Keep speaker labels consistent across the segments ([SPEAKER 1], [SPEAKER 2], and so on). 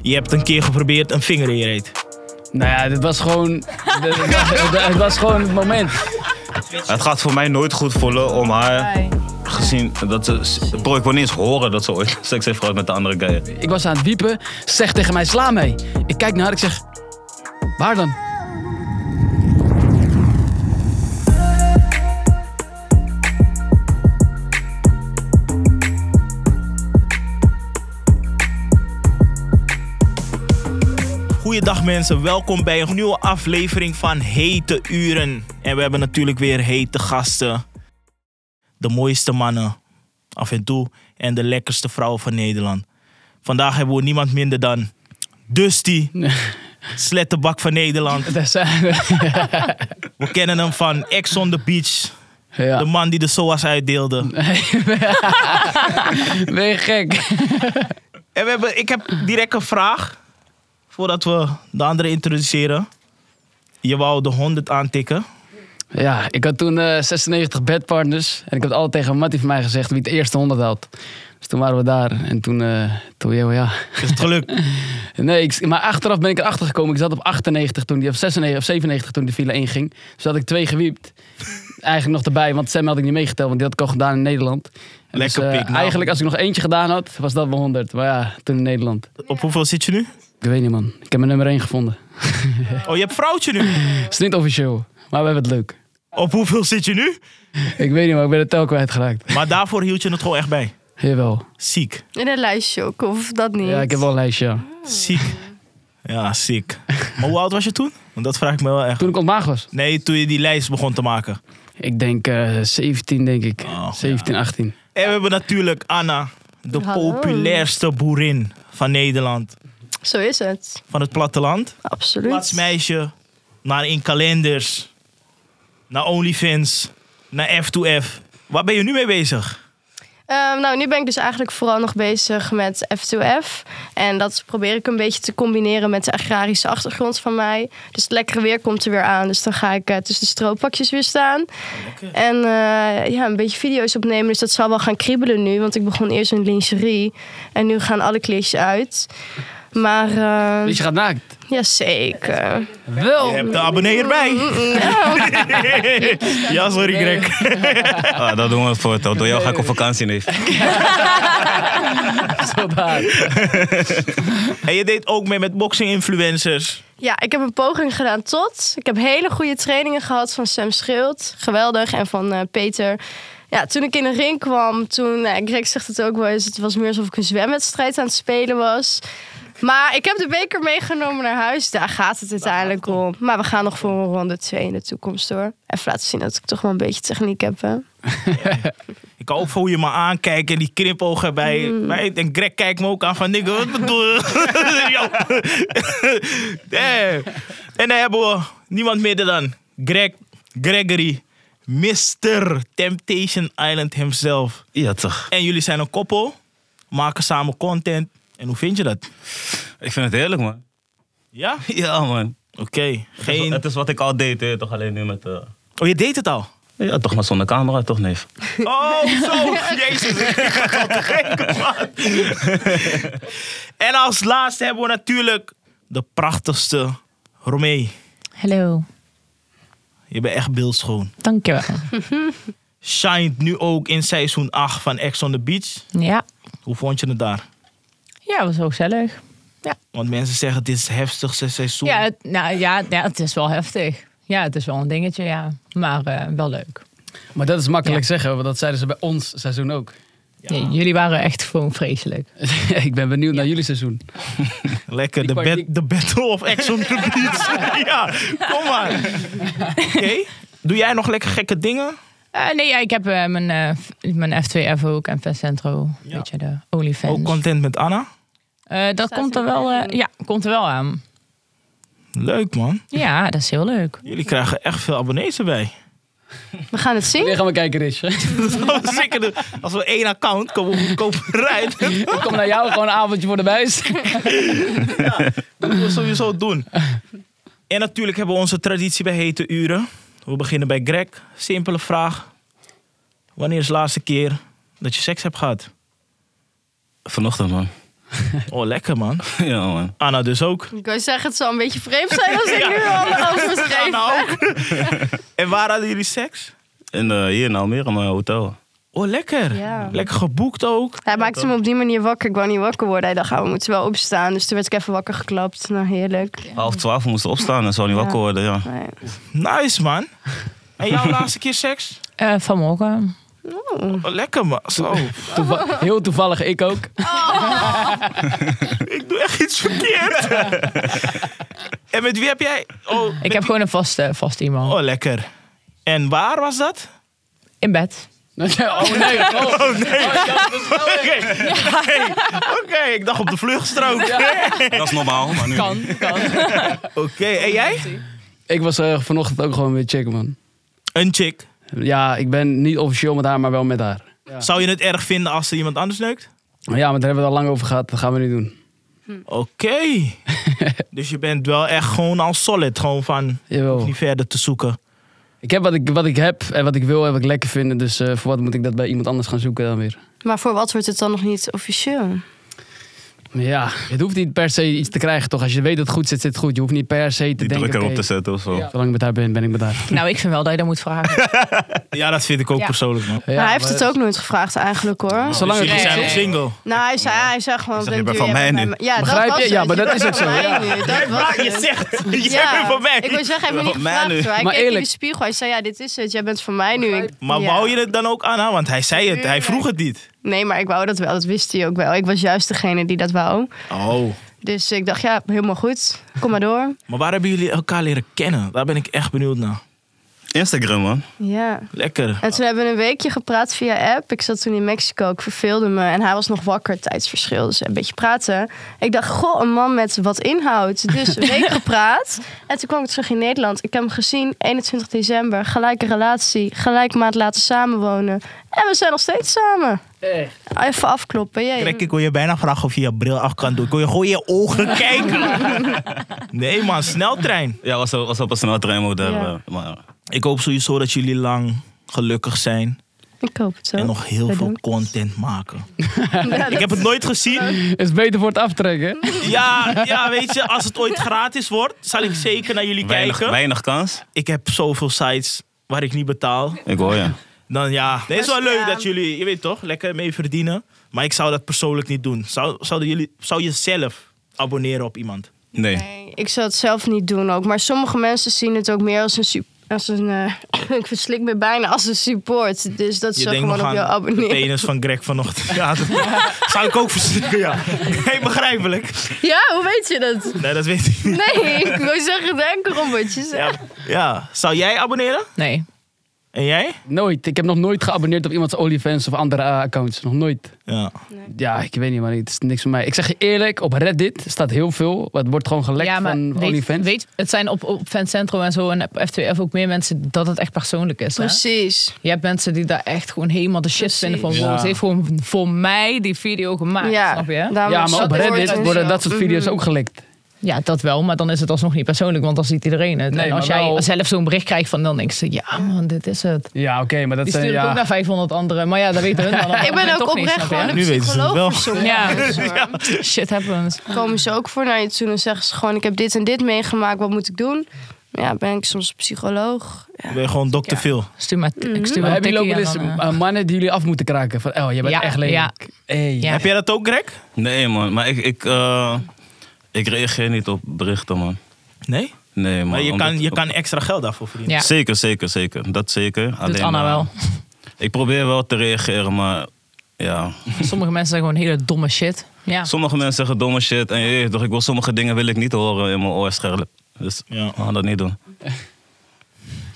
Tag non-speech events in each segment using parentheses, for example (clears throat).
[SPEAKER 1] Je hebt een keer geprobeerd een vinger in je reet.
[SPEAKER 2] Nou ja, dit was gewoon, (laughs) dit- het was- het- het was gewoon het moment.
[SPEAKER 3] Het gaat voor mij nooit goed voelen om haar,
[SPEAKER 4] Hi.
[SPEAKER 3] gezien dat ze... Bro, ik wil niet eens horen dat ze ooit (laughs) seks heeft gehad met de andere guy.
[SPEAKER 2] Ik was aan het wiepen. Ze zegt tegen mij, sla mee. Ik kijk naar haar, ik zeg, waar dan? (laughs)
[SPEAKER 1] Goeiedag mensen, welkom bij een nieuwe aflevering van Hete Uren. En we hebben natuurlijk weer hete gasten. De mooiste mannen, af en toe. En de lekkerste vrouwen van Nederland. Vandaag hebben we niemand minder dan Dusty, slettenbak van Nederland.
[SPEAKER 2] Daar zijn we.
[SPEAKER 1] We kennen hem van Ex on the Beach, de
[SPEAKER 2] Ja.
[SPEAKER 1] man die de SOA's uitdeelde.
[SPEAKER 2] (laughs) Ben je gek?
[SPEAKER 1] En we hebben, ik heb direct een vraag, voordat we de andere introduceren. Je wou de 100 aantikken.
[SPEAKER 2] Ja, ik had toen eh, 96 bedpartners. En ik had altijd tegen Mattie van mij gezegd wie het eerste 100 had. Dus toen waren we daar. En toen, eh toen ja, ja.
[SPEAKER 1] Is Dus het gelukt?
[SPEAKER 2] Nee, ik, maar achteraf ben ik erachter gekomen. Ik zat op 98 toen die, of 96 of 97 toen de file inging. Dus had ik twee gewiept. Eigenlijk nog erbij, want Sam had ik niet meegeteld, want die had ik al gedaan in Nederland. En
[SPEAKER 1] Lekker
[SPEAKER 2] eh,
[SPEAKER 1] pik, nou.
[SPEAKER 2] Eigenlijk, als ik nog eentje gedaan had, was dat wel 100. Maar ja, toen in Nederland.
[SPEAKER 1] Op hoeveel zit je nu?
[SPEAKER 2] Ik weet niet, man. Ik heb mijn nummer 1 gevonden.
[SPEAKER 1] Oh, je hebt vrouwtje nu.
[SPEAKER 2] Het is niet officieel, maar we hebben het leuk.
[SPEAKER 1] Op hoeveel zit je nu?
[SPEAKER 2] Ik weet niet, maar ik ben de tel kwijtgeraakt.
[SPEAKER 1] Maar daarvoor hield je het gewoon echt bij.
[SPEAKER 2] Jawel.
[SPEAKER 1] Ziek.
[SPEAKER 4] In een lijstje ook, of dat niet?
[SPEAKER 2] Ja, ik heb wel een lijstje. ja.
[SPEAKER 1] Ziek. Ja, ziek. Maar hoe oud was je toen? Want dat vraag ik me wel echt.
[SPEAKER 2] Toen ik ontmaagd was.
[SPEAKER 1] Nee, toen je die lijst begon te maken.
[SPEAKER 2] Ik denk eh, 17, denk ik.
[SPEAKER 1] Oh,
[SPEAKER 2] 17, 18.
[SPEAKER 1] En we hebben natuurlijk Anna, de
[SPEAKER 4] Hallo.
[SPEAKER 1] populairste boerin van Nederland.
[SPEAKER 4] Zo is het.
[SPEAKER 1] Van het platteland.
[SPEAKER 4] Absoluut.
[SPEAKER 1] Platsmeisje, naar in kalenders, naar OnlyFans, naar F2F. Waar ben je nu mee bezig?
[SPEAKER 4] Ehm, nou, nu ben ik dus eigenlijk vooral nog bezig met F2F. En dat probeer ik een beetje te combineren met de agrarische achtergrond van mij. Dus het lekkere weer komt er weer aan. Dus dan ga ik eh, tussen de strooppakjes weer staan. En eh, ja, een beetje video's opnemen. Dus dat zal wel gaan kriebelen nu. Want ik begon eerst in lingerie. En nu gaan alle kleertjes uit. Maar eh,
[SPEAKER 2] Dus je gaat naakt.
[SPEAKER 4] ja, zeker.
[SPEAKER 2] Wel.
[SPEAKER 1] Je hebt de abonnee erbij.
[SPEAKER 4] (laughs)
[SPEAKER 1] ja, sorry Greg.
[SPEAKER 3] Ah, dat doen we voor het. Door jou ga ik op vakantie, neef.
[SPEAKER 2] (laughs) Zo daar.
[SPEAKER 1] En je deed ook mee met boxing influencers.
[SPEAKER 4] Ja, ik heb een poging gedaan tot. Ik heb hele goede trainingen gehad van Sam Schild. Geweldig. En van eh, Peter. Ja, toen ik in de ring kwam, toen... Nou, Greg zegt het ook wel eens. Het was meer alsof ik een zwemwedstrijd aan het spelen was. Maar ik heb de beker meegenomen naar huis. Daar gaat het uiteindelijk om. Maar we gaan nog voor een ronde 2 in de toekomst hoor. Even laten zien dat ik toch wel een beetje techniek heb. Hè?
[SPEAKER 1] Ik kan ook voor hoe je me aankijkt en die knipogen erbij. Mij- En Greg kijkt me ook aan van, nigga, wat bedoel je? (laughs) Yo. Damn. En dan hebben we niemand minder dan Greg, Gregory, Mr. Temptation Island himself.
[SPEAKER 3] Ja, toch.
[SPEAKER 1] En jullie zijn een koppel, maken samen content. En hoe vind je dat?
[SPEAKER 3] Ik vind het heerlijk, man.
[SPEAKER 1] Ja?
[SPEAKER 3] Ja, man.
[SPEAKER 1] Oké,
[SPEAKER 3] Het is,
[SPEAKER 1] geen...
[SPEAKER 3] het is wat ik al deed, hè, toch alleen nu met... eh,
[SPEAKER 1] Oh, je deed het al?
[SPEAKER 3] Ja, toch maar zonder camera, toch, neef?
[SPEAKER 1] Oh, (laughs) zo. Jezus, ik ga al te gek, man. En als laatste hebben we natuurlijk de prachtigste Romee.
[SPEAKER 5] Hallo,
[SPEAKER 1] Je bent echt beeldschoon.
[SPEAKER 5] (laughs) dankjewel.
[SPEAKER 1] Shined nu ook in seizoen 8 van Ex on the Beach.
[SPEAKER 5] ja.
[SPEAKER 1] Hoe vond je het daar?
[SPEAKER 5] ja, was ook gezellig.
[SPEAKER 1] Want mensen zeggen het is het heftigste seizoen.
[SPEAKER 5] Ja, het, nou, ja, ja, het is wel heftig. Ja, het is wel een dingetje, ja. Maar eh, wel leuk.
[SPEAKER 2] Maar dat is makkelijk
[SPEAKER 5] Ja.
[SPEAKER 2] zeggen, want dat zeiden ze bij ons seizoen ook. (laughs)
[SPEAKER 5] Nee, jullie waren echt gewoon vreselijk.
[SPEAKER 2] ik ben benieuwd naar jullie seizoen.
[SPEAKER 1] Lekker, de,
[SPEAKER 2] Die
[SPEAKER 1] bed,
[SPEAKER 2] kwart-
[SPEAKER 1] de battle of Ex on the Beach. (laughs) ja, kom maar. Oké. Doe jij nog lekker gekke dingen?
[SPEAKER 5] Eh, nee, ja, ik heb eh, mijn, eh, f- mijn F2F ook en Festcentro.
[SPEAKER 1] Ja.
[SPEAKER 5] Weet je, de OnlyFans.
[SPEAKER 1] Ook content met Anna?
[SPEAKER 5] Eh, dat komt er, wel, eh, ja, komt er wel aan.
[SPEAKER 1] Leuk, man.
[SPEAKER 5] Ja, dat is heel leuk.
[SPEAKER 1] Jullie krijgen echt veel abonnees erbij. (laughs)
[SPEAKER 4] We gaan het
[SPEAKER 2] Jullie
[SPEAKER 4] zien.
[SPEAKER 2] gaan maar kijken, Rich. (laughs)
[SPEAKER 1] Dat is zeker de- als we één account komen we goedkoper (laughs) rijden.
[SPEAKER 2] Ik kom naar jou, gewoon een avondje voor de buis.
[SPEAKER 1] Dat moeten we sowieso doen. En natuurlijk hebben we onze traditie bij hete uren. We beginnen bij Greg. Simpele vraag. Wanneer is de laatste keer dat je seks hebt gehad?
[SPEAKER 3] Vanochtend, man.
[SPEAKER 1] Oh, lekker man.
[SPEAKER 3] (laughs) ja, man.
[SPEAKER 1] Anna dus ook.
[SPEAKER 4] Ik wou zeggen, het zou een beetje vreemd zijn als ik nu al over beschreef.
[SPEAKER 1] Anna ook. (laughs) en waar hadden jullie seks?
[SPEAKER 3] En eh, hier in Almere, mijn hotel.
[SPEAKER 1] Oh, lekker.
[SPEAKER 4] Ja.
[SPEAKER 1] Lekker geboekt ook.
[SPEAKER 4] Hij maakte me op die manier wakker. Ik wou niet wakker worden. Hij dacht, oh, we moeten wel opstaan. Dus toen werd ik even wakker geklapt. Nou, heerlijk.
[SPEAKER 3] Half twaalf moesten opstaan en zou niet
[SPEAKER 4] Ja.
[SPEAKER 3] wakker worden, ja.
[SPEAKER 4] Nee.
[SPEAKER 1] Nice man. En (laughs) jouw laatste keer seks?
[SPEAKER 5] Eh, vanmorgen.
[SPEAKER 1] Oh, lekker man. Zo.
[SPEAKER 2] Toeva- heel toevallig, ik
[SPEAKER 1] (laughs)
[SPEAKER 2] ook. (laughs)
[SPEAKER 1] Ik doe echt iets verkeerd. en met wie heb jij? Oh,
[SPEAKER 5] Ik heb gewoon een vaste, vast iemand.
[SPEAKER 1] oh, lekker. En waar was dat?
[SPEAKER 5] In bed.
[SPEAKER 2] Oh nee, oh.
[SPEAKER 1] Oké, (laughs) Oké. Oké, ik dacht op de vluchtstrook.
[SPEAKER 3] (laughs) Dat is normaal, maar nu...
[SPEAKER 5] Kan, kan.
[SPEAKER 1] Oké, en jij?
[SPEAKER 2] Ik was eh, vanochtend ook gewoon weer chicken, man.
[SPEAKER 1] Een chick.
[SPEAKER 2] Ja, ik ben niet officieel met haar, maar wel met haar.
[SPEAKER 1] Zou je het erg vinden als er iemand anders neukt?
[SPEAKER 2] Maar ja, maar daar hebben we het al lang over gehad. Dat gaan we nu doen.
[SPEAKER 1] Oké. (laughs) dus je bent wel echt gewoon al solid. Gewoon van
[SPEAKER 2] Jawel.
[SPEAKER 1] niet verder te zoeken.
[SPEAKER 2] Ik heb wat ik, wat ik heb en wat ik wil en wat ik lekker vind. Dus eh, voor wat moet ik dat bij iemand anders gaan zoeken dan weer?
[SPEAKER 4] Maar voor wat wordt het dan nog niet officieel? Nou,
[SPEAKER 2] Ja, het hoeft niet per se iets te krijgen, toch? Als je weet dat het goed zit, zit het goed. Je hoeft niet per se te
[SPEAKER 3] Die
[SPEAKER 2] denken...
[SPEAKER 3] druk erop
[SPEAKER 2] oké,
[SPEAKER 3] te zetten of zo.
[SPEAKER 2] Zolang ik met haar ben, ben ik met haar.
[SPEAKER 5] (laughs) Nou, ik vind wel dat je dat moet vragen.
[SPEAKER 1] Ja, dat vind ik ook
[SPEAKER 5] Ja.
[SPEAKER 1] persoonlijk man.
[SPEAKER 2] Ja,
[SPEAKER 4] maar Nou, hij heeft
[SPEAKER 2] maar-
[SPEAKER 4] het ook nooit gevraagd eigenlijk hoor.
[SPEAKER 2] Zolang
[SPEAKER 1] Dus
[SPEAKER 2] het
[SPEAKER 1] jullie
[SPEAKER 2] goed
[SPEAKER 1] zijn
[SPEAKER 2] zit.
[SPEAKER 1] nog single.
[SPEAKER 4] Nou, hij zei, hij zei gewoon...
[SPEAKER 3] Zeg,
[SPEAKER 4] dat
[SPEAKER 3] je bent
[SPEAKER 4] doe
[SPEAKER 3] van
[SPEAKER 4] jij
[SPEAKER 3] mij
[SPEAKER 4] bij
[SPEAKER 3] nu.
[SPEAKER 4] mij. Ja,
[SPEAKER 2] Begrijp
[SPEAKER 4] dat
[SPEAKER 2] je?
[SPEAKER 4] was
[SPEAKER 2] Ja,
[SPEAKER 4] het.
[SPEAKER 2] maar
[SPEAKER 4] Je
[SPEAKER 2] dat is
[SPEAKER 4] bent
[SPEAKER 2] ook zo,
[SPEAKER 4] van mij nu. Dat was
[SPEAKER 1] Je
[SPEAKER 4] het.
[SPEAKER 1] zegt, je bent voor mij.
[SPEAKER 4] Ik wil zeggen, hij heeft me
[SPEAKER 3] Van
[SPEAKER 4] niet
[SPEAKER 3] mij
[SPEAKER 4] gevraagd.
[SPEAKER 3] nu.
[SPEAKER 4] hoor. Hij
[SPEAKER 2] Maar
[SPEAKER 4] keek in de
[SPEAKER 2] eerlijk.
[SPEAKER 4] spiegel. Hij zei, ja, dit is het. Jij bent van mij nu. Ik-
[SPEAKER 1] Maar
[SPEAKER 4] ja.
[SPEAKER 1] wou je het dan ook aan haar? Want hij zei het, hij vroeg het niet.
[SPEAKER 4] Nee, maar ik wou dat wel. Dat wist hij ook wel. Ik was juist degene die dat wou.
[SPEAKER 1] Oh.
[SPEAKER 4] Dus ik dacht, ja, helemaal goed. Kom maar door.
[SPEAKER 1] Maar waar hebben jullie elkaar leren kennen? Daar ben ik echt benieuwd naar.
[SPEAKER 3] Instagram, man.
[SPEAKER 4] Ja.
[SPEAKER 1] Lekker.
[SPEAKER 4] En toen hebben we een weekje gepraat via app. Ik zat toen in Mexico, ik verveelde me. En hij was nog wakker, tijdsverschil, dus een beetje praten. Ik dacht, goh, een man met wat inhoud.
[SPEAKER 1] (laughs)
[SPEAKER 4] Dus een week gepraat. En toen kwam ik terug in Nederland. Ik heb hem gezien, 21 december. Gelijke relatie, gelijk maand laten samenwonen. En we zijn nog steeds samen. Even afkloppen, jee.
[SPEAKER 1] Krek, ik wil je bijna vragen of je je bril af kan doen. Ik wil je gewoon in je
[SPEAKER 4] (laughs)
[SPEAKER 1] ogen kijken. Nee man, sneltrein.
[SPEAKER 3] Ja, was, was op een sneltrein, maar daar...
[SPEAKER 4] Ja.
[SPEAKER 3] eh, Maar,
[SPEAKER 1] Ik hoop sowieso dat jullie lang gelukkig zijn.
[SPEAKER 4] Ik hoop het
[SPEAKER 1] En
[SPEAKER 4] ook.
[SPEAKER 1] nog heel veel
[SPEAKER 4] Bedankt.
[SPEAKER 1] content maken.
[SPEAKER 4] Ja,
[SPEAKER 1] Ik
[SPEAKER 4] dat-
[SPEAKER 1] heb het nooit
[SPEAKER 4] (laughs)
[SPEAKER 1] gezien.
[SPEAKER 2] Is beter voor het aftrekken.
[SPEAKER 1] Ja, ja, weet je, als het ooit gratis wordt, zal ik zeker naar jullie
[SPEAKER 3] weinig,
[SPEAKER 1] kijken.
[SPEAKER 3] weinig kans.
[SPEAKER 1] Ik heb zoveel sites waar ik niet betaal.
[SPEAKER 3] Ik hoor je.
[SPEAKER 1] Dan ja,
[SPEAKER 4] (laughs)
[SPEAKER 1] het is wel
[SPEAKER 4] Dus,
[SPEAKER 1] leuk
[SPEAKER 4] ja.
[SPEAKER 1] dat jullie, je weet toch, lekker mee verdienen. Maar ik zou dat persoonlijk niet doen. Zou, zouden jullie, zou je zelf abonneren op iemand?
[SPEAKER 3] Nee.
[SPEAKER 4] Nee, ik zou het zelf niet doen ook. Maar sommige mensen zien het ook meer als een... Super, als een eh, (laughs) ik verslik me bijna als een support. Dus dat
[SPEAKER 1] Je
[SPEAKER 4] ze
[SPEAKER 1] denkt
[SPEAKER 4] gewoon
[SPEAKER 1] nog
[SPEAKER 4] op jou
[SPEAKER 1] aan de
[SPEAKER 4] abonneren.
[SPEAKER 1] penis van Greg vanochtend. Ja, dat (laughs) zou ik ook verslikken, ja. (laughs) Nee, begrijpelijk.
[SPEAKER 4] (laughs) Ja, hoe weet je dat?
[SPEAKER 1] Nee, dat weet ik niet.
[SPEAKER 4] Nee, ik
[SPEAKER 1] (laughs)
[SPEAKER 4] wil zeggen, denk erom wat je zegt.
[SPEAKER 1] Ja, ja. zou jij abonneren?
[SPEAKER 5] Nee.
[SPEAKER 1] En jij?
[SPEAKER 2] Nooit. Ik heb nog nooit geabonneerd op iemands OnlyFans of andere eh, accounts. Nog nooit.
[SPEAKER 1] Ja.
[SPEAKER 2] Ja, ik weet niet, maar het is niks voor mij. Ik zeg je eerlijk, op Reddit staat heel veel. Het wordt gewoon gelekt
[SPEAKER 5] ja, maar
[SPEAKER 2] van
[SPEAKER 5] weet,
[SPEAKER 2] OnlyFans.
[SPEAKER 5] weet, het zijn op, op fancentrum en zo en op F2F ook meer mensen dat het echt persoonlijk is. Hè?
[SPEAKER 4] Precies.
[SPEAKER 5] Je hebt mensen die daar echt gewoon helemaal de shit
[SPEAKER 4] Precies.
[SPEAKER 5] vinden van
[SPEAKER 1] Ja.
[SPEAKER 5] wow, ze heeft gewoon voor mij die video gemaakt,
[SPEAKER 4] Ja,
[SPEAKER 5] snap je?
[SPEAKER 4] daarom
[SPEAKER 2] ja,
[SPEAKER 4] is
[SPEAKER 2] maar
[SPEAKER 4] dat
[SPEAKER 2] op
[SPEAKER 5] is
[SPEAKER 4] woord
[SPEAKER 2] Reddit
[SPEAKER 4] en
[SPEAKER 2] worden
[SPEAKER 4] zo.
[SPEAKER 2] dat soort video's
[SPEAKER 4] Mhm.
[SPEAKER 2] ook gelekt.
[SPEAKER 5] Ja, dat wel, maar dan is het alsnog niet persoonlijk, want dan ziet iedereen het.
[SPEAKER 2] Nee,
[SPEAKER 5] en als
[SPEAKER 2] maar
[SPEAKER 5] jij
[SPEAKER 2] wel-
[SPEAKER 5] zelf zo'n bericht krijgt van dan denk je, ja man, dit is het.
[SPEAKER 2] Ja, oké, maar dat
[SPEAKER 5] Die
[SPEAKER 2] zijn...
[SPEAKER 5] sturen het
[SPEAKER 2] Ja,
[SPEAKER 5] ook naar 500 anderen, maar ja, dat weten
[SPEAKER 2] (laughs)
[SPEAKER 5] hun dan. op dat
[SPEAKER 4] Ik ben
[SPEAKER 5] moment
[SPEAKER 4] ook
[SPEAKER 5] toch niet,
[SPEAKER 4] oprecht
[SPEAKER 5] snap
[SPEAKER 4] gewoon een
[SPEAKER 1] Nu weten ze het wel.
[SPEAKER 4] psycholoog voor
[SPEAKER 5] Ja. (laughs)
[SPEAKER 4] sommige mensen,
[SPEAKER 1] (laughs)
[SPEAKER 4] hoor.
[SPEAKER 5] je? Shit happens.
[SPEAKER 4] Mhm. Komen ze ook voor naar je toe en zeggen ze gewoon... ik heb dit en dit meegemaakt, wat moet ik doen? Ja, ben ik soms psycholoog?
[SPEAKER 1] Ik ben gewoon dokter
[SPEAKER 5] Ja.
[SPEAKER 1] Phil.
[SPEAKER 5] Stuur maar, ik stuur
[SPEAKER 2] maar
[SPEAKER 5] maar
[SPEAKER 2] hebben jullie ook wel eens
[SPEAKER 5] een tikkie en dan, eh,
[SPEAKER 2] eh, mannen die jullie af moeten kraken? Van, oh, jij bent
[SPEAKER 5] Ja,
[SPEAKER 2] echt lelijk.
[SPEAKER 5] ja.
[SPEAKER 2] Hey.
[SPEAKER 5] Ja.
[SPEAKER 1] Heb jij dat ook, Greg?
[SPEAKER 3] Nee, man. Maar ik, ik, eh, ik reageer niet op berichten, man.
[SPEAKER 1] Nee?
[SPEAKER 3] Nee, man.
[SPEAKER 1] Maar je
[SPEAKER 3] omdat-
[SPEAKER 1] kan, je kan extra geld daarvoor verdienen.
[SPEAKER 5] Ja.
[SPEAKER 3] Zeker, zeker, zeker. Dat zeker.
[SPEAKER 5] doet Anna
[SPEAKER 3] eh,
[SPEAKER 5] wel.
[SPEAKER 3] Ik probeer wel te reageren, maar ja.
[SPEAKER 5] Sommige mensen zijn gewoon hele domme shit. Ja.
[SPEAKER 3] Sommige mensen zeggen domme shit. En je weet toch, ik wil sommige dingen wil ik niet horen in mijn oorscherm. Dus
[SPEAKER 1] Ja.
[SPEAKER 3] we gaan dat niet doen.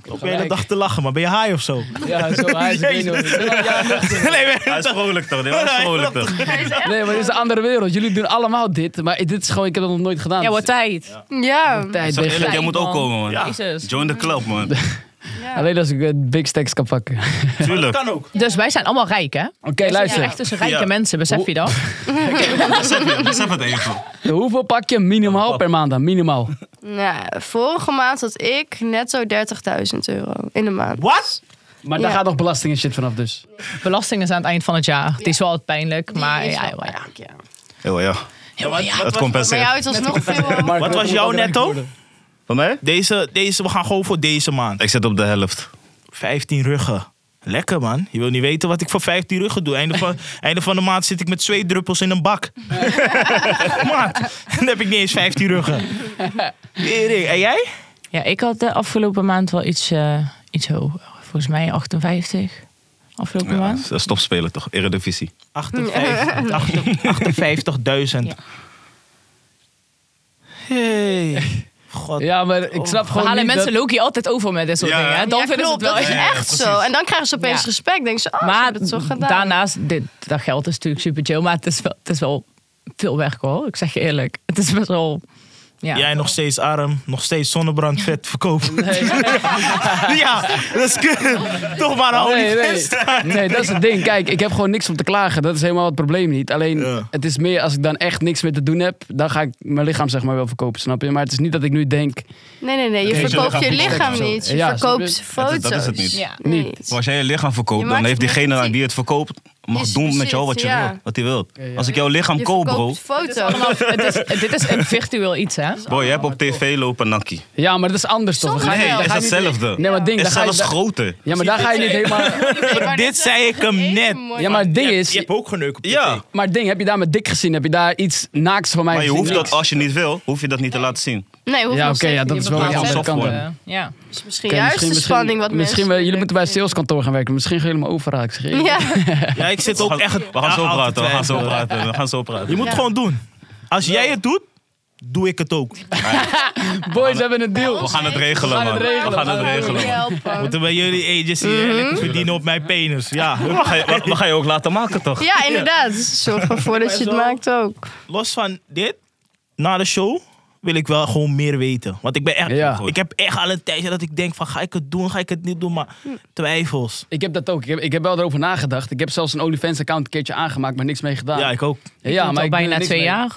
[SPEAKER 1] Ik loop de hele dag te lachen, maar ben je high of (laughs) zo?
[SPEAKER 2] Ja, zo hij is ik weet niet of-
[SPEAKER 1] (laughs) Nee,
[SPEAKER 3] Hij is vrolijk toch? Hij is vrolijk toch?
[SPEAKER 2] Nee, maar dit is een andere wereld. Jullie doen allemaal dit, maar dit is gewoon... Ik heb dat nog nooit gedaan.
[SPEAKER 5] Ja, wat tijd.
[SPEAKER 4] Ja.
[SPEAKER 2] Tijd
[SPEAKER 3] Zeg
[SPEAKER 2] tegen-
[SPEAKER 3] eerlijk, jij moet ook komen, man.
[SPEAKER 1] Ja.
[SPEAKER 5] Jezus.
[SPEAKER 3] Join the club, man.
[SPEAKER 2] Alleen als ik eh, big stacks kan pakken. (laughs) Oké,
[SPEAKER 1] dat
[SPEAKER 3] Tuurlijk.
[SPEAKER 1] kan ook.
[SPEAKER 5] Dus wij zijn allemaal rijk, hè?
[SPEAKER 2] luister.
[SPEAKER 5] Echt tussen rijke
[SPEAKER 3] Ja.
[SPEAKER 5] mensen, besef
[SPEAKER 3] (laughs)
[SPEAKER 5] je dat?
[SPEAKER 3] Besef het even.
[SPEAKER 2] Hoeveel pak je
[SPEAKER 3] Oh.
[SPEAKER 2] minimaal per maand dan? Minimaal.
[SPEAKER 4] Nou, vorige maand had ik netto 30.000 euro in de maand.
[SPEAKER 1] Wat?
[SPEAKER 2] Maar daar
[SPEAKER 4] Ja.
[SPEAKER 2] gaat nog belasting en shit vanaf dus.
[SPEAKER 5] Belasting is aan het eind van het jaar. Het is wel wat pijnlijk, maar
[SPEAKER 4] Die is
[SPEAKER 5] ja,
[SPEAKER 4] wel
[SPEAKER 5] maar ja.
[SPEAKER 4] pijnlijk, ja.
[SPEAKER 3] Eeuw, ja.
[SPEAKER 1] Ja, wat, wat, was-
[SPEAKER 3] Dat
[SPEAKER 4] Maar jou
[SPEAKER 3] compenseert.
[SPEAKER 4] het was nog veel...
[SPEAKER 1] wat was jouw netto?
[SPEAKER 3] Van mij?
[SPEAKER 1] Deze, deze, we gaan gewoon voor deze maand.
[SPEAKER 3] Ik zit op de helft.
[SPEAKER 1] 15 ruggen. Lekker man. Je wil niet weten wat ik voor 15 ruggen doe. Einde (laughs) van, einde van de maand zit ik met zweetdruppels in een (laughs) bak. Maat, dan heb ik niet eens 15 ruggen. Tering. En jij?
[SPEAKER 5] Ja, ik had de afgelopen maand wel iets, eh, iets hoger. Volgens mij 58. Afgelopen
[SPEAKER 3] Ja,
[SPEAKER 5] maand.
[SPEAKER 3] dat is topspelen toch? Eredivisie.
[SPEAKER 1] 58 58.000.
[SPEAKER 5] Ja.
[SPEAKER 1] Hey. God.
[SPEAKER 2] Ja, maar ik snap
[SPEAKER 5] We
[SPEAKER 2] gewoon
[SPEAKER 5] halen
[SPEAKER 2] niet
[SPEAKER 5] Oh. mensen
[SPEAKER 2] dat-
[SPEAKER 5] Loki altijd over met dit soort
[SPEAKER 3] Ja.
[SPEAKER 5] dingen. Hè? Dan
[SPEAKER 4] Ja,
[SPEAKER 5] vinden ze het
[SPEAKER 4] klopt, dat
[SPEAKER 5] wel
[SPEAKER 4] is
[SPEAKER 5] echt.
[SPEAKER 3] Ja,
[SPEAKER 4] echt
[SPEAKER 3] precies.
[SPEAKER 4] zo. En dan krijgen ze opeens
[SPEAKER 5] Ja.
[SPEAKER 4] respect. Denken ze, oh, ze
[SPEAKER 5] Maar
[SPEAKER 4] hebben het toch gedaan.
[SPEAKER 5] daarnaast, dit, dat geld is natuurlijk super chill. Maar het is wel, het is wel veel werk hoor. Ik zeg je eerlijk. Het is best wel... Ja,
[SPEAKER 1] Jij nog steeds arm, nog steeds (laughs) zonnebrandvet verkopen. (laughs) ja, dat is kut. Toch maar al
[SPEAKER 2] Nee,
[SPEAKER 1] die
[SPEAKER 2] nee. Nee, dat is het ding. Kijk, ik heb gewoon niks om te klagen. Dat is helemaal het probleem niet. Alleen,
[SPEAKER 1] Ja.
[SPEAKER 2] het is meer als ik dan echt niks meer te doen heb, dan ga ik mijn lichaam zeg maar wel verkopen, snap je? Maar het is niet dat ik nu denk,
[SPEAKER 4] Nee, nee, nee. Je
[SPEAKER 3] Nee, ze
[SPEAKER 4] verkoopt je
[SPEAKER 3] lichaam
[SPEAKER 4] lichaam
[SPEAKER 3] verkopen.
[SPEAKER 4] niet. Je
[SPEAKER 2] Ja,
[SPEAKER 4] verkoopt
[SPEAKER 2] snap
[SPEAKER 3] Dat
[SPEAKER 4] foto's.
[SPEAKER 3] is- dat is het niet.
[SPEAKER 5] Ja.
[SPEAKER 4] Nee.
[SPEAKER 2] Niet.
[SPEAKER 3] Maar als jij je lichaam verkoopt,
[SPEAKER 4] Je
[SPEAKER 3] dan
[SPEAKER 4] maakt
[SPEAKER 3] heeft diegene aan
[SPEAKER 4] politiek.
[SPEAKER 3] wie het verkoopt, mag
[SPEAKER 4] Is
[SPEAKER 3] doen met jou wat je
[SPEAKER 4] precies, ja.
[SPEAKER 3] wil. Wat hij wil.
[SPEAKER 2] ja.
[SPEAKER 3] Als ik jouw lichaam
[SPEAKER 4] Je
[SPEAKER 3] koop, bro.
[SPEAKER 4] verkoopt foto's.
[SPEAKER 5] Vanaf-
[SPEAKER 2] (laughs)
[SPEAKER 5] het is, dit is een virtueel iets hè.
[SPEAKER 3] Boy, je hebt
[SPEAKER 2] Oh,
[SPEAKER 3] op tv lopen nakkie.
[SPEAKER 2] ja, maar dat is anders toch? Dan ga je-
[SPEAKER 3] Nee,
[SPEAKER 2] dan
[SPEAKER 3] is
[SPEAKER 2] ga je niet-
[SPEAKER 3] hetzelfde.
[SPEAKER 2] Nee, maar het ding,
[SPEAKER 3] Is
[SPEAKER 2] dan ga je,
[SPEAKER 3] zelfs
[SPEAKER 2] dan-
[SPEAKER 3] groter.
[SPEAKER 2] ja, maar daar ga je niet helemaal...
[SPEAKER 1] Dit zei ik hem net.
[SPEAKER 2] Ja, maar het ding
[SPEAKER 1] Je,
[SPEAKER 2] is...
[SPEAKER 1] hebt ook geneukt op tv.
[SPEAKER 3] Ja,
[SPEAKER 2] Maar het ding, heb je daar met Dick gezien? Heb je daar iets naaks van mij
[SPEAKER 3] maar je
[SPEAKER 2] gezien?
[SPEAKER 3] hoeft dat,
[SPEAKER 2] Niks.
[SPEAKER 3] als je niet wil, hoef je dat niet te laten zien.
[SPEAKER 4] Nee, hoeft
[SPEAKER 2] Ja, oké,
[SPEAKER 4] nog steeds
[SPEAKER 2] ja, dat
[SPEAKER 4] niet.
[SPEAKER 2] is wel
[SPEAKER 3] Ja,
[SPEAKER 2] een andere
[SPEAKER 3] soft
[SPEAKER 2] kant.
[SPEAKER 3] worden.
[SPEAKER 2] Oké,
[SPEAKER 5] eh, Ja.
[SPEAKER 4] Dus misschien juist de spanning wat
[SPEAKER 2] misschien wel,
[SPEAKER 4] mensen...
[SPEAKER 2] jullie moeten bij het saleskantoor gaan werken. Misschien gaan jullie me overhalen. Ik zeg je eerlijk.
[SPEAKER 4] Ja,
[SPEAKER 1] Ja, ik zit ook echt...
[SPEAKER 3] We gaan zo
[SPEAKER 1] aan te
[SPEAKER 3] praten, we gaan zo
[SPEAKER 1] twijfelen.
[SPEAKER 3] praten, we gaan zo praten.
[SPEAKER 1] Je moet
[SPEAKER 4] Ja.
[SPEAKER 1] het gewoon doen. Als jij het doet, doe ik het ook.
[SPEAKER 2] Boys we hebben een deal.
[SPEAKER 3] We gaan het regelen,
[SPEAKER 2] We gaan
[SPEAKER 3] man.
[SPEAKER 2] het regelen,
[SPEAKER 3] We gaan het
[SPEAKER 2] we gaan het
[SPEAKER 3] regelen. man.
[SPEAKER 4] helpen.
[SPEAKER 1] Moeten bij jullie agency hè, lekker verdienen op mijn penis. Ja,
[SPEAKER 3] We gaan, je, we- we gaan je ook laten maken, toch?
[SPEAKER 4] Ja, inderdaad. Zorg ervoor dat je het
[SPEAKER 1] Zo.
[SPEAKER 4] maakt ook.
[SPEAKER 1] los van dit, na de show wil ik wel gewoon meer weten. Want ik ben echt,
[SPEAKER 2] Ja.
[SPEAKER 1] ik heb echt al een tijdje dat ik denk van ga ik het doen, ga ik het niet doen, maar twijfels.
[SPEAKER 2] Ik heb dat ook. Ik heb, ik heb wel erover nagedacht. Ik heb zelfs een OnlyFans-account een keertje aangemaakt, maar niks mee gedaan.
[SPEAKER 1] Ja, ik ook.
[SPEAKER 2] Ja,
[SPEAKER 5] Ja,
[SPEAKER 2] maar
[SPEAKER 5] maar al
[SPEAKER 2] ik doe er
[SPEAKER 5] bijna
[SPEAKER 2] niks
[SPEAKER 5] twee
[SPEAKER 2] mee.
[SPEAKER 5] jaar.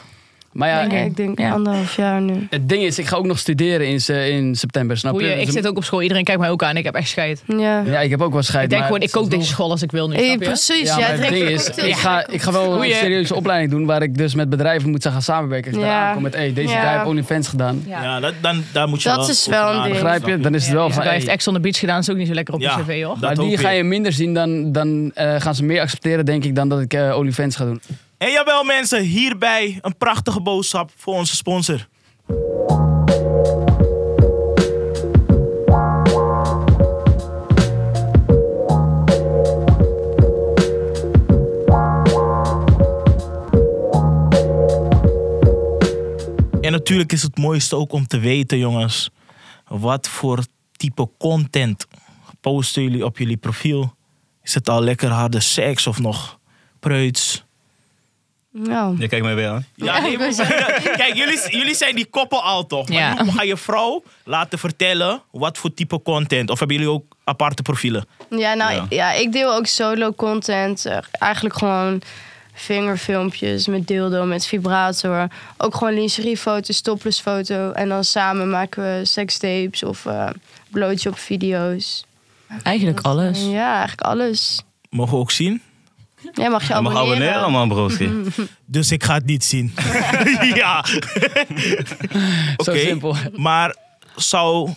[SPEAKER 2] Maar ja,
[SPEAKER 4] Denk ik, ik denk
[SPEAKER 5] Ja.
[SPEAKER 4] anderhalf jaar nu.
[SPEAKER 2] het ding is, ik ga ook nog studeren in, se- in september, snap
[SPEAKER 5] Hoe
[SPEAKER 2] je?
[SPEAKER 5] je,
[SPEAKER 2] Dus
[SPEAKER 5] ik
[SPEAKER 2] een-
[SPEAKER 5] zit ook op school. Iedereen kijkt mij ook aan. Ik heb echt scheid.
[SPEAKER 4] Ja.
[SPEAKER 2] Ja, ik heb ook wel scheid.
[SPEAKER 5] Ik denk
[SPEAKER 2] maar
[SPEAKER 5] gewoon, ik
[SPEAKER 2] het is
[SPEAKER 5] kook deze
[SPEAKER 2] nog-
[SPEAKER 5] school als ik wil nu.
[SPEAKER 4] Hey,
[SPEAKER 5] snap je?
[SPEAKER 4] precies,
[SPEAKER 2] Ja,
[SPEAKER 4] jij
[SPEAKER 2] maar het
[SPEAKER 4] drinkt
[SPEAKER 2] ding
[SPEAKER 4] een
[SPEAKER 2] is,
[SPEAKER 4] cocktail.
[SPEAKER 2] ik ga, ik ga wel
[SPEAKER 5] Goeie.
[SPEAKER 2] een serieuze opleiding doen waar ik dus met bedrijven moet gaan samenwerken. Als ik daar
[SPEAKER 4] Ja.
[SPEAKER 2] aankom met, hey, deze
[SPEAKER 4] Ja.
[SPEAKER 2] guy heeft OnlyFans gedaan.
[SPEAKER 1] Ja,
[SPEAKER 5] Ja.
[SPEAKER 1] dat, dan, daar moet je
[SPEAKER 4] Dat is
[SPEAKER 1] over
[SPEAKER 4] wel een
[SPEAKER 1] nadenken.
[SPEAKER 4] ding.
[SPEAKER 2] Begrijp je? Dan is het wel
[SPEAKER 5] Ja,
[SPEAKER 2] van,
[SPEAKER 5] hij
[SPEAKER 2] hey,
[SPEAKER 5] heeft Ex on the Beach gedaan. Dat is ook niet zo lekker op
[SPEAKER 1] Ja.
[SPEAKER 5] je cv, hoor.
[SPEAKER 1] Dat
[SPEAKER 2] maar die
[SPEAKER 1] hoop
[SPEAKER 2] ga
[SPEAKER 1] ik.
[SPEAKER 2] je minder zien, dan, dan eh, gaan ze meer accepteren, denk ik, dan dat ik eh, OnlyFans ga doen.
[SPEAKER 1] En jawel mensen, hierbij een prachtige boodschap voor onze sponsor. En natuurlijk is het mooiste ook om te weten, jongens, wat voor type content posten jullie op jullie profiel? Is het al lekker harde seks of nog preuts?
[SPEAKER 4] Nou,
[SPEAKER 3] Je kijkt mij weer aan.
[SPEAKER 1] Ja, nee, maar- kijk, jullie, jullie zijn die koppel al toch? Maar
[SPEAKER 5] Ja.
[SPEAKER 1] nu ga je vrouw laten vertellen wat voor type content? Of hebben jullie ook aparte profielen?
[SPEAKER 4] Ja, nou
[SPEAKER 3] Ja.
[SPEAKER 4] ja. ik deel ook solo content. Eh, eigenlijk gewoon vingerfilmpjes met dildo, met vibrator. Ook gewoon lingeriefoto's, toplessfoto. En dan samen maken we sekstapes of eh blootje op video's.
[SPEAKER 5] Eigenlijk alles.
[SPEAKER 4] Ja, eigenlijk alles.
[SPEAKER 1] Mogen we ook zien?
[SPEAKER 4] Jij mag je
[SPEAKER 3] Je mag
[SPEAKER 4] abonneren.
[SPEAKER 3] abonneren, man, broodje.
[SPEAKER 1] Dus ik ga het niet zien. ja. Oké.
[SPEAKER 2] (laughs) Zo simpel.
[SPEAKER 1] Maar zou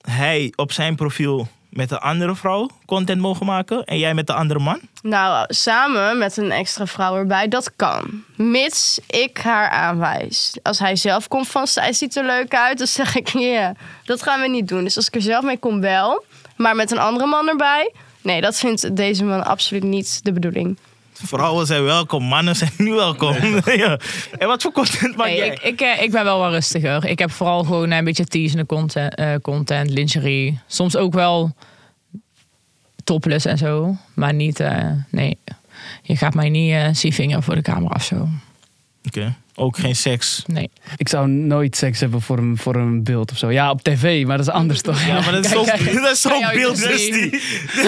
[SPEAKER 1] hij op zijn profiel met een andere vrouw content mogen maken? En jij met de andere man?
[SPEAKER 4] Nou, samen met een extra vrouw erbij, dat kan. Mits ik haar aanwijs. Als hij zelf komt van, zij ziet er leuk uit, dan zeg ik, ja, dat gaan we niet doen. Dus als ik er zelf mee kom, wel. Maar met een andere man erbij, nee, dat vindt deze man absoluut niet de bedoeling.
[SPEAKER 1] Vrouwen zijn welkom, mannen zijn niet welkom. (laughs) ja. En wat voor content maak
[SPEAKER 5] Nee,
[SPEAKER 1] jij?
[SPEAKER 5] ik, ik, eh, ik ben wel wat rustiger. Ik heb vooral gewoon eh, een beetje teasende content, eh, content, lingerie. Soms ook wel topless en zo. Maar niet, eh, nee. Je gaat mij niet eh zien vingeren voor de camera of zo.
[SPEAKER 1] Oké. Ook geen seks.
[SPEAKER 5] Nee.
[SPEAKER 2] Ik zou nooit seks hebben voor een, voor een beeld of zo. Ja, op tv, maar dat is anders toch?
[SPEAKER 1] Ja, maar dat
[SPEAKER 2] (laughs)
[SPEAKER 1] is zo'n (laughs) dat is zo'n
[SPEAKER 5] Kan jou
[SPEAKER 1] beeld.
[SPEAKER 5] niet zien.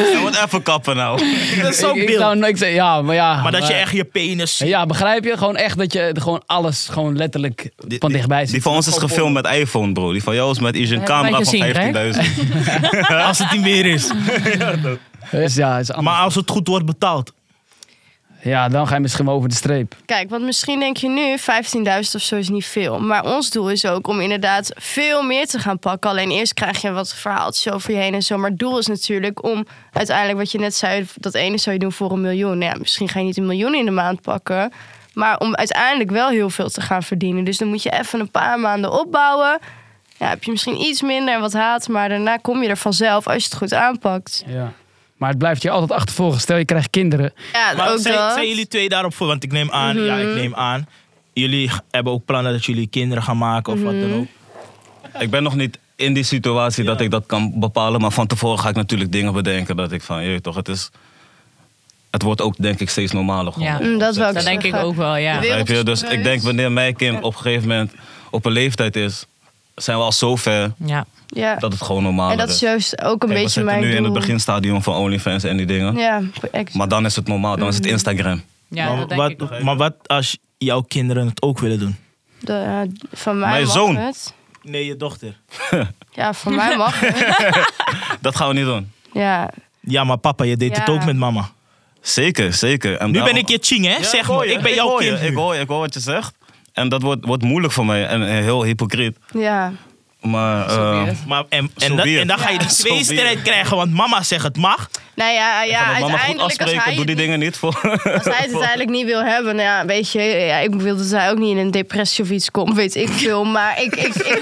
[SPEAKER 3] Ja, wat even kappen nou.
[SPEAKER 1] Dat is zo'n
[SPEAKER 2] ik, ik
[SPEAKER 1] beeld.
[SPEAKER 2] zou nooit zeggen- ja, maar ja.
[SPEAKER 1] Maar dat je echt je penis ziet.
[SPEAKER 2] Ja, begrijp je? Gewoon echt dat je er gewoon alles gewoon letterlijk van dichtbij ziet.
[SPEAKER 3] Die van ons is gefilmd met iPhone, bro. Die van jou is met is een
[SPEAKER 5] Hebben wij
[SPEAKER 3] camera van
[SPEAKER 5] gezien, Greg?
[SPEAKER 3] 15.000.
[SPEAKER 1] (laughs) Als het niet meer is.
[SPEAKER 2] Dus ja, is anders.
[SPEAKER 1] Maar als het goed wordt betaald.
[SPEAKER 2] Ja, dan ga je misschien wel over de streep.
[SPEAKER 4] Kijk, want misschien denk je nu 15.000 of zo is niet veel. Maar ons doel is ook om inderdaad veel meer te gaan pakken. Alleen eerst krijg je wat verhaaltjes over je heen en zo. Maar het doel is natuurlijk om uiteindelijk wat je net zei... dat ene zou je doen voor een miljoen. Nou ja, misschien ga je niet een miljoen in de maand pakken. Maar om uiteindelijk wel heel veel te gaan verdienen. Dus dan moet je even een paar maanden opbouwen. Ja, heb je misschien iets minder en wat haat. Maar daarna kom je er vanzelf als je het goed aanpakt.
[SPEAKER 2] Ja. Maar het blijft je altijd achtervolgen. Stel je krijgt kinderen.
[SPEAKER 4] Ja,
[SPEAKER 1] Maar
[SPEAKER 4] ook
[SPEAKER 1] zijn,
[SPEAKER 4] dat.
[SPEAKER 1] zijn jullie twee daarop voor? Want ik neem aan, ja,
[SPEAKER 5] Mhm.
[SPEAKER 1] ik neem aan. Jullie hebben ook plannen dat jullie kinderen gaan maken of wat
[SPEAKER 5] Mhm.
[SPEAKER 1] dan ook.
[SPEAKER 3] Ik ben nog niet in die situatie dat ik dat kan bepalen. Maar van tevoren ga ik natuurlijk dingen bedenken. Dat ik van, je weet toch, het is... Het wordt ook denk ik steeds normaler gewoon.
[SPEAKER 5] Ja.
[SPEAKER 4] Mm, dat wel.
[SPEAKER 5] Dat denk ik ook wel, ja.
[SPEAKER 4] Ja.
[SPEAKER 3] Begrijp je? Dus ik denk wanneer mijn kind op een gegeven moment op een leeftijd is... zijn we al zo ver
[SPEAKER 5] Ja,
[SPEAKER 4] Ja.
[SPEAKER 3] dat het gewoon normaal is.
[SPEAKER 4] en dat is juist ook een
[SPEAKER 3] Kijk,
[SPEAKER 4] beetje
[SPEAKER 3] we zitten
[SPEAKER 4] mijn
[SPEAKER 3] nu in het
[SPEAKER 4] doel.
[SPEAKER 3] beginstadium van OnlyFans en die dingen.
[SPEAKER 4] Ja, Mm. exact.
[SPEAKER 3] Maar dan is het normaal, dan is het Instagram.
[SPEAKER 5] ja
[SPEAKER 1] maar,
[SPEAKER 5] dat denk ik ook.
[SPEAKER 1] wat, maar wat als jouw kinderen het ook willen doen?
[SPEAKER 4] De, eh, van mij
[SPEAKER 3] Mijn
[SPEAKER 4] mag
[SPEAKER 3] zoon.
[SPEAKER 4] het.
[SPEAKER 1] Nee, je dochter.
[SPEAKER 4] Ja, van mij
[SPEAKER 3] (laughs)
[SPEAKER 4] mag het.
[SPEAKER 3] Dat gaan we niet doen.
[SPEAKER 4] Ja.
[SPEAKER 1] Ja, maar papa, je deed het
[SPEAKER 4] Ja.
[SPEAKER 1] ook met mama.
[SPEAKER 3] Zeker, zeker. En
[SPEAKER 1] Nu ben
[SPEAKER 3] daarom-
[SPEAKER 1] ik je ching, hè?
[SPEAKER 3] Ja,
[SPEAKER 1] zeg
[SPEAKER 3] hoor
[SPEAKER 1] maar,
[SPEAKER 3] je,
[SPEAKER 1] ik ben jouw
[SPEAKER 3] hoor je,
[SPEAKER 1] kind.
[SPEAKER 3] Ik
[SPEAKER 1] nu.
[SPEAKER 3] hoor, je, ik hoor wat je zegt. En dat wordt, wordt moeilijk voor mij en eh, heel hypocriet.
[SPEAKER 4] Ja.
[SPEAKER 3] Maar eh,
[SPEAKER 5] weird.
[SPEAKER 1] Maar, en, en,
[SPEAKER 3] Zo
[SPEAKER 1] dat,
[SPEAKER 3] be it.
[SPEAKER 1] en dan ga je die
[SPEAKER 3] Ja. Zo
[SPEAKER 1] twee
[SPEAKER 3] be it.
[SPEAKER 1] strijd krijgen, want mama zegt het mag.
[SPEAKER 4] Nou ja, ja
[SPEAKER 3] ga met mama goed
[SPEAKER 4] uiteindelijk als hij,
[SPEAKER 3] afspreken,
[SPEAKER 4] het
[SPEAKER 3] doe die
[SPEAKER 4] niet-
[SPEAKER 3] dingen niet voor. (laughs)
[SPEAKER 4] als hij het uiteindelijk niet wil hebben, nou ja, weet je, ja, ik wil dat hij ook niet in een depressie of iets komt, weet ik veel. Maar ik, ik, ik,
[SPEAKER 3] (laughs)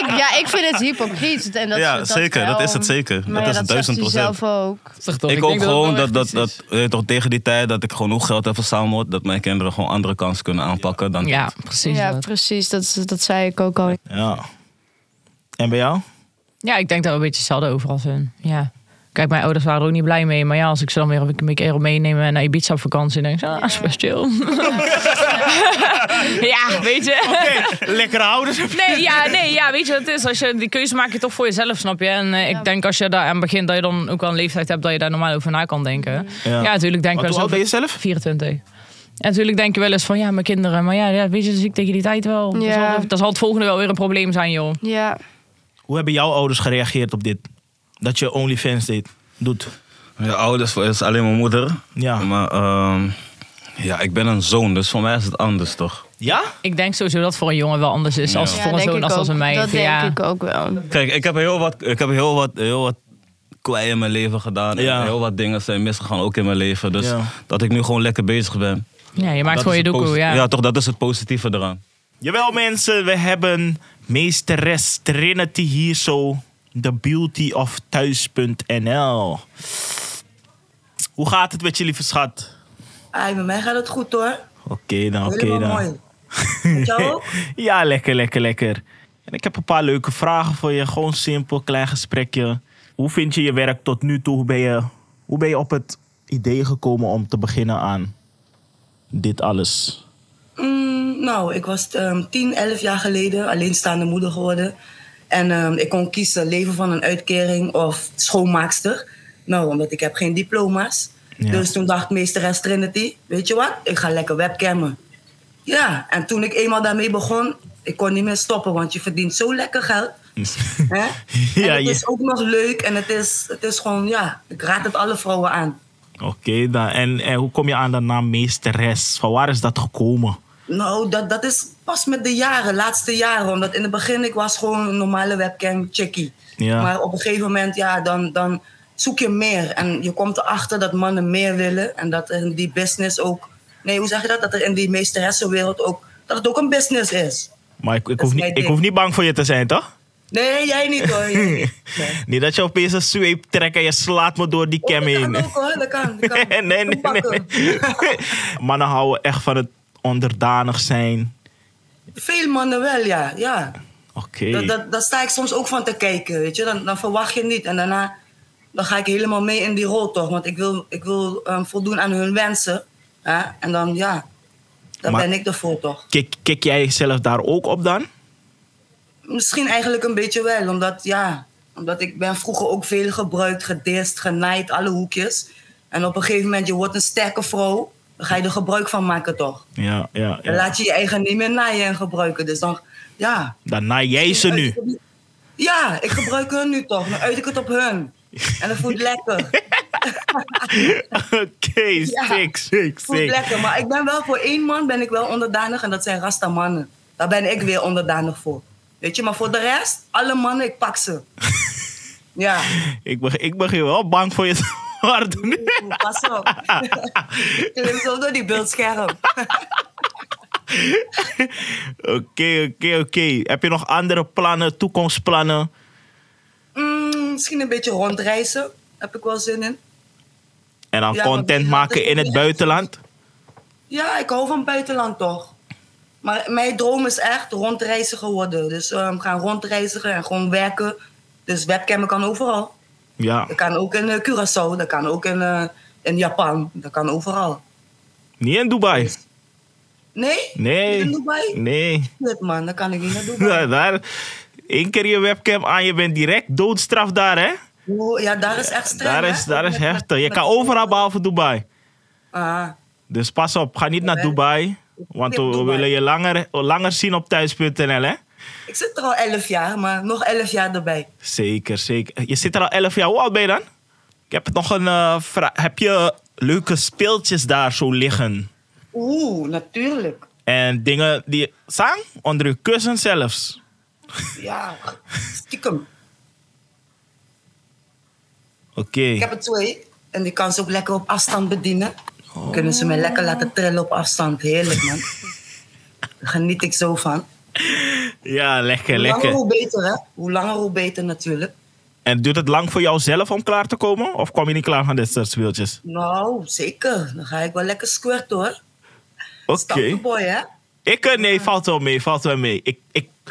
[SPEAKER 4] ik- ja, ik vind het hypocriet. En dat,
[SPEAKER 3] ja,
[SPEAKER 4] dat
[SPEAKER 3] zeker,
[SPEAKER 4] wel.
[SPEAKER 3] dat is het zeker.
[SPEAKER 4] Maar
[SPEAKER 3] dat
[SPEAKER 4] ja,
[SPEAKER 3] is het
[SPEAKER 4] dat
[SPEAKER 3] duizend
[SPEAKER 4] zegt hij
[SPEAKER 3] procent.
[SPEAKER 4] zelf ook.
[SPEAKER 2] Zeg toch,
[SPEAKER 3] Ik
[SPEAKER 2] denk
[SPEAKER 3] ook
[SPEAKER 2] dat wel
[SPEAKER 3] gewoon dat,
[SPEAKER 2] echt
[SPEAKER 3] dat,
[SPEAKER 2] iets
[SPEAKER 3] dat,
[SPEAKER 2] is.
[SPEAKER 3] eh, toch tegen die tijd dat ik genoeg geld heb verzameld, dat mijn kinderen gewoon andere kansen kunnen aanpakken dan
[SPEAKER 5] Ja, precies.
[SPEAKER 4] Ja,
[SPEAKER 5] dat.
[SPEAKER 4] precies, dat, dat zei ik ook al.
[SPEAKER 1] Ja. En bij jou?
[SPEAKER 5] Ja, ik denk dat we een beetje hetzelfde overal zijn. Ja. Kijk, mijn ouders waren er ook niet blij mee. Maar ja, als ik ze dan weer een keer- keer meenemen naar Ibiza op vakantie, dan denk ik, ah, is best chill. ja, weet je.
[SPEAKER 1] (laughs) Lekkere ouders.
[SPEAKER 5] Nee, ja, nee, ja, weet je wat het is? Als je, die keuze maak je toch voor jezelf, snap je? En eh, ik denk als je daar aan begint, dat je dan ook wel een leeftijd hebt dat je daar normaal over na kan denken. Ja, natuurlijk denk ik
[SPEAKER 1] Want
[SPEAKER 5] wel
[SPEAKER 1] hoe oud
[SPEAKER 5] eens
[SPEAKER 1] ben je
[SPEAKER 5] over...
[SPEAKER 1] zelf?
[SPEAKER 5] 24. En natuurlijk denk je wel eens van, ja, mijn kinderen. Maar ja, ja weet je, dat zie ik tegen die tijd wel. Dat,
[SPEAKER 4] Ja.
[SPEAKER 5] zal, dat zal het volgende wel weer een probleem zijn, joh.
[SPEAKER 4] Ja.
[SPEAKER 1] Hoe hebben jouw ouders gereageerd op dit? Dat je OnlyFans deed, doet.
[SPEAKER 3] Je ouders is alleen mijn moeder.
[SPEAKER 1] Ja.
[SPEAKER 3] Maar ehm, ja, ik ben een zoon, dus voor mij is het anders toch?
[SPEAKER 1] Ja?
[SPEAKER 5] Ik denk sowieso dat voor een jongen wel anders is
[SPEAKER 3] Ja.
[SPEAKER 5] als
[SPEAKER 4] Ja,
[SPEAKER 5] voor een
[SPEAKER 4] denk
[SPEAKER 5] zoon
[SPEAKER 4] ik
[SPEAKER 5] als
[SPEAKER 4] ook.
[SPEAKER 5] als een meid.
[SPEAKER 4] Dat denk
[SPEAKER 5] ja.
[SPEAKER 4] ik ook wel.
[SPEAKER 3] Kijk, ik heb heel wat, ik heb heel wat, heel wat kwai in mijn leven gedaan. En
[SPEAKER 1] Ja.
[SPEAKER 3] Heel wat dingen zijn misgegaan ook in mijn leven. Dus
[SPEAKER 1] Ja.
[SPEAKER 3] dat ik nu gewoon lekker bezig ben.
[SPEAKER 5] ja, je maakt
[SPEAKER 3] Dat is
[SPEAKER 5] gewoon
[SPEAKER 3] het
[SPEAKER 5] je doekoe.
[SPEAKER 3] posi-
[SPEAKER 5] Ja.
[SPEAKER 3] ja, toch, dat is het positieve eraan.
[SPEAKER 1] Jawel mensen, we hebben meesteres Trinity hier zo. The beauty of thuis.nl. Hoe gaat het met jullie verschat?
[SPEAKER 6] Ai, bij mij gaat het goed hoor.
[SPEAKER 1] Oké dan, oké
[SPEAKER 6] Helemaal
[SPEAKER 1] dan.
[SPEAKER 6] mooi. Met jou
[SPEAKER 1] (laughs)
[SPEAKER 6] ook?
[SPEAKER 1] Ja, lekker, lekker, lekker. En ik heb een paar leuke vragen voor je. Gewoon simpel, klein gesprekje. Hoe vind je je werk tot nu toe? Hoe ben je, hoe ben je op het idee gekomen om te beginnen aan dit alles?
[SPEAKER 6] Mm, nou, ik was ehm 10, 11 jaar geleden alleenstaande moeder geworden. En ehm, ik kon kiezen leven van een uitkering of schoonmaakster. Nou, omdat ik heb geen diploma's.
[SPEAKER 1] Ja.
[SPEAKER 6] Dus toen dacht meesteres Trinity, weet je wat? Ik ga lekker webcammen. Ja, en toen ik eenmaal daarmee begon, ik kon niet meer stoppen, want je verdient zo lekker geld. Hè?
[SPEAKER 1] (laughs) Ja,
[SPEAKER 6] en het
[SPEAKER 1] ja.
[SPEAKER 6] is ook nog leuk en het is, het is gewoon, ja, ik raad het alle vrouwen aan.
[SPEAKER 1] Oké, dan. En, en hoe kom je aan de naam meesteres? Van waar is dat gekomen?
[SPEAKER 6] Nou, dat, dat is pas met de jaren, laatste jaren. Omdat in het begin ik was gewoon een normale webcam chickie.
[SPEAKER 1] Ja.
[SPEAKER 6] Maar op een gegeven moment, ja, dan, dan zoek je meer. En je komt erachter dat mannen meer willen. En dat er in die business ook... Nee, hoe zeg je dat? Dat er in die meesteressenwereld ook... Dat het ook een business is.
[SPEAKER 1] Maar ik, ik,
[SPEAKER 6] is
[SPEAKER 1] hoef
[SPEAKER 6] mijn
[SPEAKER 1] niet, ik
[SPEAKER 6] ding.
[SPEAKER 1] hoef niet bang voor je te zijn, toch?
[SPEAKER 6] Nee, jij niet hoor.
[SPEAKER 1] (laughs)
[SPEAKER 6] Jij niet. Nee.
[SPEAKER 1] Niet dat je opeens een sweep trekt en je slaat me door die cam
[SPEAKER 6] Oh, dat
[SPEAKER 1] heen.
[SPEAKER 6] kan ook hoor, dat kan. Dat kan.
[SPEAKER 1] (laughs) nee, nee, nee,
[SPEAKER 6] Bakken.
[SPEAKER 1] nee. (laughs) Mannen houden echt van het onderdanig zijn.
[SPEAKER 6] Veel mannen wel, ja. ja.
[SPEAKER 1] Oké.
[SPEAKER 6] Dat, dat, daar sta ik soms ook van te kijken, weet je. Dan, dan verwacht je niet. En daarna dan ga ik helemaal mee in die rol toch. Want ik wil, ik wil ehm, voldoen aan hun wensen. Hè? En dan, ja, dan
[SPEAKER 1] Maar-
[SPEAKER 6] ben ik ervoor toch.
[SPEAKER 1] Kijk, kijk jij zelf daar ook op dan?
[SPEAKER 6] Misschien eigenlijk een beetje wel. Omdat, ja, omdat ik ben vroeger ook veel gebruikt, gedist, genaaid, alle hoekjes. En op een gegeven moment, je wordt een sterke vrouw. Dan ga je er gebruik van maken toch.
[SPEAKER 1] Ja, ja, ja.
[SPEAKER 6] Dan laat je je eigen niet meer naaien en gebruiken. Dus dan, ja.
[SPEAKER 1] Dan naai jij ze
[SPEAKER 6] (laughs)
[SPEAKER 1] nu. (laughs) (laughs)
[SPEAKER 6] Ja, ik gebruik hun nu toch. Dan uit ik het op hun. En dat voelt lekker.
[SPEAKER 1] Oké,
[SPEAKER 6] Ja.
[SPEAKER 1] sick, sick,
[SPEAKER 6] Voelt
[SPEAKER 1] sick.
[SPEAKER 6] lekker. Maar ik ben wel voor één man ben ik wel onderdanig en dat zijn rasta mannen. Daar ben ik weer onderdanig voor. Weet je, maar voor de rest, alle mannen, ik pak
[SPEAKER 1] (laughs)
[SPEAKER 6] ze. ja,
[SPEAKER 1] Ik, beg ik begin wel bang voor je te (laughs) worden nu.
[SPEAKER 6] pas op. (laughs)
[SPEAKER 1] (laughs)
[SPEAKER 6] ik lim zo door die beeldscherm.
[SPEAKER 1] Oké, oké, oké. Heb je nog andere plannen, toekomstplannen?
[SPEAKER 6] Mm, misschien een beetje rondreizen. Heb ik wel zin in.
[SPEAKER 1] En dan
[SPEAKER 6] Ja, maar
[SPEAKER 1] content
[SPEAKER 6] dat-
[SPEAKER 1] maken in het buitenland?
[SPEAKER 6] Ja, ik hou van buitenland toch. Maar mijn droom is echt rondreiziger worden. Dus ehm, gaan rondreizigen en gewoon werken. Dus webcam kan overal.
[SPEAKER 1] Ja,
[SPEAKER 6] Dat kan ook in eh, Curaçao, dat kan ook in, eh, in Japan, dat kan overal.
[SPEAKER 1] niet in Dubai.
[SPEAKER 6] Nee?
[SPEAKER 1] Nee.
[SPEAKER 6] Niet In Dubai?
[SPEAKER 1] Nee. (laughs)
[SPEAKER 6] Shit, man, dan kan ik niet naar Dubai.
[SPEAKER 1] Ja, daar, één keer je webcam aan, je bent direct doodstraf daar, hè?
[SPEAKER 6] Oeh, Oh, Ja, daar is echt streng.
[SPEAKER 1] Daar
[SPEAKER 6] hè?
[SPEAKER 1] is, daar is
[SPEAKER 6] Met- met-
[SPEAKER 1] heftig. Je
[SPEAKER 6] met-
[SPEAKER 1] kan overal behalve Dubai.
[SPEAKER 6] Ah,
[SPEAKER 1] Dus pas op, ga niet naar Dubai. Want we
[SPEAKER 6] Dubai.
[SPEAKER 1] willen je langer, langer zien op thuis.nl, hè?
[SPEAKER 6] ik zit er al 11 jaar, maar nog 11 jaar erbij.
[SPEAKER 1] Zeker, zeker. Je zit er al 11 jaar. Hoe oud ben je dan? Ik heb nog een eh, vraag. Heb je leuke speeltjes daar zo liggen?
[SPEAKER 6] Oeh, natuurlijk.
[SPEAKER 1] En dingen die... Zang? Onder je kussen zelfs.
[SPEAKER 6] Ja, stiekem.
[SPEAKER 1] Oké.
[SPEAKER 6] Ik heb er twee. En die kan ze ook lekker op afstand bedienen.
[SPEAKER 1] Oh.
[SPEAKER 6] Kunnen ze mij lekker laten trillen op afstand. Heerlijk, man. Daar geniet ik zo van.
[SPEAKER 1] Ja, lekker,
[SPEAKER 6] Hoe langer,
[SPEAKER 1] lekker.
[SPEAKER 6] hoe beter, hè? Hoe langer, hoe beter natuurlijk.
[SPEAKER 1] En duurt het lang voor jou zelf om klaar te komen? Of kom je niet klaar van dit soort speeltjes?
[SPEAKER 6] Nou, zeker. Dan ga ik wel lekker squirten, hoor.
[SPEAKER 1] Oké.
[SPEAKER 6] Stappenboy, hè?
[SPEAKER 1] Ik, eh, nee, valt wel mee, valt wel mee. Ik, ik,
[SPEAKER 6] (laughs)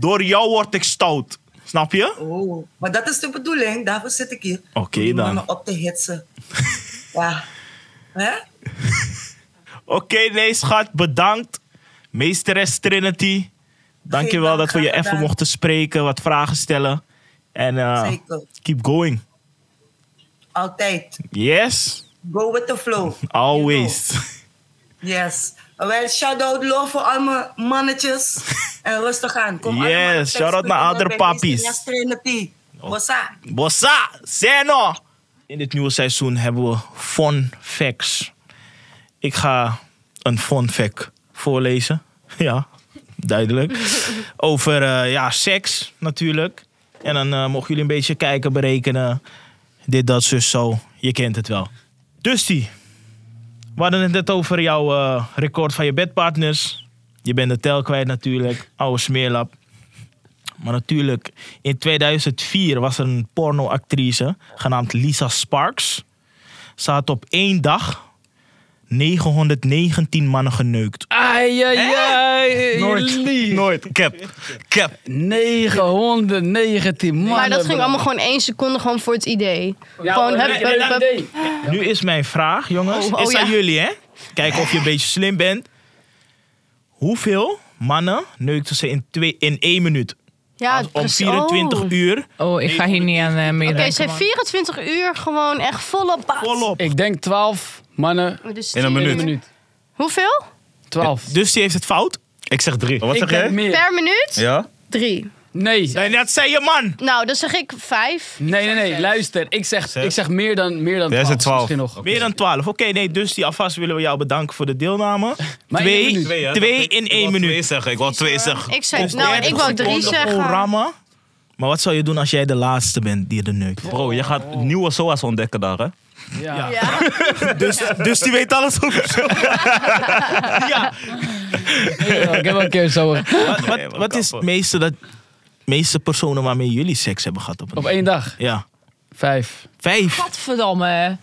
[SPEAKER 1] door jou word ik stout. Snap je?
[SPEAKER 6] Oh, maar dat is de bedoeling. Daarvoor zit ik hier.
[SPEAKER 1] Oké
[SPEAKER 6] Om die
[SPEAKER 1] dan.
[SPEAKER 6] mannen op te hitsen.
[SPEAKER 1] (laughs)
[SPEAKER 6] ja. Hè?
[SPEAKER 1] Oké, nee, schat, bedankt. Meesteres Trinity, dankjewel
[SPEAKER 6] dank,
[SPEAKER 1] dat we je
[SPEAKER 6] graag
[SPEAKER 1] even
[SPEAKER 6] gedaan.
[SPEAKER 1] mochten spreken, wat vragen stellen. En eh,
[SPEAKER 6] Zeker.
[SPEAKER 1] keep going.
[SPEAKER 6] Altijd.
[SPEAKER 1] Yes,
[SPEAKER 6] Go with the flow.
[SPEAKER 1] always.
[SPEAKER 6] Yes. Wel, shout-out love voor al mijn
[SPEAKER 1] (laughs)
[SPEAKER 6] mannetjes. En rustig aan. Kom
[SPEAKER 1] Yes,
[SPEAKER 6] allemaal thuis
[SPEAKER 1] shout-out naar Oh.
[SPEAKER 6] terug
[SPEAKER 1] andere
[SPEAKER 6] bij
[SPEAKER 1] papies.
[SPEAKER 6] Miss Trinity. Bossa.
[SPEAKER 1] Bossa, Zeno. In dit nieuwe seizoen hebben we fun facts. Ik ga een fun fact voorlezen. (laughs) Ja, duidelijk. Over eh, ja, seks natuurlijk. En dan eh, mogen jullie een beetje kijken, berekenen. Dit, dat, zus, zo. Je kent het wel. Dusty, we hadden het net over jouw eh, record van je bedpartners. Je bent de tel kwijt natuurlijk. Oude smeerlap. Maar natuurlijk, in 2004 was er een pornoactrice genaamd Lisa Sparks. Ze had op één dag 919 mannen geneukt.
[SPEAKER 2] Ai, ai, ai.
[SPEAKER 1] Nooit. Cap. Cap.
[SPEAKER 2] 919 man.
[SPEAKER 4] Maar dat ging allemaal gewoon één seconde gewoon voor het idee. gewoon hup, hup, hup.
[SPEAKER 1] Nu is mijn vraag, jongens.
[SPEAKER 4] Oh, oh
[SPEAKER 1] is aan
[SPEAKER 4] ja.
[SPEAKER 1] jullie, hè? Kijken of je een beetje slim bent. Hoeveel mannen neukten ze in, twee, in één minuut?
[SPEAKER 4] Ja,
[SPEAKER 1] Als om
[SPEAKER 4] precies.
[SPEAKER 1] 24
[SPEAKER 4] Oh.
[SPEAKER 1] uur
[SPEAKER 5] Oh, ik ga hier niet aan eh meedenken.
[SPEAKER 4] Oké, ze zijn
[SPEAKER 5] man.
[SPEAKER 4] 24 uur gewoon echt volop. bad.
[SPEAKER 1] volop.
[SPEAKER 2] Ik denk 12 mannen
[SPEAKER 4] Dus
[SPEAKER 3] In een
[SPEAKER 4] tien-
[SPEAKER 2] per
[SPEAKER 3] minuut.
[SPEAKER 2] minuut.
[SPEAKER 4] Hoeveel?
[SPEAKER 2] 12.
[SPEAKER 1] Dus die heeft het fout?
[SPEAKER 3] Ik zeg drie. Wat
[SPEAKER 2] ik
[SPEAKER 3] zeg
[SPEAKER 2] denk
[SPEAKER 3] jij?
[SPEAKER 2] meer.
[SPEAKER 4] Per minuut?
[SPEAKER 3] Ja?
[SPEAKER 4] Drie.
[SPEAKER 2] Nee.
[SPEAKER 1] Nee, dat zei je man.
[SPEAKER 4] Nou, dan zeg ik vijf.
[SPEAKER 2] Nee, nee, nee. Luister, ik zeg, ik zeg meer dan, meer dan
[SPEAKER 3] Jij
[SPEAKER 2] 12.
[SPEAKER 3] zegt 12.
[SPEAKER 2] Misschien nog.
[SPEAKER 1] Meer dan 12. Oké, nee, dus die alvast willen we jou bedanken voor de deelname.
[SPEAKER 2] Maar in één
[SPEAKER 1] twee,
[SPEAKER 2] minuut.
[SPEAKER 1] twee,
[SPEAKER 3] hè?
[SPEAKER 1] in
[SPEAKER 3] Ik
[SPEAKER 1] één
[SPEAKER 3] wou Twee
[SPEAKER 1] minuut.
[SPEAKER 3] zeggen. Ik wil twee zeggen.
[SPEAKER 4] Ik zei, nou, ik wou drie
[SPEAKER 1] Seconden
[SPEAKER 4] zeggen.
[SPEAKER 1] Gewoon rammen. Maar wat zou je doen als jij de laatste bent die de neukt?
[SPEAKER 3] Bro, je gaat nieuwe SOA's ontdekken daar, hè?
[SPEAKER 2] Ja.
[SPEAKER 4] Ja.
[SPEAKER 1] Dus, (laughs) dus die weet alles over zo. (laughs) ja.
[SPEAKER 2] Ja, Ik heb wel een keer zo eh,
[SPEAKER 1] Wat,
[SPEAKER 3] Nee,
[SPEAKER 1] wat,
[SPEAKER 3] maar
[SPEAKER 1] wat is het
[SPEAKER 3] kappen.
[SPEAKER 1] meeste, dat, meeste personen waarmee jullie seks hebben gehad op een
[SPEAKER 2] op één dag.
[SPEAKER 1] Ja.
[SPEAKER 2] Vijf.
[SPEAKER 1] Vijf.
[SPEAKER 5] Godverdamme.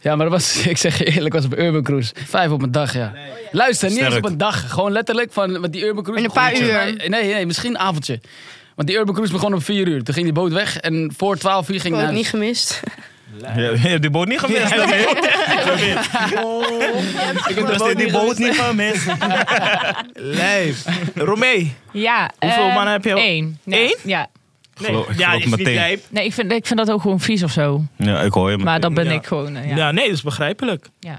[SPEAKER 2] Ja, maar dat was, (laughs) ik zeg je eerlijk, was op Urban Cruise. Vijf op een dag, ja. Luister, niet eens
[SPEAKER 3] Sterk.
[SPEAKER 2] op een dag. Gewoon letterlijk van want die Urban Cruise.
[SPEAKER 4] In een paar
[SPEAKER 2] begon-
[SPEAKER 4] uur.
[SPEAKER 2] Nee, nee, nee, misschien een avondje. Want die Urban Cruise begon om vier uur. Toen ging die boot weg en voor twaalf uur ging
[SPEAKER 4] Ik
[SPEAKER 2] hij
[SPEAKER 4] heb niet
[SPEAKER 2] naar
[SPEAKER 4] gemist. (laughs)
[SPEAKER 3] Je hebt die boot niet gemist. hè?
[SPEAKER 2] huis. Ik heb de boot niet gezien.
[SPEAKER 3] niet gemist.
[SPEAKER 1] Lijf. Romee.
[SPEAKER 5] Ja.
[SPEAKER 1] Hoeveel
[SPEAKER 5] eh,
[SPEAKER 1] mannen heb je al?
[SPEAKER 5] Eén. Nee,
[SPEAKER 1] Eén?
[SPEAKER 5] Ja.
[SPEAKER 3] Geloof- ik
[SPEAKER 1] ja,
[SPEAKER 3] geloof
[SPEAKER 1] is niet
[SPEAKER 3] meteen.
[SPEAKER 1] lijp.
[SPEAKER 5] Nee, ik vind, ik vind dat ook gewoon vies of zo.
[SPEAKER 3] Ja, ik hoor je.
[SPEAKER 5] Maar dat ben
[SPEAKER 1] Ja.
[SPEAKER 5] ik gewoon. eh,
[SPEAKER 1] Ja.
[SPEAKER 5] ja.
[SPEAKER 1] nee, dat is begrijpelijk.
[SPEAKER 5] Ja.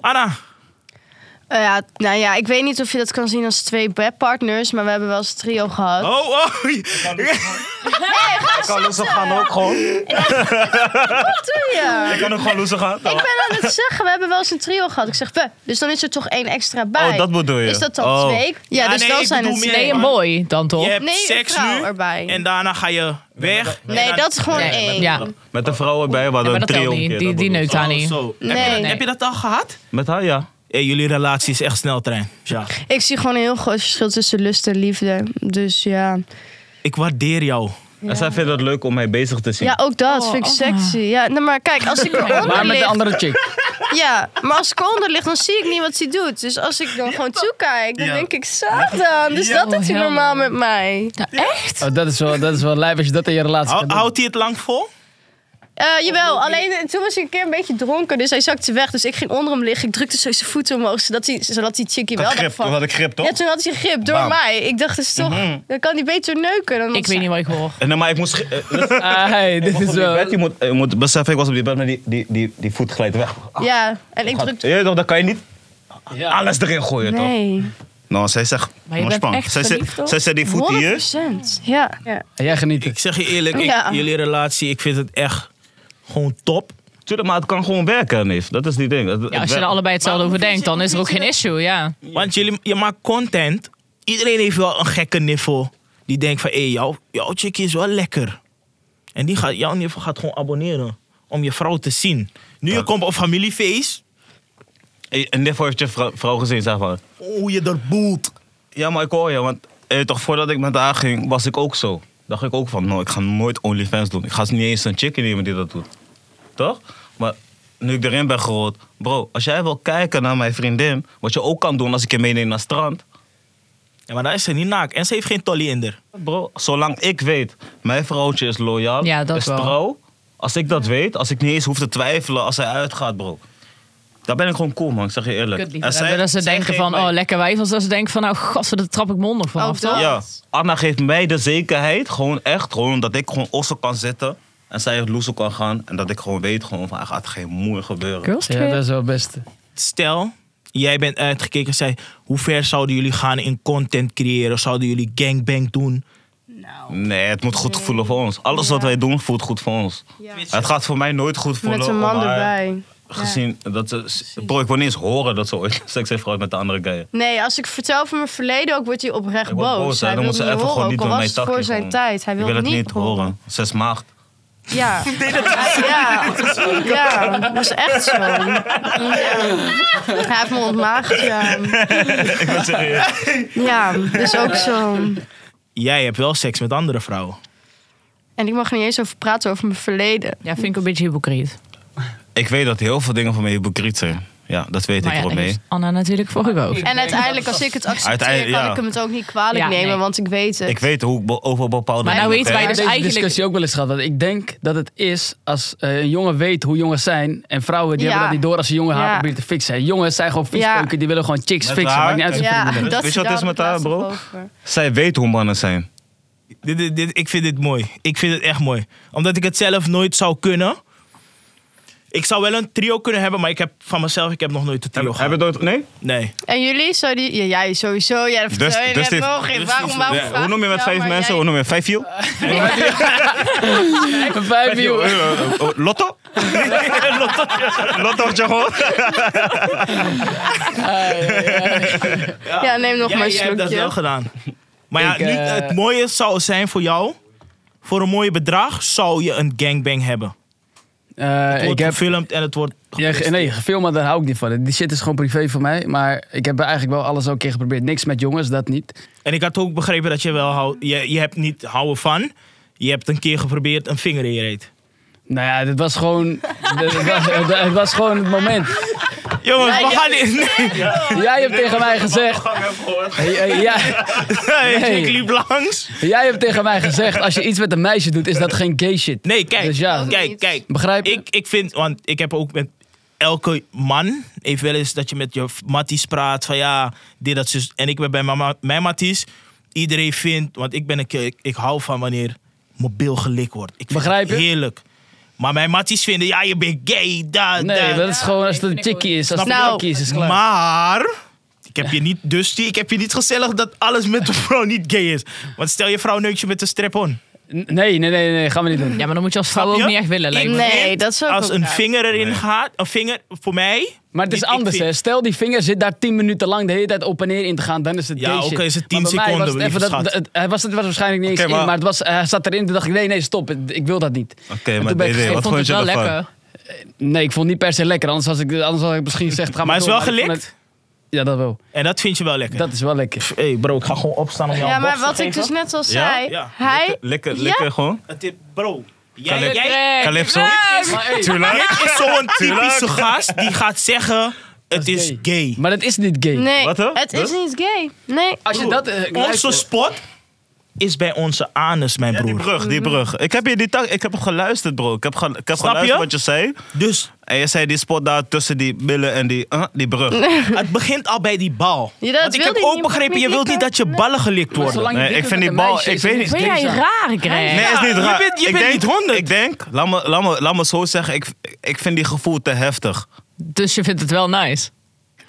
[SPEAKER 1] Anna.
[SPEAKER 4] Eh, ja, nou ja, ik weet niet of je dat kan zien als twee bedpartners, maar we hebben wel eens een trio gehad.
[SPEAKER 1] Oh, oh. (laughs)
[SPEAKER 3] Ik kan loeser gaan ook gewoon.
[SPEAKER 4] Wat doe je?
[SPEAKER 3] Ik kan ook gewoon loeser gaan.
[SPEAKER 4] Ik ben aan het zeggen, we hebben wel eens een trio gehad. Ik zeg we, dus dan is er toch één extra bij.
[SPEAKER 3] Oh, dat bedoel je.
[SPEAKER 4] Is dat dan
[SPEAKER 3] Oh.
[SPEAKER 4] twee? Ja,
[SPEAKER 1] Ja,
[SPEAKER 4] dus
[SPEAKER 1] nee,
[SPEAKER 4] dan
[SPEAKER 1] ik
[SPEAKER 4] zijn het
[SPEAKER 1] bedoel
[SPEAKER 4] twee.
[SPEAKER 1] meer-
[SPEAKER 5] Nee, een boy dan toch?
[SPEAKER 1] Je hebt
[SPEAKER 4] Nee, een
[SPEAKER 1] seks
[SPEAKER 4] vrouw
[SPEAKER 1] nu
[SPEAKER 4] erbij.
[SPEAKER 1] en daarna ga je weg.
[SPEAKER 4] Nee, dat is gewoon
[SPEAKER 5] Nee,
[SPEAKER 4] één.
[SPEAKER 5] Ja,
[SPEAKER 3] Met de vrouwen bij, we
[SPEAKER 5] Ja,
[SPEAKER 3] hadden
[SPEAKER 5] maar
[SPEAKER 3] een
[SPEAKER 5] dat telt
[SPEAKER 3] trio
[SPEAKER 5] niet.
[SPEAKER 3] een keer,
[SPEAKER 5] Die-
[SPEAKER 3] dat
[SPEAKER 5] die
[SPEAKER 3] bedoel ik.
[SPEAKER 5] neukt. Tani.
[SPEAKER 1] Oh, zo. Heb, je
[SPEAKER 4] Nee.
[SPEAKER 1] dat, heb je dat al gehad?
[SPEAKER 3] Met haar, ja.
[SPEAKER 1] Hey, jullie relatie is echt sneltrein. Ja.
[SPEAKER 4] Ik zie gewoon een heel groot verschil tussen lust en liefde. Dus ja.
[SPEAKER 1] Ik waardeer jou.
[SPEAKER 3] En zij vindt het leuk om mij bezig te zien.
[SPEAKER 4] Ja, ook dat
[SPEAKER 5] Oh,
[SPEAKER 4] vind ik
[SPEAKER 5] oh.
[SPEAKER 4] sexy. Ja, nou, maar kijk, als ik eronder
[SPEAKER 2] Maar met de
[SPEAKER 4] lig...
[SPEAKER 2] andere
[SPEAKER 4] (laughs)
[SPEAKER 2] chick.
[SPEAKER 4] Ja, maar als ik eronder lig, dan zie ik niet wat hij doet. Dus als ik dan gewoon toekijk, dan
[SPEAKER 1] Ja.
[SPEAKER 4] denk ik, dan. Dus
[SPEAKER 1] Ja.
[SPEAKER 4] dat doet hij
[SPEAKER 5] Oh,
[SPEAKER 4] normaal met mij.
[SPEAKER 5] echt?
[SPEAKER 2] Oh, dat is wel, dat is wel lijf als je dat in je relatie
[SPEAKER 1] Hou-
[SPEAKER 2] gaat doen.
[SPEAKER 1] houdt hij het lang vol?
[SPEAKER 4] Eh, jawel, alleen eh, toen was hij een keer een beetje dronken, dus hij zakte weg. Dus ik ging onder hem liggen. Ik drukte zo zijn voeten omhoog, zodat, hij, zodat die chickie wel dacht van...
[SPEAKER 3] ik grip, toch?
[SPEAKER 4] Ja, toen had hij grip door
[SPEAKER 3] Bam. Mhm.
[SPEAKER 4] mij. Ik dacht dus toch, dan kan hij beter neuken dan
[SPEAKER 5] Ik weet niet wat ik hoor.
[SPEAKER 3] Nee, maar ik
[SPEAKER 4] (laughs)
[SPEAKER 3] moest... ge- eh, listen,
[SPEAKER 2] Ah, hey, dit
[SPEAKER 3] ik was
[SPEAKER 2] is
[SPEAKER 3] op die bed,
[SPEAKER 2] wel...
[SPEAKER 3] je moet, je moet beseffen, ik was op die bed, maar die, die, die, die voet glijdt weg.
[SPEAKER 4] Ja, en ik drukte...
[SPEAKER 3] Ja, toch, dan kan je niet
[SPEAKER 2] Ja.
[SPEAKER 3] alles erin gooien, toch?
[SPEAKER 4] Nee,
[SPEAKER 3] Nou, zij zegt...
[SPEAKER 5] Maar je bent
[SPEAKER 3] ontspan.
[SPEAKER 5] echt
[SPEAKER 3] zij, zet-
[SPEAKER 5] verliefd, toch?
[SPEAKER 3] zij zet die voet
[SPEAKER 4] 100
[SPEAKER 3] hier.
[SPEAKER 4] procent. Ja. ja.
[SPEAKER 2] En jij geniet
[SPEAKER 1] Ik zeg je eerlijk, ik-
[SPEAKER 4] Ja.
[SPEAKER 1] jullie relatie, ik vind het echt gewoon top.
[SPEAKER 3] Tuurlijk, maar het kan gewoon werken, neef. Dat is die ding. Het-
[SPEAKER 5] Ja,
[SPEAKER 3] het
[SPEAKER 5] als je er
[SPEAKER 3] werkt.
[SPEAKER 5] allebei hetzelfde
[SPEAKER 1] Maar
[SPEAKER 5] over
[SPEAKER 1] hoe
[SPEAKER 5] denkt,
[SPEAKER 1] vind je-
[SPEAKER 5] dan is er ook geen issue, ja.
[SPEAKER 1] Want jullie, je maakt content. Iedereen heeft wel een gekke niffel. Die denkt van, hé, jouw, jouw chickie is wel lekker. En die gaat, jouw niffel gaat gewoon abonneren. Om je vrouw te zien. Nu je komt op familiefeest.
[SPEAKER 3] Hey, En daarvoor heeft je vrou- vrouw gezien, zeg maar.
[SPEAKER 1] Hoe Oh, je dat boelt.
[SPEAKER 3] Ja, maar ik hoor je, want eh, toch voordat ik met haar ging, was ik ook zo. Dacht ik ook van, nou, ik ga nooit OnlyFans doen. Ik ga niet eens een chickie nemen die dat doet. Toch? Maar nu ik erin ben gerold, bro, als jij wil kijken naar mijn vriendin, wat je ook kan doen als ik je meeneem naar het strand,
[SPEAKER 1] Ja, maar daar is ze niet naak. En ze heeft geen tolly in haar.
[SPEAKER 3] bro, zolang ik weet, mijn vrouwtje is loyaal,
[SPEAKER 5] Ja, dat
[SPEAKER 3] is
[SPEAKER 5] wel.
[SPEAKER 3] trouw. Als ik dat weet, als ik niet eens hoef te twijfelen als zij uitgaat, bro. Daar ben ik gewoon cool, man. Ik zeg je eerlijk. En zij-
[SPEAKER 5] dat ze
[SPEAKER 3] zij
[SPEAKER 5] denken
[SPEAKER 3] geeft
[SPEAKER 5] van,
[SPEAKER 3] mij-
[SPEAKER 5] oh, lekker wijf. Als dat ze denken van, nou, gasten, daar trap ik mond nog vanaf,
[SPEAKER 4] Ook dat.
[SPEAKER 5] toch?
[SPEAKER 3] Ja, Anna geeft mij de zekerheid, gewoon echt, gewoon dat ik gewoon ossen kan zitten en zij het loezel kan gaan en dat ik gewoon weet gewoon van, er gaat geen moer gebeuren.
[SPEAKER 5] Girls
[SPEAKER 2] Ja,
[SPEAKER 5] trip.
[SPEAKER 2] dat is wel het beste.
[SPEAKER 1] Stel, jij bent uitgekeken. Zij, hoe ver zouden jullie gaan in content creëren? Zouden jullie gangbang doen?
[SPEAKER 3] Nee, het moet goed voelen voor ons. Alles wat wij doen voelt goed voor ons. Het gaat voor mij nooit goed voelen.
[SPEAKER 4] Met een man
[SPEAKER 3] om haar-
[SPEAKER 4] erbij.
[SPEAKER 3] Gezien dat ze, bro, ik wil niet eens horen dat ze ooit (laughs) seks heeft gehad met de andere guy.
[SPEAKER 4] Nee, als ik vertel van mijn verleden ook, wordt hij oprecht
[SPEAKER 3] Ik word
[SPEAKER 4] boos.
[SPEAKER 3] boos, hè.
[SPEAKER 4] Hij
[SPEAKER 3] dan
[SPEAKER 4] wil
[SPEAKER 3] moet ze
[SPEAKER 4] niet
[SPEAKER 3] even
[SPEAKER 4] horen,
[SPEAKER 3] gewoon niet
[SPEAKER 4] ook al
[SPEAKER 3] door
[SPEAKER 4] was
[SPEAKER 3] mijn
[SPEAKER 4] het
[SPEAKER 3] takje.
[SPEAKER 4] voor zijn
[SPEAKER 3] gewoon.
[SPEAKER 4] tijd. Hij
[SPEAKER 3] Ik
[SPEAKER 4] wil,
[SPEAKER 3] wil het
[SPEAKER 4] niet
[SPEAKER 3] niet horen. Zes maagd.
[SPEAKER 4] Ja. Ah, ja. Ja, dat was echt zo. Ja. Hij heeft me ontmaagd, ja.
[SPEAKER 3] Ik ben serieus.
[SPEAKER 4] Ja, dus ook zo.
[SPEAKER 1] Jij hebt wel seks met andere vrouwen.
[SPEAKER 4] En ik mag er niet eens over praten over mijn verleden.
[SPEAKER 5] Ja, vind ik een beetje hypocriet.
[SPEAKER 3] Ik weet dat heel veel dingen van mij hypocriet zijn. Ja, dat weet
[SPEAKER 5] Maar
[SPEAKER 3] ik
[SPEAKER 5] ja,
[SPEAKER 3] wel
[SPEAKER 4] dus
[SPEAKER 3] mee.
[SPEAKER 5] is Anna natuurlijk vorige ook.
[SPEAKER 4] En uiteindelijk, als ik het accepteer,
[SPEAKER 3] Uiteindelijk,
[SPEAKER 4] kan
[SPEAKER 3] ja.
[SPEAKER 4] ik hem het ook niet kwalijk
[SPEAKER 5] Ja,
[SPEAKER 4] nemen,
[SPEAKER 5] nee.
[SPEAKER 4] want ik weet het.
[SPEAKER 3] Ik weet hoe ik be- over bepaalde
[SPEAKER 5] Maar nou
[SPEAKER 3] dingen
[SPEAKER 5] weten wij
[SPEAKER 3] denk.
[SPEAKER 5] dus
[SPEAKER 2] deze
[SPEAKER 5] eigenlijk-
[SPEAKER 2] discussie ook wel eens gehad. Want ik denk dat het is als eh, een jongen weet hoe jongens zijn. En vrouwen die
[SPEAKER 4] Ja.
[SPEAKER 2] hebben dat niet door als ze jongen haar
[SPEAKER 4] Ja.
[SPEAKER 2] proberen te fixen. Jongens zijn gewoon
[SPEAKER 4] Ja.
[SPEAKER 2] viespeuken. Die willen gewoon chicks
[SPEAKER 3] Met
[SPEAKER 2] fixen.
[SPEAKER 3] haar?
[SPEAKER 2] Maakt niet uit. of je
[SPEAKER 4] ja,
[SPEAKER 2] vriendin bent.
[SPEAKER 4] dat
[SPEAKER 3] Weet je wat het is met
[SPEAKER 4] daar
[SPEAKER 3] haar,
[SPEAKER 4] heb ik
[SPEAKER 3] bro?
[SPEAKER 4] laatst nog over.
[SPEAKER 3] Zij weet hoe mannen zijn.
[SPEAKER 1] Dit, dit, dit- ik vind dit mooi. Ik vind het echt mooi. Omdat ik het zelf nooit zou kunnen. Ik zou wel een trio kunnen hebben, maar ik heb van mezelf ik heb nog nooit een trio
[SPEAKER 3] Heb, heb
[SPEAKER 1] gehad.
[SPEAKER 3] je nooit... Nee?
[SPEAKER 1] Nee.
[SPEAKER 4] En jullie, zou die... Ja, jij sowieso. Ja, dat vertel je
[SPEAKER 3] dus
[SPEAKER 4] net
[SPEAKER 3] dit-
[SPEAKER 4] nog geen. Waarom, waarom
[SPEAKER 3] Ja,
[SPEAKER 4] vraag
[SPEAKER 3] hoe noem je met
[SPEAKER 4] jou,
[SPEAKER 3] vijf
[SPEAKER 4] maar
[SPEAKER 3] mensen?
[SPEAKER 4] jij-
[SPEAKER 3] Hoe noem je vijf viel?
[SPEAKER 2] Een Vijf
[SPEAKER 3] (laughs) Eh,
[SPEAKER 2] uur.
[SPEAKER 4] (laughs)
[SPEAKER 3] Lotto? Lotto gewoon?
[SPEAKER 4] Ja, neem nog
[SPEAKER 1] Jij,
[SPEAKER 4] maar een
[SPEAKER 1] jij hebt dus dat wel
[SPEAKER 4] slokje.
[SPEAKER 1] gedaan. Maar ja,
[SPEAKER 2] Ik, eh,
[SPEAKER 1] nu, het mooie zou zijn voor jou. Voor een mooi bedrag zou je een gangbang hebben.
[SPEAKER 2] Eh,
[SPEAKER 1] Het
[SPEAKER 2] ik
[SPEAKER 1] wordt
[SPEAKER 2] heb
[SPEAKER 1] gefilmd en het wordt...
[SPEAKER 2] Ja, ge- nee, gefilmd, daar hou ik niet van. Die shit is gewoon privé voor mij. Maar ik heb eigenlijk wel alles al een keer geprobeerd. Niks met jongens, dat niet.
[SPEAKER 1] En ik had ook begrepen dat je wel houdt... Je, je hebt niet houden van. Je hebt een keer geprobeerd een vinger in je reet.
[SPEAKER 2] Nou ja, dit was gewoon, (laughs) dit- het, was, het, het was gewoon het moment.
[SPEAKER 1] Jongens, we gaan (laughs) niet... Nee.
[SPEAKER 2] Jij hebt tegen mij gezegd... Eh, eh, Ja,
[SPEAKER 3] (laughs)
[SPEAKER 2] Nee.
[SPEAKER 1] Ik liep langs.
[SPEAKER 2] jij hebt tegen mij gezegd, als je iets met een meisje doet, is dat geen gay shit.
[SPEAKER 1] Nee, kijk.
[SPEAKER 2] Dus ja,
[SPEAKER 1] Kijk, kijk.
[SPEAKER 2] begrijp je?
[SPEAKER 1] Ik, ik vind, want ik heb ook met elke man, heeft wel eens dat je met je matties praat van ja, dit, dat, zus. En ik ben bij mama, mijn matties, iedereen vindt, want ik ben een keer, ik, ik hou van wanneer mijn bil gelikt wordt. Ik vind
[SPEAKER 2] Begrijp
[SPEAKER 1] het
[SPEAKER 2] je?
[SPEAKER 1] Heerlijk. Maar mijn matties vinden, ja, je bent gay, dat,
[SPEAKER 2] Nee,
[SPEAKER 1] dat.
[SPEAKER 2] dat is gewoon als het een
[SPEAKER 5] vind ik Nou,
[SPEAKER 2] chickie is. Als
[SPEAKER 1] Snap
[SPEAKER 2] het
[SPEAKER 1] je?
[SPEAKER 2] een chickie is, is het klaar.
[SPEAKER 1] Maar, Ik heb je niet, dus die, ik heb je niet gezellig dat alles met de vrouw niet gay is. Want stel je vrouw neukt je met een strap-on.
[SPEAKER 2] N- Nee, nee, nee, nee, gaan we niet doen.
[SPEAKER 5] Ja, maar dan moet je als vrouw
[SPEAKER 1] Snap je?
[SPEAKER 5] ook niet echt willen, lijkt me.
[SPEAKER 4] Nee,
[SPEAKER 1] vind
[SPEAKER 4] dat zou ik
[SPEAKER 1] Als
[SPEAKER 4] ook
[SPEAKER 1] een
[SPEAKER 4] raar.
[SPEAKER 1] vinger erin gaat, een vinger voor mij.
[SPEAKER 2] Maar het is
[SPEAKER 1] ik- ik
[SPEAKER 2] anders, dus.
[SPEAKER 1] vind-
[SPEAKER 2] hè. Stel, die vinger zit daar 10 minuten lang de hele tijd op en neer in te gaan. Dan is het
[SPEAKER 1] Ja,
[SPEAKER 2] gay shit.
[SPEAKER 1] oké, is het
[SPEAKER 2] Maar
[SPEAKER 1] 10
[SPEAKER 2] bij mij
[SPEAKER 1] seconden,
[SPEAKER 2] was het even
[SPEAKER 1] lieve
[SPEAKER 2] dat-
[SPEAKER 1] schat.
[SPEAKER 2] het- Hij was, het was waarschijnlijk niet eens
[SPEAKER 3] Oké,
[SPEAKER 2] in,
[SPEAKER 3] maar-
[SPEAKER 2] maar het was, eh, hij zat erin. Toen dacht ik, nee, nee, stop. Ik wil dat niet.
[SPEAKER 3] Oké,
[SPEAKER 2] En
[SPEAKER 3] maar
[SPEAKER 2] toen ben ik-
[SPEAKER 3] DD,
[SPEAKER 5] Ik
[SPEAKER 3] wat
[SPEAKER 5] vond
[SPEAKER 3] vond
[SPEAKER 5] het
[SPEAKER 3] je
[SPEAKER 5] wel
[SPEAKER 3] ervan?
[SPEAKER 5] lekker.
[SPEAKER 2] Nee, ik vond het niet per se lekker. Anders, was ik, anders had ik misschien gezegd, ga
[SPEAKER 1] Maar
[SPEAKER 2] maar
[SPEAKER 1] hij is
[SPEAKER 2] door,
[SPEAKER 1] wel
[SPEAKER 2] ik vond
[SPEAKER 1] gelikt.
[SPEAKER 2] het- Ja, dat wel.
[SPEAKER 1] En dat vind je wel lekker.
[SPEAKER 2] Dat is wel lekker.
[SPEAKER 1] Hé hey bro, ik ga gewoon opstaan om jou
[SPEAKER 4] Ja,
[SPEAKER 1] een
[SPEAKER 4] maar
[SPEAKER 1] box te
[SPEAKER 4] wat ik
[SPEAKER 1] geven.
[SPEAKER 4] dus net al
[SPEAKER 3] Ja?
[SPEAKER 4] zei.
[SPEAKER 1] Ja.
[SPEAKER 4] Hij.
[SPEAKER 3] Lekker,
[SPEAKER 4] Ja.
[SPEAKER 3] lekker gewoon.
[SPEAKER 1] Het is- Bro, jij,
[SPEAKER 3] Kan ik-
[SPEAKER 1] jij,
[SPEAKER 3] Calypso.
[SPEAKER 2] Maar, hey,
[SPEAKER 1] Dit is zo'n typische gast die gaat zeggen: het
[SPEAKER 2] dat
[SPEAKER 1] is gay.
[SPEAKER 2] Maar dat is niet gay.
[SPEAKER 4] Nee,
[SPEAKER 3] Wat, hè?
[SPEAKER 4] het is
[SPEAKER 3] Wat?
[SPEAKER 4] niet gay. Nee.
[SPEAKER 2] Als je dat... eh,
[SPEAKER 1] Onze
[SPEAKER 2] luister-
[SPEAKER 1] spot is bij onze anus, mijn
[SPEAKER 3] Ja, die
[SPEAKER 1] broer.
[SPEAKER 3] brug, die brug. Ik heb, hier die tak, ik heb geluisterd, bro. Ik heb, ge- ik heb
[SPEAKER 1] Snap
[SPEAKER 3] geluisterd
[SPEAKER 1] je?
[SPEAKER 3] wat je zei.
[SPEAKER 1] Dus
[SPEAKER 3] En je zei die spot daar tussen die billen en die, eh, die brug.
[SPEAKER 1] het begint al bij die bal.
[SPEAKER 4] Ja, dat
[SPEAKER 1] Want ik
[SPEAKER 4] wil
[SPEAKER 1] heb
[SPEAKER 4] die
[SPEAKER 1] ook
[SPEAKER 4] niet,
[SPEAKER 1] begrepen:
[SPEAKER 4] mag
[SPEAKER 1] je
[SPEAKER 4] niet
[SPEAKER 1] wilt niet
[SPEAKER 4] likken.
[SPEAKER 1] dat je ballen gelikt
[SPEAKER 2] Maar
[SPEAKER 1] worden.
[SPEAKER 2] zolang je
[SPEAKER 3] Nee,
[SPEAKER 2] dik
[SPEAKER 3] ik
[SPEAKER 2] bent
[SPEAKER 3] vind
[SPEAKER 2] met
[SPEAKER 3] die
[SPEAKER 2] een
[SPEAKER 3] bal-
[SPEAKER 2] meisje,
[SPEAKER 3] ik
[SPEAKER 2] is
[SPEAKER 3] weet
[SPEAKER 2] het
[SPEAKER 3] niet-
[SPEAKER 2] niks
[SPEAKER 5] Ben jij
[SPEAKER 2] gays aan.
[SPEAKER 5] raar, Greg?
[SPEAKER 3] Nee,
[SPEAKER 1] Ja,
[SPEAKER 3] is niet
[SPEAKER 1] je
[SPEAKER 3] raar.
[SPEAKER 1] bent- je
[SPEAKER 3] ik
[SPEAKER 1] bent
[SPEAKER 3] denk,
[SPEAKER 1] niet 100.
[SPEAKER 3] Ik denk, laat me, laat, me, laat me zo zeggen, ik, ik vind die gevoel te heftig.
[SPEAKER 5] Dus je vindt het wel nice.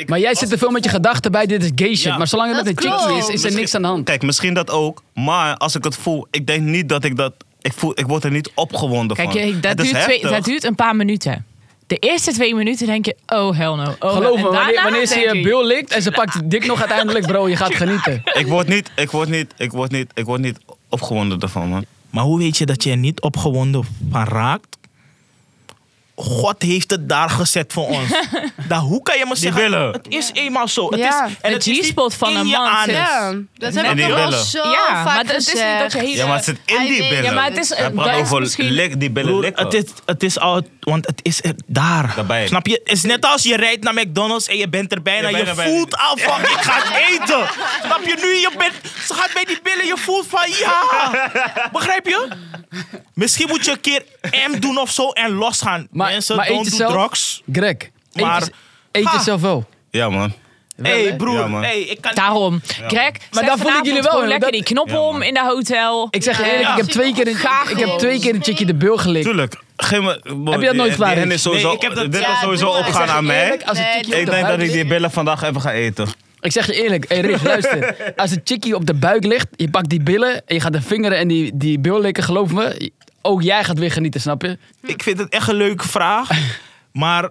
[SPEAKER 2] Maar jij zit er veel met je gedachten bij, dit is gay shit.
[SPEAKER 1] Ja.
[SPEAKER 2] Maar zolang het
[SPEAKER 4] Dat
[SPEAKER 2] met een chickie
[SPEAKER 4] klopt.
[SPEAKER 2] is, is
[SPEAKER 1] Oh,
[SPEAKER 2] er niks aan de hand.
[SPEAKER 3] Kijk, misschien dat ook, maar als ik het voel, ik denk niet dat ik dat... Ik, voel, ik word er niet opgewonden
[SPEAKER 5] Kijk,
[SPEAKER 3] van.
[SPEAKER 5] je- dat
[SPEAKER 3] Het is
[SPEAKER 5] duurt, twee,
[SPEAKER 3] heftig.
[SPEAKER 5] dat duurt een paar minuten. De eerste twee minuten denk je, oh hell no. Oh,
[SPEAKER 2] Geloof
[SPEAKER 5] en
[SPEAKER 2] me, wanneer,
[SPEAKER 5] daarna
[SPEAKER 2] wanneer eh, ze
[SPEAKER 5] denk
[SPEAKER 2] je
[SPEAKER 5] je,
[SPEAKER 2] bil likt en ze pakt je dik nog uiteindelijk, bro, je gaat genieten.
[SPEAKER 3] Ik word niet, ik word niet, ik word niet, ik word niet opgewonden ervan, man.
[SPEAKER 1] Maar hoe weet je dat je er niet opgewonden van raakt? God heeft het daar gezet voor ons.
[SPEAKER 5] (laughs)
[SPEAKER 1] Dan, hoe kan je me zeggen?
[SPEAKER 3] billen.
[SPEAKER 1] Het is eenmaal zo. Het
[SPEAKER 4] Ja.
[SPEAKER 1] is, en
[SPEAKER 5] De
[SPEAKER 1] het is niet
[SPEAKER 5] G-spot van
[SPEAKER 1] in
[SPEAKER 5] een
[SPEAKER 1] je
[SPEAKER 5] man
[SPEAKER 1] anus.
[SPEAKER 5] zit-
[SPEAKER 4] Ja, dat
[SPEAKER 3] En
[SPEAKER 4] heb
[SPEAKER 3] die
[SPEAKER 4] ik al
[SPEAKER 3] billen.
[SPEAKER 4] zo
[SPEAKER 5] Ja,
[SPEAKER 4] vaak
[SPEAKER 5] maar het is niet Oh, dat
[SPEAKER 4] gezegd.
[SPEAKER 5] je hele...
[SPEAKER 3] Ja, maar het zit in
[SPEAKER 4] hij
[SPEAKER 3] die
[SPEAKER 4] weet-
[SPEAKER 3] billen.
[SPEAKER 5] Ja, maar het is-
[SPEAKER 3] Hij
[SPEAKER 5] dat
[SPEAKER 3] praat
[SPEAKER 5] is
[SPEAKER 3] over
[SPEAKER 5] misschien-
[SPEAKER 3] lik- die billen
[SPEAKER 1] Broer,
[SPEAKER 3] likken.
[SPEAKER 1] het is, het is al, want het is er daar.
[SPEAKER 3] Daarbij.
[SPEAKER 1] Snap je? Het is net als je rijdt naar McDonald's en je bent er bijna.
[SPEAKER 3] Je
[SPEAKER 1] Je,
[SPEAKER 3] bent er bijna.
[SPEAKER 1] voelt al van, ik ga het eten. Snap je nu? Je bent, ze gaat bij die billen, je voelt van, ja. Begrijp je? Misschien moet je een keer M doen of zo en losgaan.
[SPEAKER 2] Maar,
[SPEAKER 1] Mensen,
[SPEAKER 2] maar eet
[SPEAKER 1] don't do
[SPEAKER 2] jezelf,
[SPEAKER 1] drugs.
[SPEAKER 2] Greg, maar,
[SPEAKER 1] Maar-
[SPEAKER 2] eet, eet
[SPEAKER 1] Ha.
[SPEAKER 2] jezelf wel.
[SPEAKER 3] Ja, man.
[SPEAKER 1] Hé hey, broer,
[SPEAKER 3] Ja, man.
[SPEAKER 1] hey, ik kan...
[SPEAKER 5] Daarom. Greg, maar
[SPEAKER 2] daar voel ik jullie wel,
[SPEAKER 5] gewoon
[SPEAKER 2] hè,
[SPEAKER 5] lekker
[SPEAKER 2] dat-
[SPEAKER 5] die knop
[SPEAKER 3] Ja,
[SPEAKER 5] om
[SPEAKER 3] man.
[SPEAKER 5] in dat hotel.
[SPEAKER 2] Ik zeg je eerlijk, ik heb twee keer een, ik heb twee keer een chickie de bil gelikt.
[SPEAKER 3] Tuurlijk. Geen, me- boy,
[SPEAKER 2] Heb je dat nooit
[SPEAKER 3] die-
[SPEAKER 2] gedaan,
[SPEAKER 3] die
[SPEAKER 2] Rich?
[SPEAKER 3] is sowieso,
[SPEAKER 1] Nee, ik heb dat-
[SPEAKER 3] Dit
[SPEAKER 1] Ja,
[SPEAKER 3] was sowieso
[SPEAKER 4] doe maar.
[SPEAKER 3] opgaan
[SPEAKER 4] Ik zeg
[SPEAKER 3] aan
[SPEAKER 4] je
[SPEAKER 3] mij.
[SPEAKER 2] eerlijk, als het
[SPEAKER 4] Nee,
[SPEAKER 2] chickie
[SPEAKER 4] doe
[SPEAKER 2] op
[SPEAKER 3] Ik
[SPEAKER 2] de
[SPEAKER 3] denk dat
[SPEAKER 2] buik
[SPEAKER 3] ik die
[SPEAKER 2] ligt-
[SPEAKER 3] billen vandaag even ga eten.
[SPEAKER 2] Ik zeg je eerlijk, hey Rich, luister. Als een chickie op de buik ligt, je pakt die billen en je gaat de vingeren en die, die bil likken, geloof me. Ook jij gaat weer genieten, snap je?
[SPEAKER 1] Ik vind het echt een leuke vraag. (laughs) Maar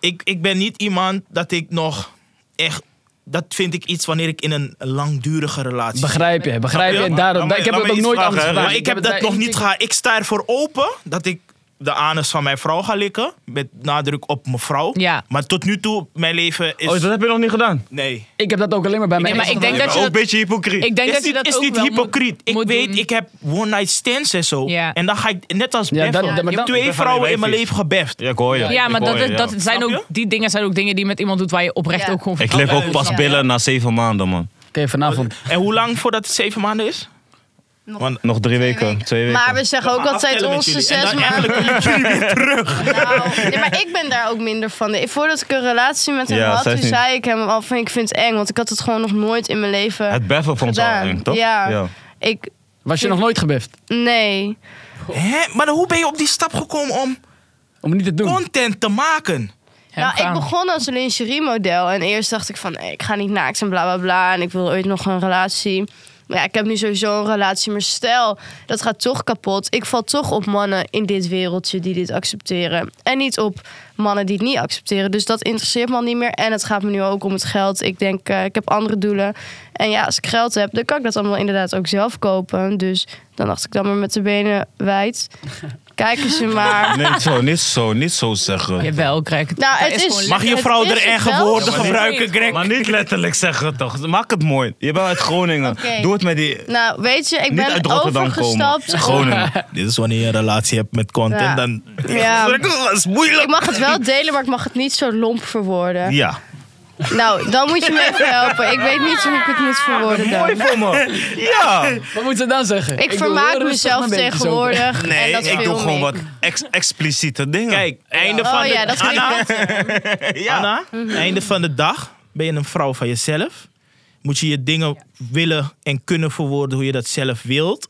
[SPEAKER 1] ik, ik ben niet iemand dat ik nog echt. Dat vind ik iets wanneer ik in een langdurige relatie zit.
[SPEAKER 2] Begrijp je, begrijp je.
[SPEAKER 3] Ja,
[SPEAKER 2] En
[SPEAKER 3] maar-
[SPEAKER 2] daarom,
[SPEAKER 3] laat me-
[SPEAKER 2] ik heb
[SPEAKER 3] laat
[SPEAKER 2] het
[SPEAKER 3] me
[SPEAKER 2] ook
[SPEAKER 3] iets
[SPEAKER 2] nooit
[SPEAKER 3] vragen,
[SPEAKER 2] anders
[SPEAKER 3] hè,
[SPEAKER 2] gedaan.
[SPEAKER 1] Maar ik heb
[SPEAKER 2] het
[SPEAKER 1] dat
[SPEAKER 2] bij
[SPEAKER 1] nog
[SPEAKER 2] één
[SPEAKER 1] niet
[SPEAKER 2] chickie-
[SPEAKER 1] gehad. Ik sta ervoor open dat ik de anus van mijn vrouw ga likken. Met nadruk op mevrouw.
[SPEAKER 5] Ja.
[SPEAKER 1] Maar tot nu toe, mijn leven is.
[SPEAKER 3] Oh, dat heb je nog niet gedaan?
[SPEAKER 1] Nee.
[SPEAKER 2] Ik heb dat ook alleen maar bij mijn
[SPEAKER 5] maar
[SPEAKER 2] ex
[SPEAKER 5] ik denk
[SPEAKER 2] gedaan.
[SPEAKER 5] dat
[SPEAKER 3] Maar
[SPEAKER 5] je
[SPEAKER 3] ook
[SPEAKER 5] dat-
[SPEAKER 3] een beetje hypocriet.
[SPEAKER 5] Ik denk
[SPEAKER 1] is
[SPEAKER 5] dat je
[SPEAKER 1] niet,
[SPEAKER 5] dat
[SPEAKER 1] is
[SPEAKER 5] ook
[SPEAKER 1] niet
[SPEAKER 5] wel moet-
[SPEAKER 1] hypocriet. ik
[SPEAKER 5] moet
[SPEAKER 1] weet,
[SPEAKER 5] doen.
[SPEAKER 1] ik heb one night stands en zo.
[SPEAKER 5] Ja.
[SPEAKER 1] En dan ga ik, net als
[SPEAKER 2] Ja, dat-
[SPEAKER 1] beffen.
[SPEAKER 2] dat- maar
[SPEAKER 1] Ik heb
[SPEAKER 2] dat-
[SPEAKER 1] twee
[SPEAKER 3] dat gaan
[SPEAKER 1] vrouwen
[SPEAKER 3] die
[SPEAKER 1] in mijn
[SPEAKER 3] wijfies.
[SPEAKER 1] leven gebeft.
[SPEAKER 3] Ja, ik hoor je.
[SPEAKER 5] Ja, maar
[SPEAKER 3] Ik hoor
[SPEAKER 5] dat,
[SPEAKER 3] je,
[SPEAKER 5] dat,
[SPEAKER 3] ja.
[SPEAKER 5] dat zijn
[SPEAKER 1] Snap je?
[SPEAKER 5] ook, die dingen zijn ook dingen die je met iemand doet waar je oprecht
[SPEAKER 4] Ja.
[SPEAKER 5] ook gewoon
[SPEAKER 3] Ik lip ook pas
[SPEAKER 4] Ja.
[SPEAKER 3] billen na zeven maanden, man.
[SPEAKER 2] Oké, vanavond.
[SPEAKER 1] En hoe lang voordat het zeven maanden is?
[SPEAKER 3] Nog drie weken, twee weken.
[SPEAKER 4] Maar we zeggen ook
[SPEAKER 1] gaan
[SPEAKER 4] altijd
[SPEAKER 1] aftellen met
[SPEAKER 4] onze
[SPEAKER 1] jullie. En
[SPEAKER 4] zes
[SPEAKER 1] dan
[SPEAKER 4] maanden.
[SPEAKER 1] eigenlijk
[SPEAKER 4] (laughs) Nou, nee, maar ik ben daar ook minder van. Ik- Voordat ik een relatie met hem
[SPEAKER 3] Ja,
[SPEAKER 4] had,
[SPEAKER 3] zij
[SPEAKER 4] toen
[SPEAKER 3] is niet-
[SPEAKER 4] zei ik hem al van ik vind het eng. Want ik had het gewoon nog nooit in mijn leven
[SPEAKER 3] Het beffen vond ze al
[SPEAKER 4] gedaan.
[SPEAKER 3] eng, toch?
[SPEAKER 4] Ja. Ik,
[SPEAKER 2] Was je nog nooit gebeft?
[SPEAKER 4] nee.
[SPEAKER 1] Hè? Maar dan hoe ben je op die stap gekomen om
[SPEAKER 2] Om het niet te doen.
[SPEAKER 1] content te maken?
[SPEAKER 5] Hem
[SPEAKER 4] Nou, ik
[SPEAKER 5] gaan.
[SPEAKER 4] begon als een lingerie-model. En eerst dacht ik van, eh, ik ga niet naakt en bla bla bla. En ik wil ooit nog een relatie. Maar ja, ik heb nu sowieso een relatie. Maar stel, dat gaat toch kapot. Ik val toch op mannen in dit wereldje die dit accepteren. En niet op mannen die het niet accepteren. Dus dat interesseert me al niet meer. En het gaat me nu ook om het geld. Ik denk, eh, ik heb andere doelen. En ja, als ik geld heb, dan kan ik dat allemaal inderdaad ook zelf kopen. Dus dan dacht ik dan maar met de benen wijd. Kijken ze maar.
[SPEAKER 3] Nee, niet zo, niet zo, niet zo zeggen.
[SPEAKER 5] Jawel, Greg.
[SPEAKER 4] Nou, het
[SPEAKER 5] Dat
[SPEAKER 4] is-
[SPEAKER 5] gewoon
[SPEAKER 1] Mag je
[SPEAKER 4] Het
[SPEAKER 1] vrouw
[SPEAKER 4] is
[SPEAKER 1] er
[SPEAKER 4] het
[SPEAKER 1] eigen
[SPEAKER 4] wel.
[SPEAKER 1] woorden
[SPEAKER 4] Ja, maar
[SPEAKER 1] gebruiken,
[SPEAKER 5] niet.
[SPEAKER 1] Greg?
[SPEAKER 3] Maar niet letterlijk zeggen, toch? Maak het mooi. Je bent uit Groningen.
[SPEAKER 4] Oké.
[SPEAKER 3] Doe het met die...
[SPEAKER 4] Nou, weet je, ik
[SPEAKER 3] niet uit
[SPEAKER 4] ben
[SPEAKER 3] Rotterdam komen.
[SPEAKER 4] overgestapt. op-
[SPEAKER 3] Groningen.
[SPEAKER 1] (laughs) Dit is wanneer je een relatie hebt met content,
[SPEAKER 4] Ja.
[SPEAKER 1] dan...
[SPEAKER 3] (laughs)
[SPEAKER 4] Ja.
[SPEAKER 1] Dat is moeilijk.
[SPEAKER 4] Ik mag het wel delen, maar ik mag het niet zo lomp verwoorden.
[SPEAKER 3] Ja.
[SPEAKER 4] Nou, dan moet je me even helpen. Ik weet niet hoe ik het moet verwoorden
[SPEAKER 3] Mooi
[SPEAKER 4] dan.
[SPEAKER 3] voor me. Ja.
[SPEAKER 2] Wat moet ze dan zeggen?
[SPEAKER 4] Ik
[SPEAKER 2] doe
[SPEAKER 4] vermaak
[SPEAKER 2] heel rustig
[SPEAKER 4] mezelf
[SPEAKER 2] mijn beentjes open.
[SPEAKER 4] tegenwoordig. en
[SPEAKER 3] Nee,
[SPEAKER 4] dat
[SPEAKER 3] ik
[SPEAKER 4] film
[SPEAKER 3] doe gewoon wat ex- expliciete dingen.
[SPEAKER 1] Kijk, einde van
[SPEAKER 4] Oh
[SPEAKER 1] de...
[SPEAKER 4] ja, dat kan ik
[SPEAKER 1] Anna,
[SPEAKER 4] wel
[SPEAKER 1] Anna, einde van de dag ben je een vrouw van jezelf. Moet je je dingen willen en kunnen verwoorden hoe je dat zelf wilt.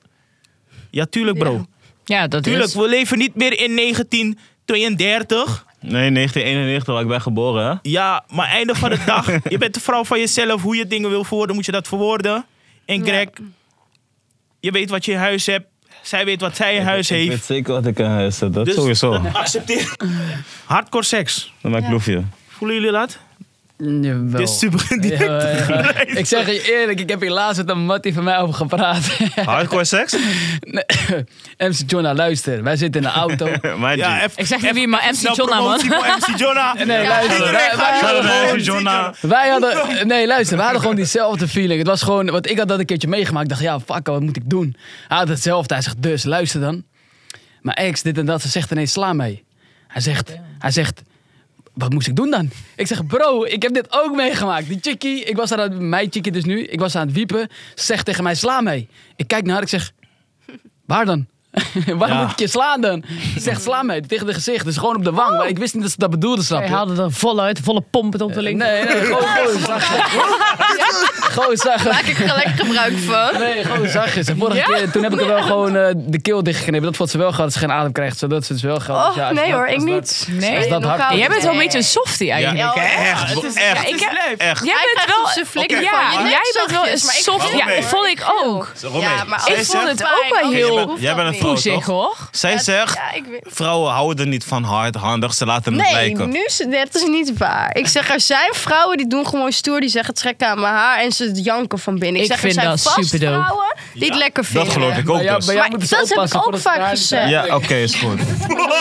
[SPEAKER 1] Ja, tuurlijk bro.
[SPEAKER 5] Ja, dat
[SPEAKER 1] Tuurlijk,
[SPEAKER 5] is...
[SPEAKER 1] we leven niet meer in 1932.
[SPEAKER 3] Nee, 1991, waar ik ben geboren, hè?
[SPEAKER 1] Ja, maar einde van de
[SPEAKER 2] (laughs)
[SPEAKER 1] dag, je bent de vrouw van jezelf. Hoe je dingen wil verwoorden, moet je dat verwoorden. En Greg, je weet wat je in huis hebt. Zij weet wat zij in huis
[SPEAKER 3] Ik
[SPEAKER 1] heeft.
[SPEAKER 3] weet zeker wat ik in huis heb, dat
[SPEAKER 1] Dus
[SPEAKER 3] sowieso.
[SPEAKER 1] dat
[SPEAKER 2] (laughs)
[SPEAKER 1] accepteer. Hardcore seks.
[SPEAKER 3] Dan maak ik loefje.
[SPEAKER 1] Voelen jullie dat?
[SPEAKER 2] Jawel.
[SPEAKER 1] Dit is super direct.
[SPEAKER 2] Ja,
[SPEAKER 1] (laughs)
[SPEAKER 2] ja, ja. Ik
[SPEAKER 5] (laughs)
[SPEAKER 2] zeg je eerlijk, ik heb hier laatst met een mattie van mij over gepraat. (laughs)
[SPEAKER 3] Hardcore seks?
[SPEAKER 2] Nee, MC Jonna, nou, luister. Wij zitten in de auto.
[SPEAKER 3] (laughs) Mijn G.
[SPEAKER 1] even-
[SPEAKER 5] Ik zeg niet
[SPEAKER 1] even-
[SPEAKER 5] wie, maar MC
[SPEAKER 1] snel
[SPEAKER 5] Jonna, man.
[SPEAKER 1] promotie voor MC Jonna.
[SPEAKER 2] Nee, luister.
[SPEAKER 1] Iedereen
[SPEAKER 2] Wij-
[SPEAKER 1] gaat
[SPEAKER 2] wij-
[SPEAKER 1] gewoon
[SPEAKER 3] wij-
[SPEAKER 1] voor
[SPEAKER 3] wij-
[SPEAKER 1] MC Jonna.
[SPEAKER 2] Wij hadden, nee luister, we hadden gewoon diezelfde feeling. Het was gewoon, want ik had dat een keertje meegemaakt. Ik dacht, ja fuck, wat moet ik doen? Hij had hetzelfde, hij zegt, dus luister dan. Mijn ex, dit en dat, ze zegt ineens, sla mij. Hij zegt, hij zegt, wat moest ik doen dan? Ik zeg, bro, ik heb dit ook meegemaakt. Die chickie, ik was aan het, mijn chickie dus nu, ik was aan het wiepen. Ze zegt tegen mij, sla mij. Ik kijk naar haar, ik zeg, waar dan? (laughs) Waar
[SPEAKER 1] Ja.
[SPEAKER 2] moet ik je slaan dan? Ze zegt, sla mij, tegen de gezicht. Dus gewoon op de wang. Maar ik wist niet dat ze dat bedoelde, snap
[SPEAKER 5] Hij
[SPEAKER 2] je?
[SPEAKER 5] haalde er voluit, volle pompen op de
[SPEAKER 2] Nee,
[SPEAKER 5] link.
[SPEAKER 2] nee, gewoon, gewoon zachtjes.
[SPEAKER 4] (laughs)
[SPEAKER 2] Gewoon zachtjes.
[SPEAKER 4] Maak ik er lekker gebruik van.
[SPEAKER 2] Nee, gewoon zachtjes. En vorige
[SPEAKER 5] Ja?
[SPEAKER 2] keer, toen heb ik er wel gewoon eh, de keel dichtgeknipt. Dat vond ze wel gehad, dat ze geen adem krijgt. Zodat ze het wel gehad. Dus
[SPEAKER 4] Oh,
[SPEAKER 2] ja, als
[SPEAKER 4] nee
[SPEAKER 2] dat-
[SPEAKER 4] hoor, ik
[SPEAKER 2] als dat-
[SPEAKER 4] niet.
[SPEAKER 5] Nee?
[SPEAKER 2] Is dat hard?
[SPEAKER 4] knock-out.
[SPEAKER 5] Jij bent wel een
[SPEAKER 4] Nee.
[SPEAKER 5] beetje een softie eigenlijk.
[SPEAKER 1] Ja,
[SPEAKER 4] Ja, oh,
[SPEAKER 1] echt,
[SPEAKER 3] het is-
[SPEAKER 1] echt.
[SPEAKER 3] ja,
[SPEAKER 5] ik heb-
[SPEAKER 1] Het is lijp.
[SPEAKER 5] Jij
[SPEAKER 4] Hij
[SPEAKER 5] bent
[SPEAKER 4] krijgt
[SPEAKER 5] wel
[SPEAKER 4] dus een flikker
[SPEAKER 5] ja,
[SPEAKER 4] van je.
[SPEAKER 5] jij bent wel een
[SPEAKER 4] Zachtjes, maar ik
[SPEAKER 5] softie.
[SPEAKER 4] vind
[SPEAKER 5] Ja,
[SPEAKER 3] het
[SPEAKER 5] dat vond ik ook.
[SPEAKER 3] Waarom
[SPEAKER 4] Ja,
[SPEAKER 3] niet?
[SPEAKER 4] maar
[SPEAKER 3] Zij
[SPEAKER 5] Ik
[SPEAKER 4] als-
[SPEAKER 5] vond
[SPEAKER 3] zegt-
[SPEAKER 5] het ook wel
[SPEAKER 4] Oké,
[SPEAKER 5] heel
[SPEAKER 4] hoeft
[SPEAKER 3] Jij
[SPEAKER 4] dat
[SPEAKER 3] bent een
[SPEAKER 4] niet.
[SPEAKER 3] vrouw,
[SPEAKER 5] poezig
[SPEAKER 3] toch?
[SPEAKER 5] hoor.
[SPEAKER 3] Zij zegt,
[SPEAKER 4] Ja, ik weet-
[SPEAKER 3] vrouwen houden niet van hard, handig, ze laten het
[SPEAKER 4] Nee,
[SPEAKER 3] lijken.
[SPEAKER 4] nu, is- dat is niet waar. Ik zeg, er zijn vrouwen die doen gewoon stoer. Die zeggen, trek aan mijn haar. En ze janken van binnen. Ik,
[SPEAKER 5] Ik
[SPEAKER 4] zeg,
[SPEAKER 5] vind
[SPEAKER 4] er zijn
[SPEAKER 5] dat
[SPEAKER 4] vast
[SPEAKER 5] superdope.
[SPEAKER 4] vrouwen die het lekker vinden.
[SPEAKER 3] Dat geloof ik ook
[SPEAKER 2] Bij
[SPEAKER 1] Nou
[SPEAKER 2] jou,
[SPEAKER 3] dus.
[SPEAKER 2] bij jou
[SPEAKER 4] Maar
[SPEAKER 2] moeten ze
[SPEAKER 4] dat heb ik
[SPEAKER 2] oppassen
[SPEAKER 4] ook
[SPEAKER 2] voor dat ze
[SPEAKER 4] vaak
[SPEAKER 2] daar-
[SPEAKER 4] gezegd.
[SPEAKER 3] Ja, oké, is (laughs) goed.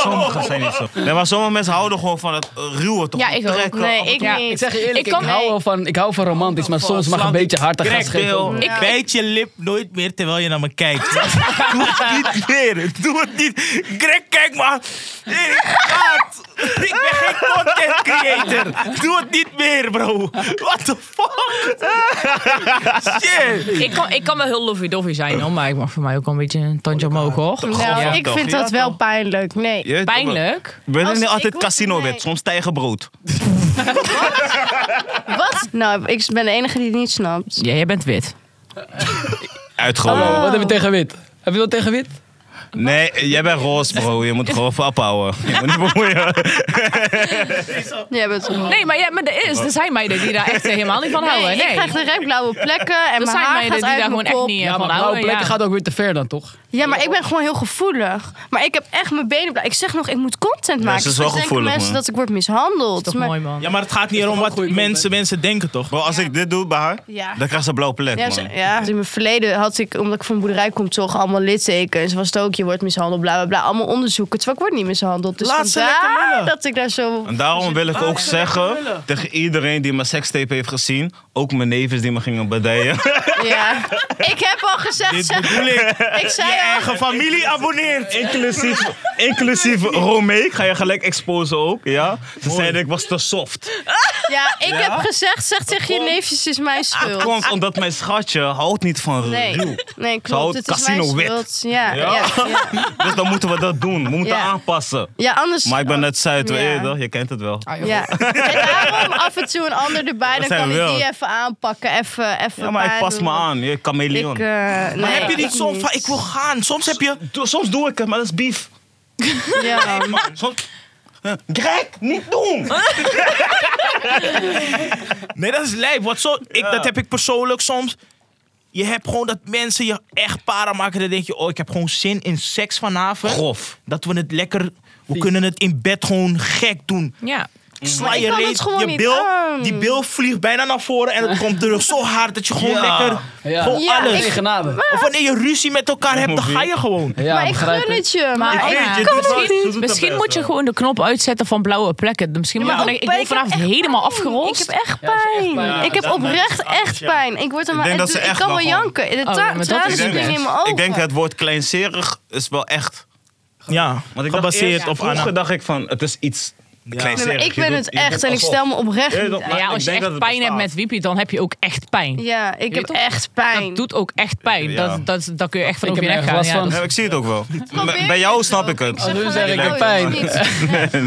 [SPEAKER 3] Sommigen zijn niet zo. Nee, maar sommige mensen houden gewoon van het eh, ruwe, toch?
[SPEAKER 5] Ja, ik ook.
[SPEAKER 3] Trekken,
[SPEAKER 4] Nee,
[SPEAKER 3] af en
[SPEAKER 4] ik
[SPEAKER 5] Ja,
[SPEAKER 4] niet.
[SPEAKER 2] Ik zeg je eerlijk, ik,
[SPEAKER 5] Ik kan-
[SPEAKER 2] hou
[SPEAKER 4] nee.
[SPEAKER 2] wel van, ik hou van romantisch, maar soms mag een beetje hard aan
[SPEAKER 1] Greg,
[SPEAKER 2] gas geven.
[SPEAKER 1] Deel,
[SPEAKER 2] Nee,
[SPEAKER 5] Ik-
[SPEAKER 1] bijt je lip nooit meer terwijl je naar me kijkt. Doe het niet meer. Doe het niet. Greg, kijk maar. Erik, gaat. Ik ben geen content creator. Doe het niet meer, bro. What the fuck? Shit.
[SPEAKER 5] Ik kan, ik kan wel heel lovey-dovey zijn hoor, maar ik mag voor mij ook wel een beetje een tandje omhoog hoor.
[SPEAKER 4] Nou,
[SPEAKER 1] Ja,
[SPEAKER 4] ik
[SPEAKER 1] toch?
[SPEAKER 4] vind
[SPEAKER 1] Ja,
[SPEAKER 4] dat wel
[SPEAKER 1] toch?
[SPEAKER 4] pijnlijk. Nee.
[SPEAKER 3] toe. Je weet toch wel-
[SPEAKER 5] Pijnlijk.
[SPEAKER 3] We zijn
[SPEAKER 4] Als-
[SPEAKER 3] niet
[SPEAKER 4] ik
[SPEAKER 3] altijd
[SPEAKER 4] hoef-
[SPEAKER 3] casino
[SPEAKER 4] nee.
[SPEAKER 3] wit, soms tijgerbrood.
[SPEAKER 4] Wat? Nou, ik ben de enige die het niet snapt.
[SPEAKER 5] Ja, jij bent wit.
[SPEAKER 3] Uitgelopen.
[SPEAKER 4] Oh.
[SPEAKER 2] Wat hebben we tegen wit? Heb je wat tegen wit?
[SPEAKER 3] Nee, jij bent roos, bro. Je moet gewoon
[SPEAKER 4] (laughs)
[SPEAKER 3] vap houden. Je moet niet bemoeien.
[SPEAKER 4] Jij bent een-
[SPEAKER 5] Nee, maar, ja, maar er, is, er zijn meiden die daar echt eh, helemaal niet van houden.
[SPEAKER 4] Nee,
[SPEAKER 5] Nee,
[SPEAKER 4] ik krijg direct blauwe plekken en
[SPEAKER 5] er
[SPEAKER 4] mijn
[SPEAKER 5] zijn
[SPEAKER 4] haar
[SPEAKER 5] meiden
[SPEAKER 4] gaat
[SPEAKER 5] die daar
[SPEAKER 4] uit
[SPEAKER 5] gewoon
[SPEAKER 4] mijn
[SPEAKER 5] echt
[SPEAKER 4] kop.
[SPEAKER 5] niet eh,
[SPEAKER 2] Ja,
[SPEAKER 5] van
[SPEAKER 2] maar blauwe
[SPEAKER 5] houden.
[SPEAKER 2] plekken
[SPEAKER 5] ja.
[SPEAKER 2] gaat ook weer te ver dan, toch?
[SPEAKER 4] Ja, maar ik ben gewoon heel gevoelig. Maar ik heb echt mijn benen blauw. Ik zeg nog, ik moet content maken.
[SPEAKER 3] ze is
[SPEAKER 4] Dus
[SPEAKER 3] wel
[SPEAKER 4] denken
[SPEAKER 3] gevoelig,
[SPEAKER 4] mensen
[SPEAKER 3] man.
[SPEAKER 4] dat ik word mishandeld.
[SPEAKER 5] Toch
[SPEAKER 4] maar...
[SPEAKER 5] mooi man.
[SPEAKER 1] Ja, maar het gaat niet erom wat
[SPEAKER 2] goede
[SPEAKER 1] mensen,
[SPEAKER 2] content.
[SPEAKER 1] mensen denken, toch?
[SPEAKER 3] Bro, als ik dit doe bij haar,
[SPEAKER 4] Ja.
[SPEAKER 3] dan krijgt ze een blauwe plek,
[SPEAKER 4] Ja,
[SPEAKER 3] man.
[SPEAKER 4] ze- ja. Dus In mijn verleden had ik, omdat ik van een boerderij kom, toch allemaal littekens. Was het ook, je wordt mishandeld, bla bla bla. Allemaal onderzoeken. Terwijl ik word niet mishandeld. Dus
[SPEAKER 1] Laat ze lekker
[SPEAKER 4] vandaar
[SPEAKER 1] lullen.
[SPEAKER 4] dat ik daar zo...
[SPEAKER 3] En daarom wil
[SPEAKER 4] Oh,
[SPEAKER 3] ik ook zeggen
[SPEAKER 1] willen.
[SPEAKER 3] tegen iedereen die mijn sekstape heeft gezien, ook mijn neefjes die me gingen
[SPEAKER 4] (laughs)
[SPEAKER 3] bedijen.
[SPEAKER 4] Ja. Ik heb al gezegd,
[SPEAKER 1] Dit
[SPEAKER 4] zeg,
[SPEAKER 1] bedoel ik.
[SPEAKER 4] (laughs) ik zei
[SPEAKER 1] Je
[SPEAKER 4] al...
[SPEAKER 1] eigen familie abonneert.
[SPEAKER 3] inclusief, inclusief Romee, ik ga je gelijk exposen ook, ja? Ze zeiden ik was te soft.
[SPEAKER 4] Ja, ik heb gezegd, zeg tegen je neefjes, het is mijn schuld.
[SPEAKER 3] Komt omdat mijn schatje houdt niet van
[SPEAKER 4] Nee,
[SPEAKER 3] ruw.
[SPEAKER 4] nee klopt.
[SPEAKER 3] houdt
[SPEAKER 4] Het is mijn
[SPEAKER 3] casino wit.
[SPEAKER 4] schuld. Ja,
[SPEAKER 3] Ja?
[SPEAKER 4] ja. Ja, ja.
[SPEAKER 3] Dus dan moeten we dat doen. We moeten
[SPEAKER 4] Ja.
[SPEAKER 3] aanpassen.
[SPEAKER 4] anders...
[SPEAKER 3] Maar ik ben net Zuid,
[SPEAKER 4] Ja.
[SPEAKER 3] weet je toch? je kent het wel.
[SPEAKER 4] Ja. En daarom af en toe een ander erbij, dan
[SPEAKER 3] zijn
[SPEAKER 4] kan
[SPEAKER 3] we
[SPEAKER 4] ik
[SPEAKER 3] wel.
[SPEAKER 4] die even aanpakken. Even, even
[SPEAKER 3] Ja, maar ik
[SPEAKER 4] pijn
[SPEAKER 3] pas
[SPEAKER 4] doen.
[SPEAKER 3] me aan, je chameleon.
[SPEAKER 4] Ik, eh, nee,
[SPEAKER 1] Maar heb je
[SPEAKER 4] ik
[SPEAKER 1] niet soms van, ik wil gaan. Soms heb je...
[SPEAKER 3] Doe- Soms doe ik het, maar dat is beef.
[SPEAKER 4] Ja.
[SPEAKER 3] Soms... Eh, Greg, niet doen!
[SPEAKER 1] Nee, dat is lijp. Want zo, ik, dat heb ik persoonlijk soms. Je hebt gewoon dat mensen je echt para maken. Dan denk je, oh, ik heb gewoon zin in seks vanavond.
[SPEAKER 3] Grof.
[SPEAKER 1] Dat we het lekker... We kunnen het in bed gewoon gek doen.
[SPEAKER 5] Ja.
[SPEAKER 1] Sla je
[SPEAKER 4] kan het
[SPEAKER 1] reet,
[SPEAKER 4] gewoon
[SPEAKER 1] je
[SPEAKER 4] niet
[SPEAKER 1] bil,
[SPEAKER 4] aan.
[SPEAKER 1] die bil vliegt bijna naar voren en het komt terug zo hard dat je gewoon
[SPEAKER 3] Ja.
[SPEAKER 1] lekker,
[SPEAKER 2] Ja.
[SPEAKER 1] gewoon
[SPEAKER 4] Ja,
[SPEAKER 1] alles.
[SPEAKER 2] Geen genade.
[SPEAKER 1] Of wanneer je ruzie met elkaar hebt, dan ga je gewoon.
[SPEAKER 2] Ja,
[SPEAKER 4] maar ik
[SPEAKER 2] begrijp
[SPEAKER 4] gun
[SPEAKER 2] ik.
[SPEAKER 4] het je. Maar,
[SPEAKER 5] Maar
[SPEAKER 4] ik-
[SPEAKER 5] ja,
[SPEAKER 3] je doet wel- ze doet
[SPEAKER 5] misschien,
[SPEAKER 3] het
[SPEAKER 5] misschien
[SPEAKER 3] best
[SPEAKER 5] moet je
[SPEAKER 3] wel.
[SPEAKER 5] gewoon de knop uitzetten van blauwe plekken. Misschien moet
[SPEAKER 4] maar
[SPEAKER 5] je
[SPEAKER 4] ook
[SPEAKER 5] denken,
[SPEAKER 4] pijn,
[SPEAKER 5] ik ben
[SPEAKER 4] ik heb
[SPEAKER 5] vanavond
[SPEAKER 4] echt
[SPEAKER 5] helemaal
[SPEAKER 4] pijn.
[SPEAKER 5] afgerold.
[SPEAKER 4] Ik heb echt
[SPEAKER 2] Ja, ze is echt
[SPEAKER 4] pijn.
[SPEAKER 2] pijn.
[SPEAKER 4] ik heb
[SPEAKER 1] Ja, dat
[SPEAKER 4] oprecht
[SPEAKER 1] maakt het
[SPEAKER 4] echt
[SPEAKER 1] anders, ja.
[SPEAKER 4] pijn. Ik word er maar
[SPEAKER 3] denk
[SPEAKER 4] echt
[SPEAKER 3] dat ze
[SPEAKER 4] door- ik
[SPEAKER 3] echt
[SPEAKER 4] kan wel
[SPEAKER 3] wel gewoon-
[SPEAKER 4] janken. De
[SPEAKER 5] Oh,
[SPEAKER 4] tra-
[SPEAKER 5] ja, maar dat
[SPEAKER 4] tranen
[SPEAKER 5] is
[SPEAKER 3] Ik denk,
[SPEAKER 4] springen in mijn
[SPEAKER 3] het,
[SPEAKER 4] ogen.
[SPEAKER 3] ik denk het woord kleinzerig is wel echt.
[SPEAKER 1] Ja,
[SPEAKER 3] Want ik
[SPEAKER 1] gebaseerd
[SPEAKER 3] dacht,
[SPEAKER 1] op
[SPEAKER 3] eerst, vroeger
[SPEAKER 1] Anna.
[SPEAKER 3] dacht ik van, het is iets
[SPEAKER 4] Nee,
[SPEAKER 3] kleinzerig.
[SPEAKER 4] maar ik
[SPEAKER 3] Je
[SPEAKER 4] ben
[SPEAKER 3] doet-
[SPEAKER 4] het
[SPEAKER 3] je doet
[SPEAKER 4] echt en ik
[SPEAKER 3] alsof.
[SPEAKER 4] stel me oprecht
[SPEAKER 3] Ja,
[SPEAKER 4] niet
[SPEAKER 3] dat-
[SPEAKER 4] aan.
[SPEAKER 5] Ja,
[SPEAKER 3] ik
[SPEAKER 5] als je
[SPEAKER 3] denk dat
[SPEAKER 5] echt
[SPEAKER 3] het
[SPEAKER 5] pijn hebt
[SPEAKER 3] bestaat.
[SPEAKER 5] met wiepie, dan heb je ook echt pijn.
[SPEAKER 4] Ja, ik heb
[SPEAKER 5] toch?
[SPEAKER 4] echt pijn.
[SPEAKER 5] Dat doet ook echt pijn.
[SPEAKER 3] Ja.
[SPEAKER 5] Dat, dat, dat kun je echt van
[SPEAKER 2] Ik
[SPEAKER 5] over je
[SPEAKER 2] heb
[SPEAKER 5] nek
[SPEAKER 2] er
[SPEAKER 5] gaan.
[SPEAKER 2] last
[SPEAKER 5] Ja,
[SPEAKER 2] van.
[SPEAKER 5] dat-
[SPEAKER 3] Ja, ik zie het ook wel.
[SPEAKER 4] Probeer
[SPEAKER 3] Bij- Bij jou
[SPEAKER 4] het
[SPEAKER 3] snap
[SPEAKER 4] ook.
[SPEAKER 3] Nou, ik het.
[SPEAKER 4] zeg
[SPEAKER 2] nu
[SPEAKER 4] gelijk,
[SPEAKER 2] zeg ik, ik
[SPEAKER 4] oh,
[SPEAKER 2] heb
[SPEAKER 4] joh,
[SPEAKER 2] pijn.
[SPEAKER 4] niks.
[SPEAKER 3] (laughs) nee,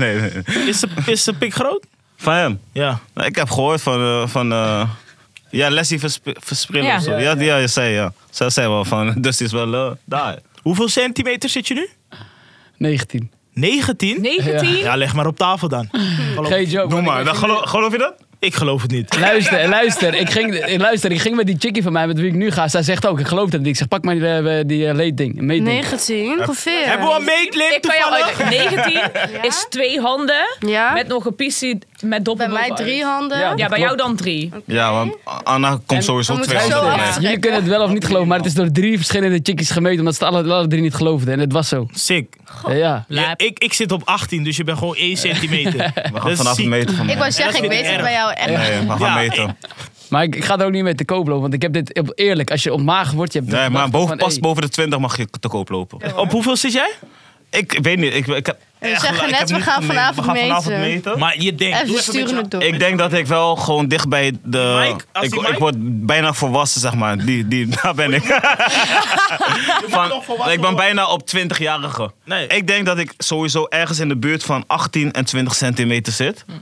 [SPEAKER 3] nee.
[SPEAKER 1] Is de, is de pik groot?
[SPEAKER 3] Van hem.
[SPEAKER 1] Ja.
[SPEAKER 3] Nou, Ik heb gehoord van. eh, van eh, ja, Leslie Versp- Versprillen
[SPEAKER 5] Ja.
[SPEAKER 3] of zo. Ja, die- ja, je zei ja. (laughs) Zij zei wel van. Dus die is wel eh, daar.
[SPEAKER 1] Hoeveel centimeter zit je nu?
[SPEAKER 2] 19.
[SPEAKER 1] 19?
[SPEAKER 5] 19?
[SPEAKER 1] Ja, leg maar op tafel dan. Geloof-
[SPEAKER 2] Geen joke.
[SPEAKER 3] Doe
[SPEAKER 2] man.
[SPEAKER 3] maar, dan gelo- geloof je dat?
[SPEAKER 1] Ik geloof het niet.
[SPEAKER 2] Luister, luister ik, ging, eh, luister. ik ging met die chickie van mij, met wie ik nu ga. Zij zegt ook, ik geloof dat niet. Ik zeg, pak maar die, eh, die eh, leed ding. meetding.
[SPEAKER 4] 19 ongeveer.
[SPEAKER 1] Hebben we een meetlink
[SPEAKER 5] Ik kan jou
[SPEAKER 1] toevallig?
[SPEAKER 5] uitleggen. 19 is twee handen
[SPEAKER 4] Ja,
[SPEAKER 5] met nog een pissie met doppel
[SPEAKER 4] bij mij
[SPEAKER 5] bovenuit.
[SPEAKER 4] drie handen.
[SPEAKER 2] Ja,
[SPEAKER 5] Ja, bij jou dan drie.
[SPEAKER 3] Ja, want Anna komt sowieso
[SPEAKER 4] dan
[SPEAKER 3] twee
[SPEAKER 4] moeten we
[SPEAKER 3] handen
[SPEAKER 4] zo
[SPEAKER 3] op mij.
[SPEAKER 4] af-
[SPEAKER 2] Jullie kunnen het wel of niet geloven, maar het is door drie verschillende chickies gemeten. Omdat ze het alle, alle drie niet geloofden. En het was zo.
[SPEAKER 1] Sick.
[SPEAKER 2] Ja, ja.
[SPEAKER 1] Ja,
[SPEAKER 5] Laat.
[SPEAKER 1] ik, ik zit op 18, dus je bent gewoon 1 centimeter.
[SPEAKER 3] We gaan vanaf een meter van
[SPEAKER 4] Ik wou zeggen, ik
[SPEAKER 1] vind ik
[SPEAKER 4] weet het
[SPEAKER 1] erg.
[SPEAKER 4] bij jou echt.
[SPEAKER 3] Nee, we gaan
[SPEAKER 1] Dus Ja,
[SPEAKER 3] meten.
[SPEAKER 2] Maar ik, ik ga er ook niet mee te koop lopen. Want ik heb dit, op- eerlijk, als je ontmaagd wordt, je hebt... de
[SPEAKER 3] Nee, maar
[SPEAKER 2] gedachte
[SPEAKER 3] boven,
[SPEAKER 2] van,
[SPEAKER 3] pas
[SPEAKER 2] hey,
[SPEAKER 3] boven de 20 mag je te koop lopen.
[SPEAKER 1] Op hoeveel zit jij?
[SPEAKER 3] Ik weet niet, ik, ik heb echt
[SPEAKER 4] zeggen
[SPEAKER 3] la- ik
[SPEAKER 4] net,
[SPEAKER 3] heb
[SPEAKER 4] we
[SPEAKER 3] niet
[SPEAKER 4] gaan
[SPEAKER 3] gemeten.
[SPEAKER 4] vanavond
[SPEAKER 3] we gaan vanavond
[SPEAKER 4] meten.
[SPEAKER 3] meten.
[SPEAKER 1] Maar je denkt. doe
[SPEAKER 4] Even, we
[SPEAKER 1] met
[SPEAKER 4] sturen
[SPEAKER 1] je-
[SPEAKER 4] het door.
[SPEAKER 3] Ik denk dat ik wel gewoon dicht bij de...
[SPEAKER 1] Mike, als
[SPEAKER 3] ik,
[SPEAKER 1] die Mike-
[SPEAKER 3] ik word bijna volwassen, zeg maar. Die, die, (laughs) daar ben ik. (laughs) Van-
[SPEAKER 1] nog volwassen
[SPEAKER 3] ik ben
[SPEAKER 1] worden.
[SPEAKER 3] bijna op 20-jarige.
[SPEAKER 1] Nee.
[SPEAKER 3] Ik denk dat ik sowieso ergens in de buurt van 18 en 20 centimeter zit.
[SPEAKER 1] Hm.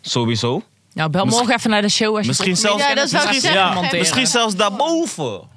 [SPEAKER 3] Sowieso.
[SPEAKER 5] Nou, bel morgen even naar de show als je
[SPEAKER 3] Misschien zelfs-
[SPEAKER 4] Ja, dat zou ik
[SPEAKER 5] Misschien-
[SPEAKER 4] zeggen.
[SPEAKER 1] ja,
[SPEAKER 4] Geen-
[SPEAKER 3] Misschien zelfs daarboven.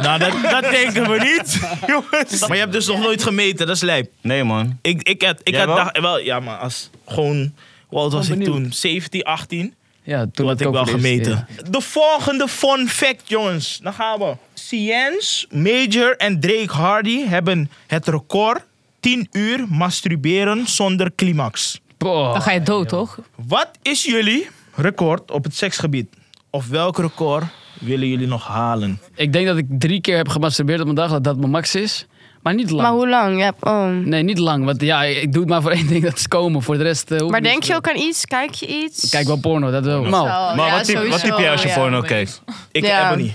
[SPEAKER 1] Nou, dat, dat denken we niet. Jongens. Maar je hebt dus nog nooit gemeten, dat is lijp.
[SPEAKER 3] Nee, man.
[SPEAKER 1] Ik, ik had, ik
[SPEAKER 3] Jij
[SPEAKER 1] had
[SPEAKER 3] wel?
[SPEAKER 1] dacht- wel, ja, maar als gewoon, hoe oud was ik
[SPEAKER 2] benieuwd.
[SPEAKER 1] toen? 17, 18?
[SPEAKER 2] Ja, toen,
[SPEAKER 1] Toen
[SPEAKER 2] het
[SPEAKER 1] had ik
[SPEAKER 2] ook
[SPEAKER 1] wel
[SPEAKER 2] voor het eerst,
[SPEAKER 1] gemeten. De volgende fun fact, jongens. Dan gaan we. Science, Major en Drake Hardy hebben het record 10 uur masturberen zonder climax.
[SPEAKER 2] ja. Boah.
[SPEAKER 5] Dan ga je dood, toch? (laughs)
[SPEAKER 1] Wat is jullie record op het seksgebied? Of welk record willen jullie nog halen?
[SPEAKER 2] Ik denk dat ik drie keer heb gemasturbeerd op mijn dag, dat dat mijn max is. Maar niet lang.
[SPEAKER 4] Maar hoe lang? Ja, oh.
[SPEAKER 2] Nee, niet lang. Want ja, ik doe het maar voor één ding, (laughs) dat is komen. Voor de rest... eh, hoef ik
[SPEAKER 4] Maar
[SPEAKER 2] niet
[SPEAKER 4] denk
[SPEAKER 2] te
[SPEAKER 4] je
[SPEAKER 2] doen.
[SPEAKER 4] ook aan iets? Kijk je iets?
[SPEAKER 2] Ik Kijk wel porno, dat wel.
[SPEAKER 4] Zo,
[SPEAKER 2] Nou,
[SPEAKER 3] Maar
[SPEAKER 4] ja,
[SPEAKER 3] wat, type, wat
[SPEAKER 4] sowieso,
[SPEAKER 3] type jij als je
[SPEAKER 4] ja.
[SPEAKER 3] porno kijkt?
[SPEAKER 1] Ik,
[SPEAKER 4] Ja.
[SPEAKER 1] Ebony.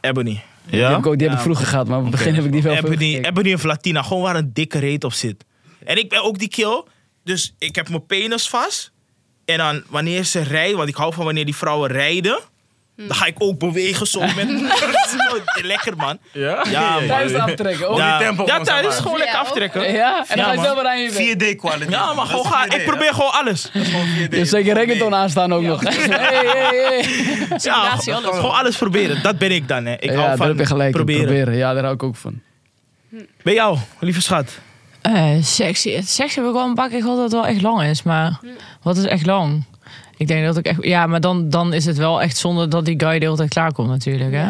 [SPEAKER 1] Ebony.
[SPEAKER 2] Die
[SPEAKER 3] Ja?
[SPEAKER 2] heb ik, ook- die heb ik vroeger gehad, maar op het begin heb ik die wel veel
[SPEAKER 1] Ebony,
[SPEAKER 2] gekeken.
[SPEAKER 1] Ebony of Latina, gewoon waar een dikke reet op zit. En ik ben ook die kill, dus ik heb mijn penis vast. En dan wanneer ze rijden, want ik hou van wanneer die vrouwen rijden, dan ga ik ook bewegen zo met. (laughs) lekker man.
[SPEAKER 3] Ja?
[SPEAKER 1] Ja, man.
[SPEAKER 2] Thuis aftrekken, ook.
[SPEAKER 1] ja,
[SPEAKER 3] die tempo
[SPEAKER 1] ja,
[SPEAKER 3] gewoon, zeg
[SPEAKER 1] thuis
[SPEAKER 3] maar.
[SPEAKER 1] gewoon lekker
[SPEAKER 4] Ja, ook.
[SPEAKER 1] aftrekken.
[SPEAKER 2] Ja, en dan ga je
[SPEAKER 1] man.
[SPEAKER 2] zelf maar aan je bek.
[SPEAKER 3] 4D kwaliteit.
[SPEAKER 1] Ja, maar gewoon gaan. Ik probeer gewoon alles.
[SPEAKER 2] Je hebt zeker reggaeton aanstaan ook nog. Hey, hey, hey.
[SPEAKER 1] Ja,
[SPEAKER 5] Simulatie, alles.
[SPEAKER 1] Gewoon alles proberen. Dat ben ik dan, hè. Ik
[SPEAKER 2] ja,
[SPEAKER 1] hou
[SPEAKER 2] daar
[SPEAKER 1] van
[SPEAKER 2] heb je gelijk in,
[SPEAKER 1] proberen.
[SPEAKER 2] proberen. Ja, daar hou ik ook van.
[SPEAKER 1] Bij jou, lieve schat.
[SPEAKER 5] Eh, sexy. Het Seks heb ik wel een paar keer gehad dat het wel echt lang is. Maar wat is echt lang? Ik denk dat ik echt... Ja, maar dan, dan is het wel echt zonder dat die guy de hele tijd klaarkomt natuurlijk, hè?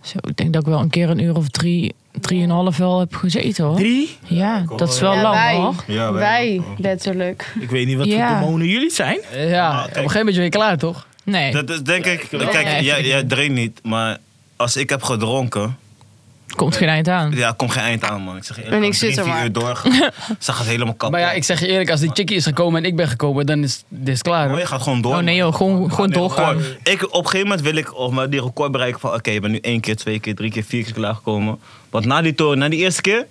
[SPEAKER 5] Zo, ik denk dat ik wel een keer een uur of drie, drieënhalf wel heb gezeten, hoor.
[SPEAKER 1] Drie.
[SPEAKER 5] Ja, dat is wel
[SPEAKER 4] Ja,
[SPEAKER 5] lang,
[SPEAKER 4] wij.
[SPEAKER 5] hoor.
[SPEAKER 3] Ja,
[SPEAKER 4] Wij, letterlijk.
[SPEAKER 1] Ik weet niet wat
[SPEAKER 5] Ja.
[SPEAKER 1] voor demonen jullie zijn.
[SPEAKER 2] Ja, op een gegeven moment ben je klaar, toch?
[SPEAKER 5] Nee.
[SPEAKER 3] Dat is denk ik... Kijk,
[SPEAKER 5] Nee.
[SPEAKER 3] jij, jij drinkt niet, maar als ik heb gedronken...
[SPEAKER 5] Komt geen eind aan.
[SPEAKER 3] Ja, komt geen eind aan, man. Ik zeg je,
[SPEAKER 4] En ik
[SPEAKER 3] kan
[SPEAKER 4] zit
[SPEAKER 3] drie,
[SPEAKER 4] er
[SPEAKER 3] vier
[SPEAKER 4] maar.
[SPEAKER 3] uur doorgaan. Ze gaat helemaal kapot.
[SPEAKER 2] Maar ja, ik zeg je eerlijk, als die chickie is gekomen en ik ben gekomen, dan is dit is klaar.
[SPEAKER 3] Maar
[SPEAKER 2] hoor.
[SPEAKER 3] je gaat gewoon door.
[SPEAKER 5] Oh nee, joh. Gewoon, gewoon
[SPEAKER 3] man.
[SPEAKER 5] doorgaan.
[SPEAKER 3] Record. Ik, op een gegeven moment wil ik of maar die record bereiken van... Oké, je bent nu één keer, twee keer, drie keer, vier keer klaargekomen. Want na die toren, na die eerste keer...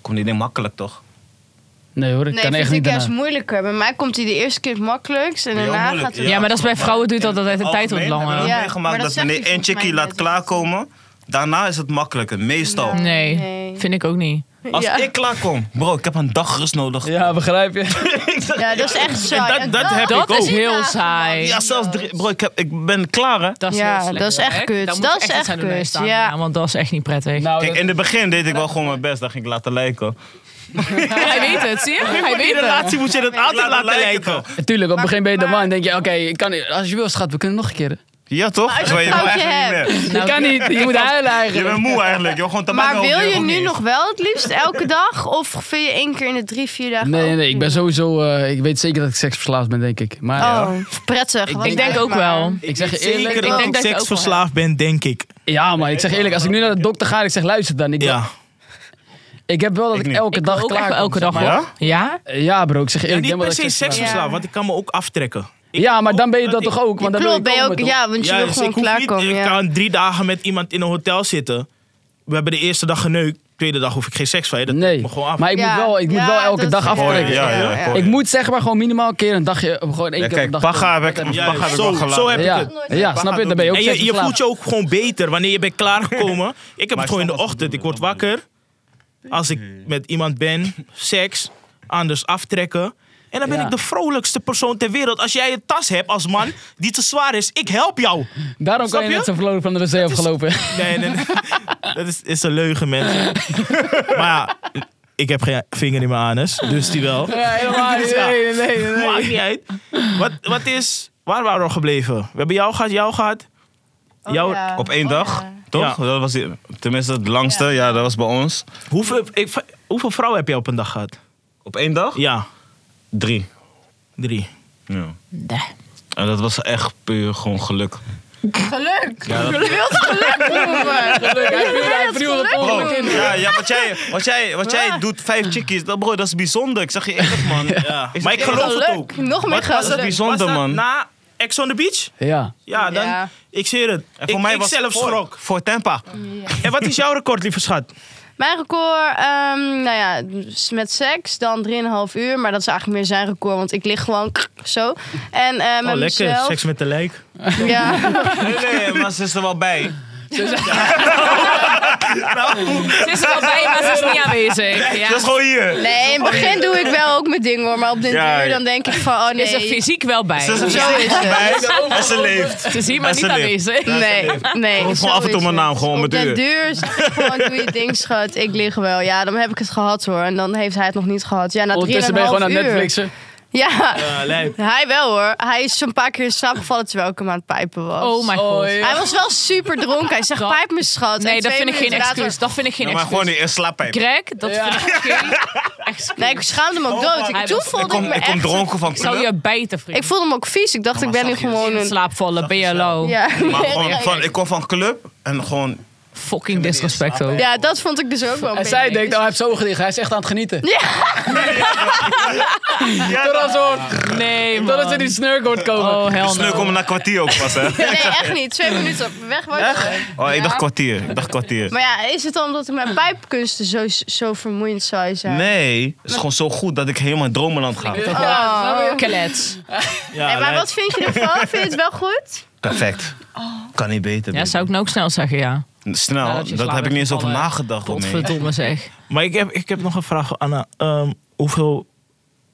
[SPEAKER 3] Komt die ding makkelijk, toch?
[SPEAKER 2] Nee hoor, ik kan
[SPEAKER 4] Nee, vind
[SPEAKER 2] echt
[SPEAKER 4] ik
[SPEAKER 2] niet
[SPEAKER 4] juist
[SPEAKER 2] daarna.
[SPEAKER 4] moeilijker. Bij mij komt hij de eerste keer het makkelijkst en
[SPEAKER 3] Ja,
[SPEAKER 4] daarna
[SPEAKER 3] moeilijk,
[SPEAKER 4] gaat het...
[SPEAKER 3] ja.
[SPEAKER 5] Ja, maar dat is bij vrouwen duurt dat altijd de
[SPEAKER 3] In het
[SPEAKER 5] tijd wat
[SPEAKER 3] algemeen hebben
[SPEAKER 5] langer.
[SPEAKER 3] we
[SPEAKER 4] Ja,
[SPEAKER 3] meegemaakt
[SPEAKER 4] maar dat
[SPEAKER 3] dat,
[SPEAKER 4] zegt
[SPEAKER 3] wanneer
[SPEAKER 4] hij
[SPEAKER 3] één
[SPEAKER 4] volgens
[SPEAKER 3] chickie
[SPEAKER 4] mij
[SPEAKER 3] laat
[SPEAKER 4] net.
[SPEAKER 3] klaarkomen... Daarna is het makkelijker, meestal.
[SPEAKER 5] Nee,
[SPEAKER 4] Nee.
[SPEAKER 5] vind ik ook niet.
[SPEAKER 3] Als
[SPEAKER 4] Ja.
[SPEAKER 3] ik klaarkom... Bro, ik heb een dag rust (laughs) nodig.
[SPEAKER 2] Ja, begrijp je?
[SPEAKER 4] Ja, dat is echt zo.
[SPEAKER 1] dat- dat heb
[SPEAKER 5] Dat is heel saai.
[SPEAKER 3] Ja, zelfs drie. Bro, ik, heb, ik ben klaar, hè?
[SPEAKER 5] Dat is
[SPEAKER 4] Ja,
[SPEAKER 5] heel slecht.
[SPEAKER 4] dat is echt
[SPEAKER 5] Daar
[SPEAKER 4] kut.
[SPEAKER 5] moet je
[SPEAKER 4] Dat is
[SPEAKER 5] iets
[SPEAKER 4] echt
[SPEAKER 5] aan doen, nee,
[SPEAKER 4] kut,
[SPEAKER 5] staan.
[SPEAKER 4] ja.
[SPEAKER 5] want dat is echt niet prettig.
[SPEAKER 2] Nou,
[SPEAKER 3] Kijk,
[SPEAKER 2] dat-
[SPEAKER 3] in het begin deed ik wel gewoon mijn best. Dan ging ik laten lijken.
[SPEAKER 5] (laughs) Hij weet het, zie je? Hij weet het.
[SPEAKER 1] Relatie moet je dat altijd laten lijken.
[SPEAKER 2] tuurlijk, op het begin ben je de
[SPEAKER 4] maar- Nou,
[SPEAKER 2] man. denk je, oké, ik kan niet. als je wil schat, we kunnen nog een keer.
[SPEAKER 3] Ja, toch?
[SPEAKER 4] als je
[SPEAKER 3] Zo,
[SPEAKER 4] een
[SPEAKER 3] wil
[SPEAKER 4] foutje
[SPEAKER 3] eigenlijk niet meer.
[SPEAKER 2] je kan niet, je moet huilen
[SPEAKER 3] Je
[SPEAKER 2] eigenlijk.
[SPEAKER 3] bent moe eigenlijk. Je wil gewoon tabak
[SPEAKER 4] Maar
[SPEAKER 3] roken,
[SPEAKER 4] wil je
[SPEAKER 3] wil
[SPEAKER 4] nu
[SPEAKER 3] niet
[SPEAKER 4] nog
[SPEAKER 3] eens.
[SPEAKER 4] wel het liefst elke dag? Of vind je één keer in de drie, vier dagen
[SPEAKER 2] Nee,
[SPEAKER 4] ook
[SPEAKER 2] nee, nee, ik ben
[SPEAKER 4] niet?
[SPEAKER 2] sowieso, eh, ik weet zeker dat ik seksverslaafd ben, denk ik. Maar
[SPEAKER 4] Oh, prettig. want
[SPEAKER 5] Ik denk ook
[SPEAKER 4] maar-
[SPEAKER 5] wel.
[SPEAKER 2] ik zeg je eerlijk,
[SPEAKER 1] Zeker dat
[SPEAKER 5] denk
[SPEAKER 1] ik
[SPEAKER 5] dat je ook wel
[SPEAKER 1] seksverslaafd ben, denk ik.
[SPEAKER 2] Ja, maar ik zeg eerlijk, als ik nu naar de dokter ga en ik zeg luister dan. Ik,
[SPEAKER 1] Ja.
[SPEAKER 2] ik heb wel dat
[SPEAKER 3] Ik
[SPEAKER 2] ik,
[SPEAKER 3] niet.
[SPEAKER 2] elke
[SPEAKER 5] Ik wil
[SPEAKER 2] dag
[SPEAKER 5] ook echt
[SPEAKER 2] klaar
[SPEAKER 5] wel elke dag.
[SPEAKER 3] Ja?
[SPEAKER 5] hoor. Ja?
[SPEAKER 2] Ja bro, ik zeg
[SPEAKER 1] Ja,
[SPEAKER 2] eerlijk. ik
[SPEAKER 1] niet
[SPEAKER 2] ben
[SPEAKER 1] per
[SPEAKER 2] wel dat ik
[SPEAKER 1] se
[SPEAKER 2] seksverslaafd
[SPEAKER 1] seksverslaafd,
[SPEAKER 4] Ja.
[SPEAKER 1] want ik kan me ook aftrekken.
[SPEAKER 2] ben. Ja, maar dan ben je dat toch ook? Want dan wil je
[SPEAKER 4] Klopt, ben je
[SPEAKER 2] komen,
[SPEAKER 4] ook,
[SPEAKER 2] toch?
[SPEAKER 4] ja, want je wil
[SPEAKER 1] Juist,
[SPEAKER 4] gewoon
[SPEAKER 1] dus ik, hoef niet,
[SPEAKER 4] klaarkomen.
[SPEAKER 1] ik
[SPEAKER 4] Ja.
[SPEAKER 1] kan drie dagen met iemand in een hotel zitten. We hebben de eerste dag geneukt. Tweede dag hoef ik geen seks van je. Dat
[SPEAKER 2] Nee,
[SPEAKER 1] me gewoon af.
[SPEAKER 2] maar ik moet
[SPEAKER 4] Ja.
[SPEAKER 2] wel, ik moet
[SPEAKER 4] Ja,
[SPEAKER 2] wel elke
[SPEAKER 4] dat
[SPEAKER 2] dag
[SPEAKER 4] is-
[SPEAKER 2] aftrekken.
[SPEAKER 3] Ja, ja, ja.
[SPEAKER 2] Ik moet zeg maar gewoon minimaal een keer een dagje, gewoon één
[SPEAKER 3] Ja,
[SPEAKER 2] keer een
[SPEAKER 3] kijk,
[SPEAKER 2] dag.
[SPEAKER 3] Paga heb ik,
[SPEAKER 1] Ja,
[SPEAKER 3] Paga heb ik wel
[SPEAKER 1] zo,
[SPEAKER 3] gelaten.
[SPEAKER 1] zo heb ik
[SPEAKER 2] Ja,
[SPEAKER 1] het.
[SPEAKER 2] ja snap je? Dan ben je ook
[SPEAKER 1] En je, je voelt
[SPEAKER 2] seksverslaafd.
[SPEAKER 1] je ook gewoon beter wanneer je bent (laughs) klaargekomen. Ik heb
[SPEAKER 3] Maar
[SPEAKER 1] het gewoon in de
[SPEAKER 3] snap wat ze
[SPEAKER 1] ochtend. Ik word
[SPEAKER 3] bedoelen,
[SPEAKER 1] wakker. Als ik met iemand ben, seks, anders aftrekken. En dan ben
[SPEAKER 2] Ja.
[SPEAKER 1] ik de vrolijkste persoon ter wereld. Als jij een tas hebt als man die te zwaar is, ik help jou.
[SPEAKER 2] Daarom
[SPEAKER 1] Snap
[SPEAKER 2] kan je
[SPEAKER 1] je?
[SPEAKER 2] net zo verloren van de wc afgelopen.
[SPEAKER 1] Nee, nee, nee. dat is, is een leugen, mensen. maar ja, ik heb geen vinger in mijn anus, dus die wel. Dus
[SPEAKER 2] Ja,
[SPEAKER 1] (laughs)
[SPEAKER 2] helemaal niet. Nee, nee, nee. nee.
[SPEAKER 1] Maakt niet uit. Wat, wat is... Waar waren we gebleven? We hebben jou gehad, jou gehad.
[SPEAKER 4] Oh,
[SPEAKER 1] jou,
[SPEAKER 4] ja.
[SPEAKER 3] Op één
[SPEAKER 4] Oh,
[SPEAKER 3] dag,
[SPEAKER 4] ja.
[SPEAKER 3] toch?
[SPEAKER 1] Ja.
[SPEAKER 3] Dat was die- tenminste het langste, ja. dat was bij ons.
[SPEAKER 1] hoeveel, ik, hoeveel vrouwen heb je op een dag gehad?
[SPEAKER 3] Op één dag?
[SPEAKER 1] Ja,
[SPEAKER 3] Drie.
[SPEAKER 1] drie.
[SPEAKER 3] Ja.
[SPEAKER 5] Nee.
[SPEAKER 3] En dat was echt puur gewoon geluk.
[SPEAKER 5] Geluk.
[SPEAKER 4] Je wilt geluk noemen.
[SPEAKER 2] Leuk, Hij viel- hij viel het
[SPEAKER 3] Bro,
[SPEAKER 2] ongeluk in.
[SPEAKER 3] Oh. ja, ja, wat jij, wat jij, wat jij doet, vijf chickies, dat, bro, dat is bijzonder. Ik zeg je eerlijk, man. Ja.
[SPEAKER 1] Maar ik geloof het ook.
[SPEAKER 4] Geluk. Nog meer
[SPEAKER 3] Wat was dat
[SPEAKER 4] geluk.
[SPEAKER 1] Was
[SPEAKER 3] bijzonder,
[SPEAKER 1] dat
[SPEAKER 3] man?
[SPEAKER 1] Na Ex on the Beach?
[SPEAKER 2] Ja.
[SPEAKER 1] Ja, dan...
[SPEAKER 4] Ja.
[SPEAKER 1] Ik zie het.
[SPEAKER 3] En
[SPEAKER 1] ik,
[SPEAKER 3] voor mij
[SPEAKER 1] ik
[SPEAKER 3] was
[SPEAKER 1] zelf
[SPEAKER 3] voor,
[SPEAKER 1] schrok.
[SPEAKER 3] Voor Tempa.
[SPEAKER 4] Mm.
[SPEAKER 1] En wat is jouw record, lieve schat?
[SPEAKER 4] Mijn record, ehm, nou ja, s- met seks dan 3,5 uur. Maar dat is eigenlijk meer zijn record, want ik lig gewoon (clears throat) zo. En eh, met
[SPEAKER 3] Oh,
[SPEAKER 4] mezelf.
[SPEAKER 1] Oh, met de lijk.
[SPEAKER 3] (laughs)
[SPEAKER 4] Ja.
[SPEAKER 3] Nee, nee, maar ze is er wel bij.
[SPEAKER 5] Ze is er wel bij, maar ze is niet aanwezig. Ja.
[SPEAKER 3] Ze is gewoon hier.
[SPEAKER 4] Nee, in het begin doe ik wel ook mijn ding hoor. Maar op den
[SPEAKER 3] Oh, Ja,
[SPEAKER 4] duur
[SPEAKER 3] ja.
[SPEAKER 4] dan denk ik van,
[SPEAKER 2] (laughs)
[SPEAKER 4] oh
[SPEAKER 5] Ze is er
[SPEAKER 4] nee.
[SPEAKER 5] fysiek wel bij.
[SPEAKER 3] Ze is er
[SPEAKER 4] Zo is het.
[SPEAKER 3] bij en ze leeft.
[SPEAKER 5] Ze is hier maar
[SPEAKER 3] Maar ze
[SPEAKER 5] niet
[SPEAKER 3] leeft.
[SPEAKER 5] aanwezig.
[SPEAKER 4] Nee, (laughs) nee.
[SPEAKER 3] Gewoon
[SPEAKER 4] zo
[SPEAKER 3] af en toe
[SPEAKER 4] is
[SPEAKER 3] mijn
[SPEAKER 4] het.
[SPEAKER 3] naam, gewoon
[SPEAKER 4] Op
[SPEAKER 3] met
[SPEAKER 4] den
[SPEAKER 3] uur.
[SPEAKER 4] duur zeg ik gewoon, doe je ding schat, ik lig wel. Ja, dan heb ik het gehad hoor. En dan heeft hij het nog niet gehad. Ja, na 3,5 uur.
[SPEAKER 2] Ondertussen ben je gewoon aan Netflixen.
[SPEAKER 4] Ja,
[SPEAKER 1] lijp.
[SPEAKER 4] hij wel hoor. Hij is een paar keer in slaap gevallen terwijl ik hem aan het pijpen was.
[SPEAKER 5] Oh mijn god.
[SPEAKER 2] Oh, ja.
[SPEAKER 4] Hij was wel super dronken. Hij zegt,
[SPEAKER 5] Dat-
[SPEAKER 4] pijp me schat. En
[SPEAKER 5] Nee, dat
[SPEAKER 4] twee
[SPEAKER 5] vind ik geen
[SPEAKER 4] minuten later-
[SPEAKER 5] excuus. Dat vind ik geen
[SPEAKER 3] Ja, maar gewoon
[SPEAKER 5] excuus.
[SPEAKER 3] niet in slaappijp.
[SPEAKER 5] Greg, dat
[SPEAKER 2] Ja.
[SPEAKER 5] vind ik geen
[SPEAKER 4] (laughs)
[SPEAKER 5] excuus.
[SPEAKER 4] Nee, ik schaamde me ook dood. Ik,
[SPEAKER 5] Hij
[SPEAKER 4] toen
[SPEAKER 5] was-
[SPEAKER 4] voelde
[SPEAKER 3] Ik kom,
[SPEAKER 4] ik me
[SPEAKER 3] ik kom
[SPEAKER 4] echt...
[SPEAKER 3] dronken van
[SPEAKER 5] Ik zou je bijten, vriend.
[SPEAKER 4] Ik voelde hem ook vies. Ik dacht, ik ben nu gewoon
[SPEAKER 5] In
[SPEAKER 4] een...
[SPEAKER 5] slaap vallen, BLO.
[SPEAKER 4] Ja.
[SPEAKER 3] Maar gewoon van, ik kom van club en gewoon...
[SPEAKER 5] Fucking disrespect ook.
[SPEAKER 4] ja, dat vond ik dus ook wel een
[SPEAKER 2] En
[SPEAKER 4] beetje
[SPEAKER 2] zij denkt, oh, hij heeft zo gedicht. Hij is echt aan het genieten. Totdat ze-
[SPEAKER 5] Nee, man.
[SPEAKER 2] Totdat ze die snurk hoort komen.
[SPEAKER 5] Oh, hell
[SPEAKER 3] Sneu
[SPEAKER 5] no.
[SPEAKER 3] komen na kwartier ook
[SPEAKER 4] (laughs)
[SPEAKER 3] pas, hè?
[SPEAKER 4] Nee, echt niet. Twee minuten weg was ik.
[SPEAKER 3] Oh, ik dacht kwartier. Ik dacht kwartier.
[SPEAKER 4] Maar ja, is het dan omdat ik mijn pijpkunsten zo, zo vermoeiend zou zijn?
[SPEAKER 3] Nee, het is gewoon zo goed dat ik helemaal in dromenland ga.
[SPEAKER 4] Oh.
[SPEAKER 5] Kelets.
[SPEAKER 1] Ja,
[SPEAKER 4] Hey, maar
[SPEAKER 1] lijp.
[SPEAKER 4] wat vind je ervan? Vind je het wel goed?
[SPEAKER 3] Perfect.
[SPEAKER 4] Oh.
[SPEAKER 3] Kan niet beter.
[SPEAKER 5] Ja,
[SPEAKER 3] baby.
[SPEAKER 5] zou ik nou ook snel zeggen, ja.
[SPEAKER 3] Snel,
[SPEAKER 5] Nou, dat je
[SPEAKER 3] dat,
[SPEAKER 5] slaap
[SPEAKER 3] heb ik niet eens over
[SPEAKER 4] eh,
[SPEAKER 5] weggevallen.
[SPEAKER 3] nagedacht. nee.
[SPEAKER 5] Godverdomme zeg.
[SPEAKER 1] Maar ik heb, ik heb nog een vraag, Anna. Ehm, hoeveel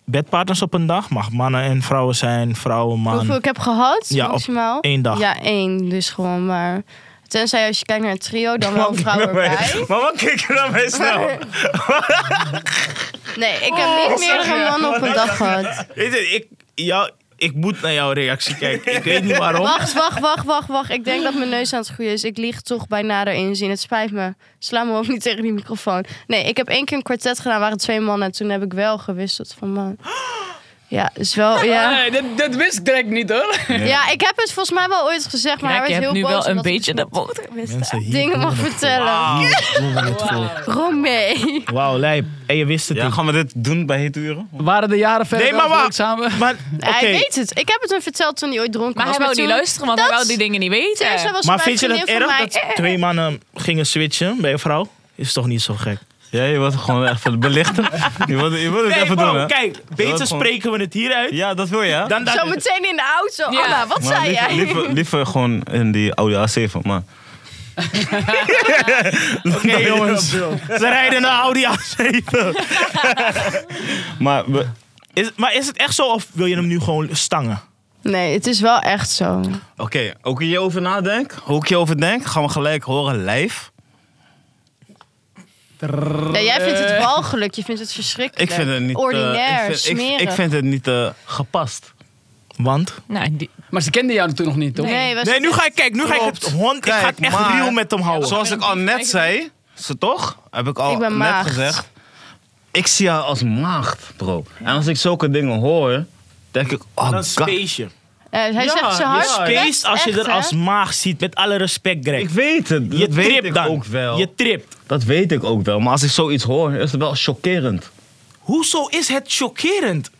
[SPEAKER 1] bedpartners op een dag? Mag mannen en vrouwen zijn, vrouwen,
[SPEAKER 4] Hoeveel
[SPEAKER 1] man.
[SPEAKER 4] ik heb gehad,
[SPEAKER 1] Ja, op
[SPEAKER 4] maximaal?
[SPEAKER 1] één dag.
[SPEAKER 4] Ja, één dus gewoon, maar... Tenzij als je kijkt naar een trio, dan wel een vrouw erbij.
[SPEAKER 3] Maar wat kijk je dan mee snel?
[SPEAKER 4] (laughs) Nee, ik
[SPEAKER 1] Oh,
[SPEAKER 4] heb niet meer dan een man op een dag gehad.
[SPEAKER 1] Weet je, ik, jou, ik moet naar jouw reactie kijken. Ik weet niet waarom.
[SPEAKER 4] Wacht, wacht, wacht, wacht, wacht. Ik denk dat mijn neus aan het groeien is. Ik lieg toch bij nader inzien. Het spijt me. Sla me ook niet tegen die microfoon. Nee, ik heb één keer een kwartet gedaan, waren twee mannen. En toen heb ik wel gewisseld van man. Ja, is wel... Ja.
[SPEAKER 2] Nee, dit, dit wist ik direct niet hoor.
[SPEAKER 4] Ja, ik heb het volgens mij wel ooit gezegd, maar
[SPEAKER 5] Kijk, je
[SPEAKER 4] hij werd
[SPEAKER 5] hebt
[SPEAKER 4] heel
[SPEAKER 5] nu
[SPEAKER 4] boos.
[SPEAKER 5] wel een
[SPEAKER 4] omdat ik (laughs)
[SPEAKER 5] beetje de
[SPEAKER 4] dus
[SPEAKER 5] boot.
[SPEAKER 1] Mensen hier
[SPEAKER 4] dingen mag vertellen.
[SPEAKER 1] doen we het voor.
[SPEAKER 4] Romee.
[SPEAKER 1] Wauw, lijp. En je wist het
[SPEAKER 3] Ja,
[SPEAKER 1] niet.
[SPEAKER 3] gaan we dit doen bij Hete Uren?
[SPEAKER 2] Waren de jaren verder
[SPEAKER 1] Nee, maar
[SPEAKER 2] wel
[SPEAKER 1] wa-
[SPEAKER 2] samen?
[SPEAKER 1] Maar,
[SPEAKER 4] Hij
[SPEAKER 1] oké.
[SPEAKER 4] weet het. Ik heb het hem verteld toen hij ooit dronken
[SPEAKER 5] Maar
[SPEAKER 4] was.
[SPEAKER 5] hij wou niet
[SPEAKER 4] toen-
[SPEAKER 5] luisteren, want hij
[SPEAKER 4] Dat-
[SPEAKER 5] wou die dingen niet
[SPEAKER 4] Teresa
[SPEAKER 5] weten.
[SPEAKER 4] was
[SPEAKER 1] maar
[SPEAKER 4] mijn
[SPEAKER 1] vind je het
[SPEAKER 4] vriendin van
[SPEAKER 1] erg
[SPEAKER 4] mij.
[SPEAKER 1] dat
[SPEAKER 4] (laughs)
[SPEAKER 1] twee mannen gingen switchen bij een vrouw? Is toch niet zo gek?
[SPEAKER 3] Ja, je wordt gewoon even (laughs) belichten. Je wilt, je wilt het even
[SPEAKER 1] bro,
[SPEAKER 3] doen, hè?
[SPEAKER 1] kijk,
[SPEAKER 3] Dat
[SPEAKER 1] beter
[SPEAKER 3] gewoon-
[SPEAKER 1] spreken we het hier uit
[SPEAKER 3] Ja, dat wil je, hè?
[SPEAKER 1] dan dat.
[SPEAKER 4] Zo meteen in de auto.
[SPEAKER 5] Ja.
[SPEAKER 4] Anna, wat
[SPEAKER 3] Maar
[SPEAKER 4] zei
[SPEAKER 3] liever,
[SPEAKER 4] jij?
[SPEAKER 3] Liever, liever gewoon in die oude A7, maar...
[SPEAKER 1] Oké, jongens. Ze rijden naar Audi A7.
[SPEAKER 3] Maar we,
[SPEAKER 1] Is, maar is het echt zo of wil je hem nu gewoon stangen?
[SPEAKER 4] Nee, het is wel echt zo.
[SPEAKER 3] Oké, ook je over nadenkt, hoe ik je over denk, gaan we gelijk horen live.
[SPEAKER 4] Ja, jij vindt het walgelijk. Je vindt het verschrikkelijk.
[SPEAKER 3] Ik vind het niet... eh,
[SPEAKER 4] Ordinair,
[SPEAKER 3] ik, vind, ik,
[SPEAKER 4] smerig.
[SPEAKER 3] ik vind het niet eh, gepast.
[SPEAKER 1] Want?
[SPEAKER 5] Nou, die-
[SPEAKER 2] Maar ze kenden jou toen nog niet, toch?
[SPEAKER 4] Nee, was
[SPEAKER 1] Nee, nu ga ik kijken. Nu ga ik het hond. Ik ga het
[SPEAKER 3] Kijk,
[SPEAKER 1] echt
[SPEAKER 3] maar-
[SPEAKER 1] real met hem houden.
[SPEAKER 3] Zoals ik al net zei, ze toch? Heb ik al
[SPEAKER 4] Ik ben
[SPEAKER 3] net
[SPEAKER 4] maagd.
[SPEAKER 3] gezegd. Ik zie haar als maagd, bro. En als ik zulke dingen hoor, denk ik, oh
[SPEAKER 1] dan
[SPEAKER 3] god.
[SPEAKER 1] space je.
[SPEAKER 4] Eh, hij
[SPEAKER 3] Ja,
[SPEAKER 4] zegt ze
[SPEAKER 3] ja.
[SPEAKER 1] Oh,
[SPEAKER 4] hard.
[SPEAKER 1] Space als je
[SPEAKER 4] echt,
[SPEAKER 1] er als
[SPEAKER 4] hè?
[SPEAKER 1] maag ziet. Met alle respect, Greg.
[SPEAKER 3] Ik weet het, dat
[SPEAKER 1] je
[SPEAKER 3] weet
[SPEAKER 1] tript
[SPEAKER 3] ik
[SPEAKER 1] dan.
[SPEAKER 3] ook wel.
[SPEAKER 1] Je tript.
[SPEAKER 3] Dat weet ik ook wel, maar als ik zoiets hoor, is het wel chockerend.
[SPEAKER 1] Hoezo is het chockerend?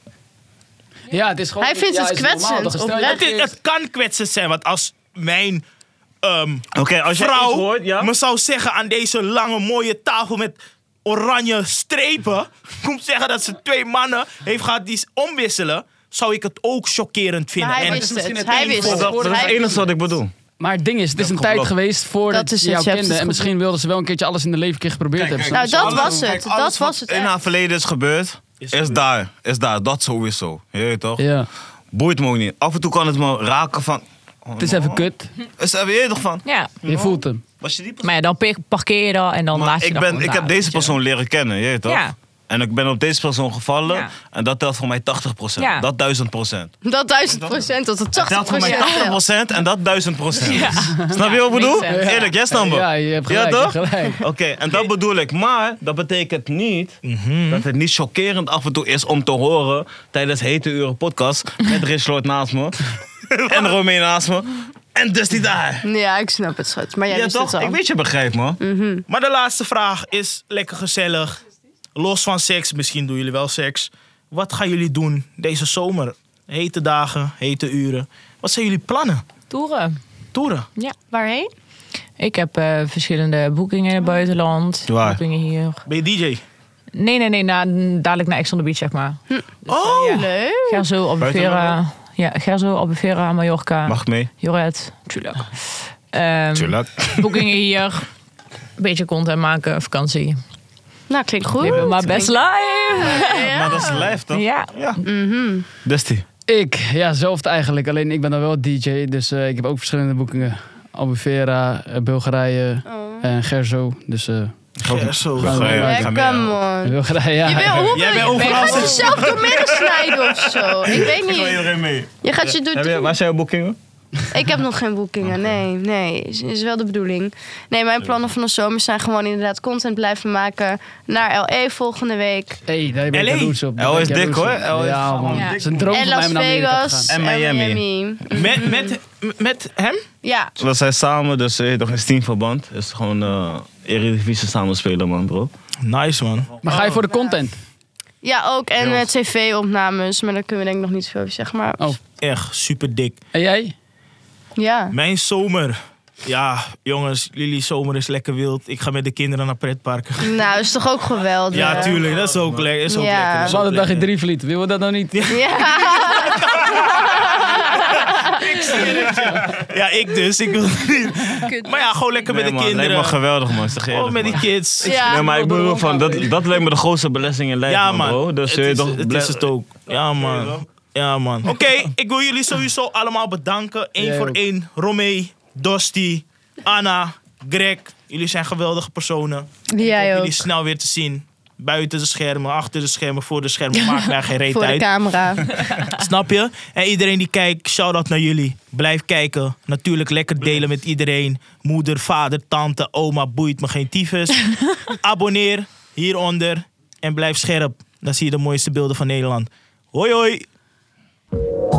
[SPEAKER 2] Ja, het is gewoon...
[SPEAKER 4] Hij vindt
[SPEAKER 2] ja,
[SPEAKER 4] het
[SPEAKER 2] is normaal,
[SPEAKER 4] kwetsend,
[SPEAKER 2] toch? Stel je
[SPEAKER 4] oprecht.
[SPEAKER 1] Het, is-
[SPEAKER 2] eerst-
[SPEAKER 1] het kan kwetsend zijn, want als mijn ehm,
[SPEAKER 3] Oké, als je
[SPEAKER 1] vrouw
[SPEAKER 3] iets hoort, ja?
[SPEAKER 1] me zou zeggen aan deze lange mooie tafel met oranje strepen, (laughs) komt zeggen dat ze twee mannen heeft gehad die s- omwisselen, zou ik het ook chockerend vinden.
[SPEAKER 4] Maar hij
[SPEAKER 1] En-
[SPEAKER 4] wist
[SPEAKER 2] is misschien
[SPEAKER 4] het.
[SPEAKER 2] het
[SPEAKER 4] Hij
[SPEAKER 2] enige
[SPEAKER 4] wist
[SPEAKER 3] Dat,
[SPEAKER 4] het.
[SPEAKER 3] dat is het
[SPEAKER 4] Hij-
[SPEAKER 3] enige wat ik bedoel.
[SPEAKER 2] Maar het ding is, het is een
[SPEAKER 3] geloof.
[SPEAKER 2] tijd geweest voordat
[SPEAKER 4] Dat is
[SPEAKER 2] ze
[SPEAKER 4] het,
[SPEAKER 2] jou
[SPEAKER 4] je hebt
[SPEAKER 2] kenden.
[SPEAKER 4] het
[SPEAKER 2] En misschien wilden ze wel een keertje alles in de leven een keer geprobeerd hebben.
[SPEAKER 4] Nou,
[SPEAKER 2] Zo-
[SPEAKER 4] dat was het.
[SPEAKER 3] Alles
[SPEAKER 4] Dat
[SPEAKER 3] wat
[SPEAKER 4] was het.
[SPEAKER 3] in
[SPEAKER 4] echt.
[SPEAKER 3] haar verleden is gebeurd, is,
[SPEAKER 1] gebeurd.
[SPEAKER 3] daar. Is daar, dat sowieso. Je weet toch?
[SPEAKER 2] Ja.
[SPEAKER 3] Boeit me ook niet. Af en toe kan het me raken van...
[SPEAKER 2] Het is even kut.
[SPEAKER 3] Is er weer toch van?
[SPEAKER 5] ja.
[SPEAKER 4] Oh.
[SPEAKER 2] Je voelt hem.
[SPEAKER 3] Was je die persoon?
[SPEAKER 5] Maar ja, dan pe- parkeer je dat en dan
[SPEAKER 3] Maar
[SPEAKER 5] laat je
[SPEAKER 3] ik,
[SPEAKER 5] dat
[SPEAKER 3] ben,
[SPEAKER 5] gewoon
[SPEAKER 3] ik
[SPEAKER 5] daar,
[SPEAKER 3] heb deze
[SPEAKER 5] weet je.
[SPEAKER 3] persoon leren kennen, je weet toch?
[SPEAKER 5] Ja.
[SPEAKER 3] En ik ben op deze persoon gevallen.
[SPEAKER 5] Ja.
[SPEAKER 3] En dat telt voor mij 80 procent.
[SPEAKER 5] Ja.
[SPEAKER 3] Dat 1000 procent.
[SPEAKER 4] Dat 1000 procent tot de 80
[SPEAKER 3] Telt voor mij 80
[SPEAKER 4] procent.
[SPEAKER 3] procent en dat 1000 procent.
[SPEAKER 5] Ja.
[SPEAKER 3] Snap je wat ik bedoel?
[SPEAKER 5] makes sense.
[SPEAKER 3] Eerlijk, yes number.
[SPEAKER 2] Ja, je hebt gelijk, je
[SPEAKER 3] toch?
[SPEAKER 2] hebt gelijk.
[SPEAKER 3] (laughs) Oké, en dat bedoel ik. Maar dat betekent niet
[SPEAKER 2] Mhm.
[SPEAKER 3] dat het niet chockerend af en toe is om te horen tijdens Hete Uren podcast met Rich Lord naast
[SPEAKER 5] (laughs)
[SPEAKER 3] me en Romein naast me en Dusty daar.
[SPEAKER 4] Ja, ik snap het, schat. Maar jij
[SPEAKER 3] Ja
[SPEAKER 5] dus
[SPEAKER 4] wist het
[SPEAKER 3] toch?
[SPEAKER 4] al.
[SPEAKER 3] Ik weet je begrijpt man.
[SPEAKER 5] Mhm.
[SPEAKER 1] Maar de laatste vraag is lekker gezellig. Los van seks, misschien doen jullie wel seks. Wat gaan jullie doen deze zomer? Hete dagen, hete uren. Wat zijn jullie plannen?
[SPEAKER 5] Toeren.
[SPEAKER 1] Toeren.
[SPEAKER 4] Waarheen?
[SPEAKER 5] Ik heb eh, verschillende boekingen in het buitenland.
[SPEAKER 3] Waar?
[SPEAKER 5] Boekingen hier.
[SPEAKER 1] Ben je DJ?
[SPEAKER 5] Nee, nee, nee. Na, dadelijk naar Ex on the Beach, zeg maar.
[SPEAKER 3] Hm.
[SPEAKER 1] Oh!
[SPEAKER 4] Leuk.
[SPEAKER 5] Gerzo, Albufeira. Ja, Gerzo, Albufeira, Mallorca.
[SPEAKER 3] Mag ik mee?
[SPEAKER 5] Joret. Tuurlijk. Ehm, Boekingen hier. Beetje content maken, vakantie.
[SPEAKER 4] Nou, klinkt goed.
[SPEAKER 5] Leven maar best live.
[SPEAKER 3] Maar dat is live toch?
[SPEAKER 5] Ja.
[SPEAKER 3] Dusty.
[SPEAKER 2] Ik, ja, hetzelfde eigenlijk. Alleen ik ben dan wel DJ, dus eh, ik heb ook verschillende boekingen. Albufeira, eh, Bulgarije
[SPEAKER 4] Oh.
[SPEAKER 2] en Gerzo. Dus eh,
[SPEAKER 1] Ja, zo.
[SPEAKER 3] Ja, ik ga mee,
[SPEAKER 4] Lekker,
[SPEAKER 3] ja.
[SPEAKER 4] man.
[SPEAKER 2] Bulgarije, ja.
[SPEAKER 4] Je wil, hoe wil
[SPEAKER 1] Jij bent
[SPEAKER 4] je?
[SPEAKER 1] overal
[SPEAKER 4] Ga je
[SPEAKER 1] zitten.
[SPEAKER 4] jezelf door midden snijden of zo? Ik weet
[SPEAKER 3] Ik wil
[SPEAKER 4] niet.
[SPEAKER 3] iedereen mee.
[SPEAKER 4] Je gaat je door...
[SPEAKER 3] Heb je- Waar zijn jouw boekingen?
[SPEAKER 4] Ik heb nog geen boekingen. Nee, nee. Is, is wel de bedoeling. Nee, mijn plannen van de zomer zijn gewoon inderdaad content blijven maken. Naar LA volgende week.
[SPEAKER 2] hey, daar ben ik
[SPEAKER 1] LA.
[SPEAKER 2] jaloers op. Daar
[SPEAKER 3] LA
[SPEAKER 2] ben ik
[SPEAKER 3] is dik,
[SPEAKER 2] jaloers op.
[SPEAKER 3] hoor. LA is
[SPEAKER 2] Ja, man.
[SPEAKER 5] Ja.
[SPEAKER 2] Het is een droom
[SPEAKER 4] En
[SPEAKER 2] van mij
[SPEAKER 4] Las
[SPEAKER 2] om naar Amerika te
[SPEAKER 4] Vegas.
[SPEAKER 2] gaan.
[SPEAKER 3] En Miami. Mm.
[SPEAKER 1] Met, met, met hem?
[SPEAKER 4] Ja.
[SPEAKER 3] We zijn samen, dus eh, toch is teamverband. Het is gewoon eh Eredivisie samen spelen, man, bro.
[SPEAKER 1] Nice, man.
[SPEAKER 2] Maar ga je voor de content?
[SPEAKER 4] Ja, ook. En eh, tv-opnames. Maar daar kunnen we denk ik nog niet zoveel over zeggen. Maar
[SPEAKER 2] Oh.
[SPEAKER 1] Echt super dik.
[SPEAKER 2] En jij?
[SPEAKER 4] ja.
[SPEAKER 1] Mijn zomer. Ja, jongens, jullie zomer is lekker wild. Ik ga met de kinderen naar pretparken.
[SPEAKER 4] Nou, is toch ook geweldig.
[SPEAKER 1] Ja, tuurlijk. Dat is ook lekker. Is ook
[SPEAKER 4] Ja.
[SPEAKER 1] lekker.
[SPEAKER 2] We hadden dag in drie verliet. Wil je dat nou niet?
[SPEAKER 4] Ja.
[SPEAKER 1] Ja, ik dus. Ik wil het niet. Maar ja, gewoon lekker
[SPEAKER 3] Nee,
[SPEAKER 1] met de
[SPEAKER 3] man,
[SPEAKER 1] kinderen.
[SPEAKER 3] Lijkt me geweldig, man. Zeg je
[SPEAKER 1] Oh,
[SPEAKER 3] eerlijk,
[SPEAKER 1] met die
[SPEAKER 3] man. (laughs)
[SPEAKER 1] kids.
[SPEAKER 4] Ja.
[SPEAKER 3] Nee, maar ik bedoel van, dat, dat lijkt me de grootste blessing in lijf,
[SPEAKER 1] Ja,
[SPEAKER 3] man, bro.
[SPEAKER 1] man.
[SPEAKER 3] Dus
[SPEAKER 1] het,
[SPEAKER 3] eh,
[SPEAKER 1] is,
[SPEAKER 3] toch
[SPEAKER 1] het is
[SPEAKER 3] ble-
[SPEAKER 1] het ook. Ja, man. Ja, man.
[SPEAKER 3] (laughs)
[SPEAKER 1] Oké, ik wil jullie sowieso allemaal bedanken. Eén
[SPEAKER 2] Jij
[SPEAKER 1] voor
[SPEAKER 2] ook.
[SPEAKER 1] één. Romee, Dosti, Anna, Greg. Jullie zijn geweldige personen. Ik hoop
[SPEAKER 4] Jij ook.
[SPEAKER 1] jullie snel weer te zien. Buiten de schermen, achter de schermen, voor de schermen. Maakt mij
[SPEAKER 4] (laughs)
[SPEAKER 1] geen reet
[SPEAKER 4] Voor de
[SPEAKER 1] uit.
[SPEAKER 4] camera.
[SPEAKER 1] (laughs) Snap je? En iedereen die kijkt, shout-out naar jullie. Blijf kijken. Natuurlijk lekker delen met iedereen. Moeder, vader, tante, oma, boeit me geen tyfus. Abonneer hieronder en blijf scherp. Dan zie je de mooiste beelden van Nederland. Hoi hoi!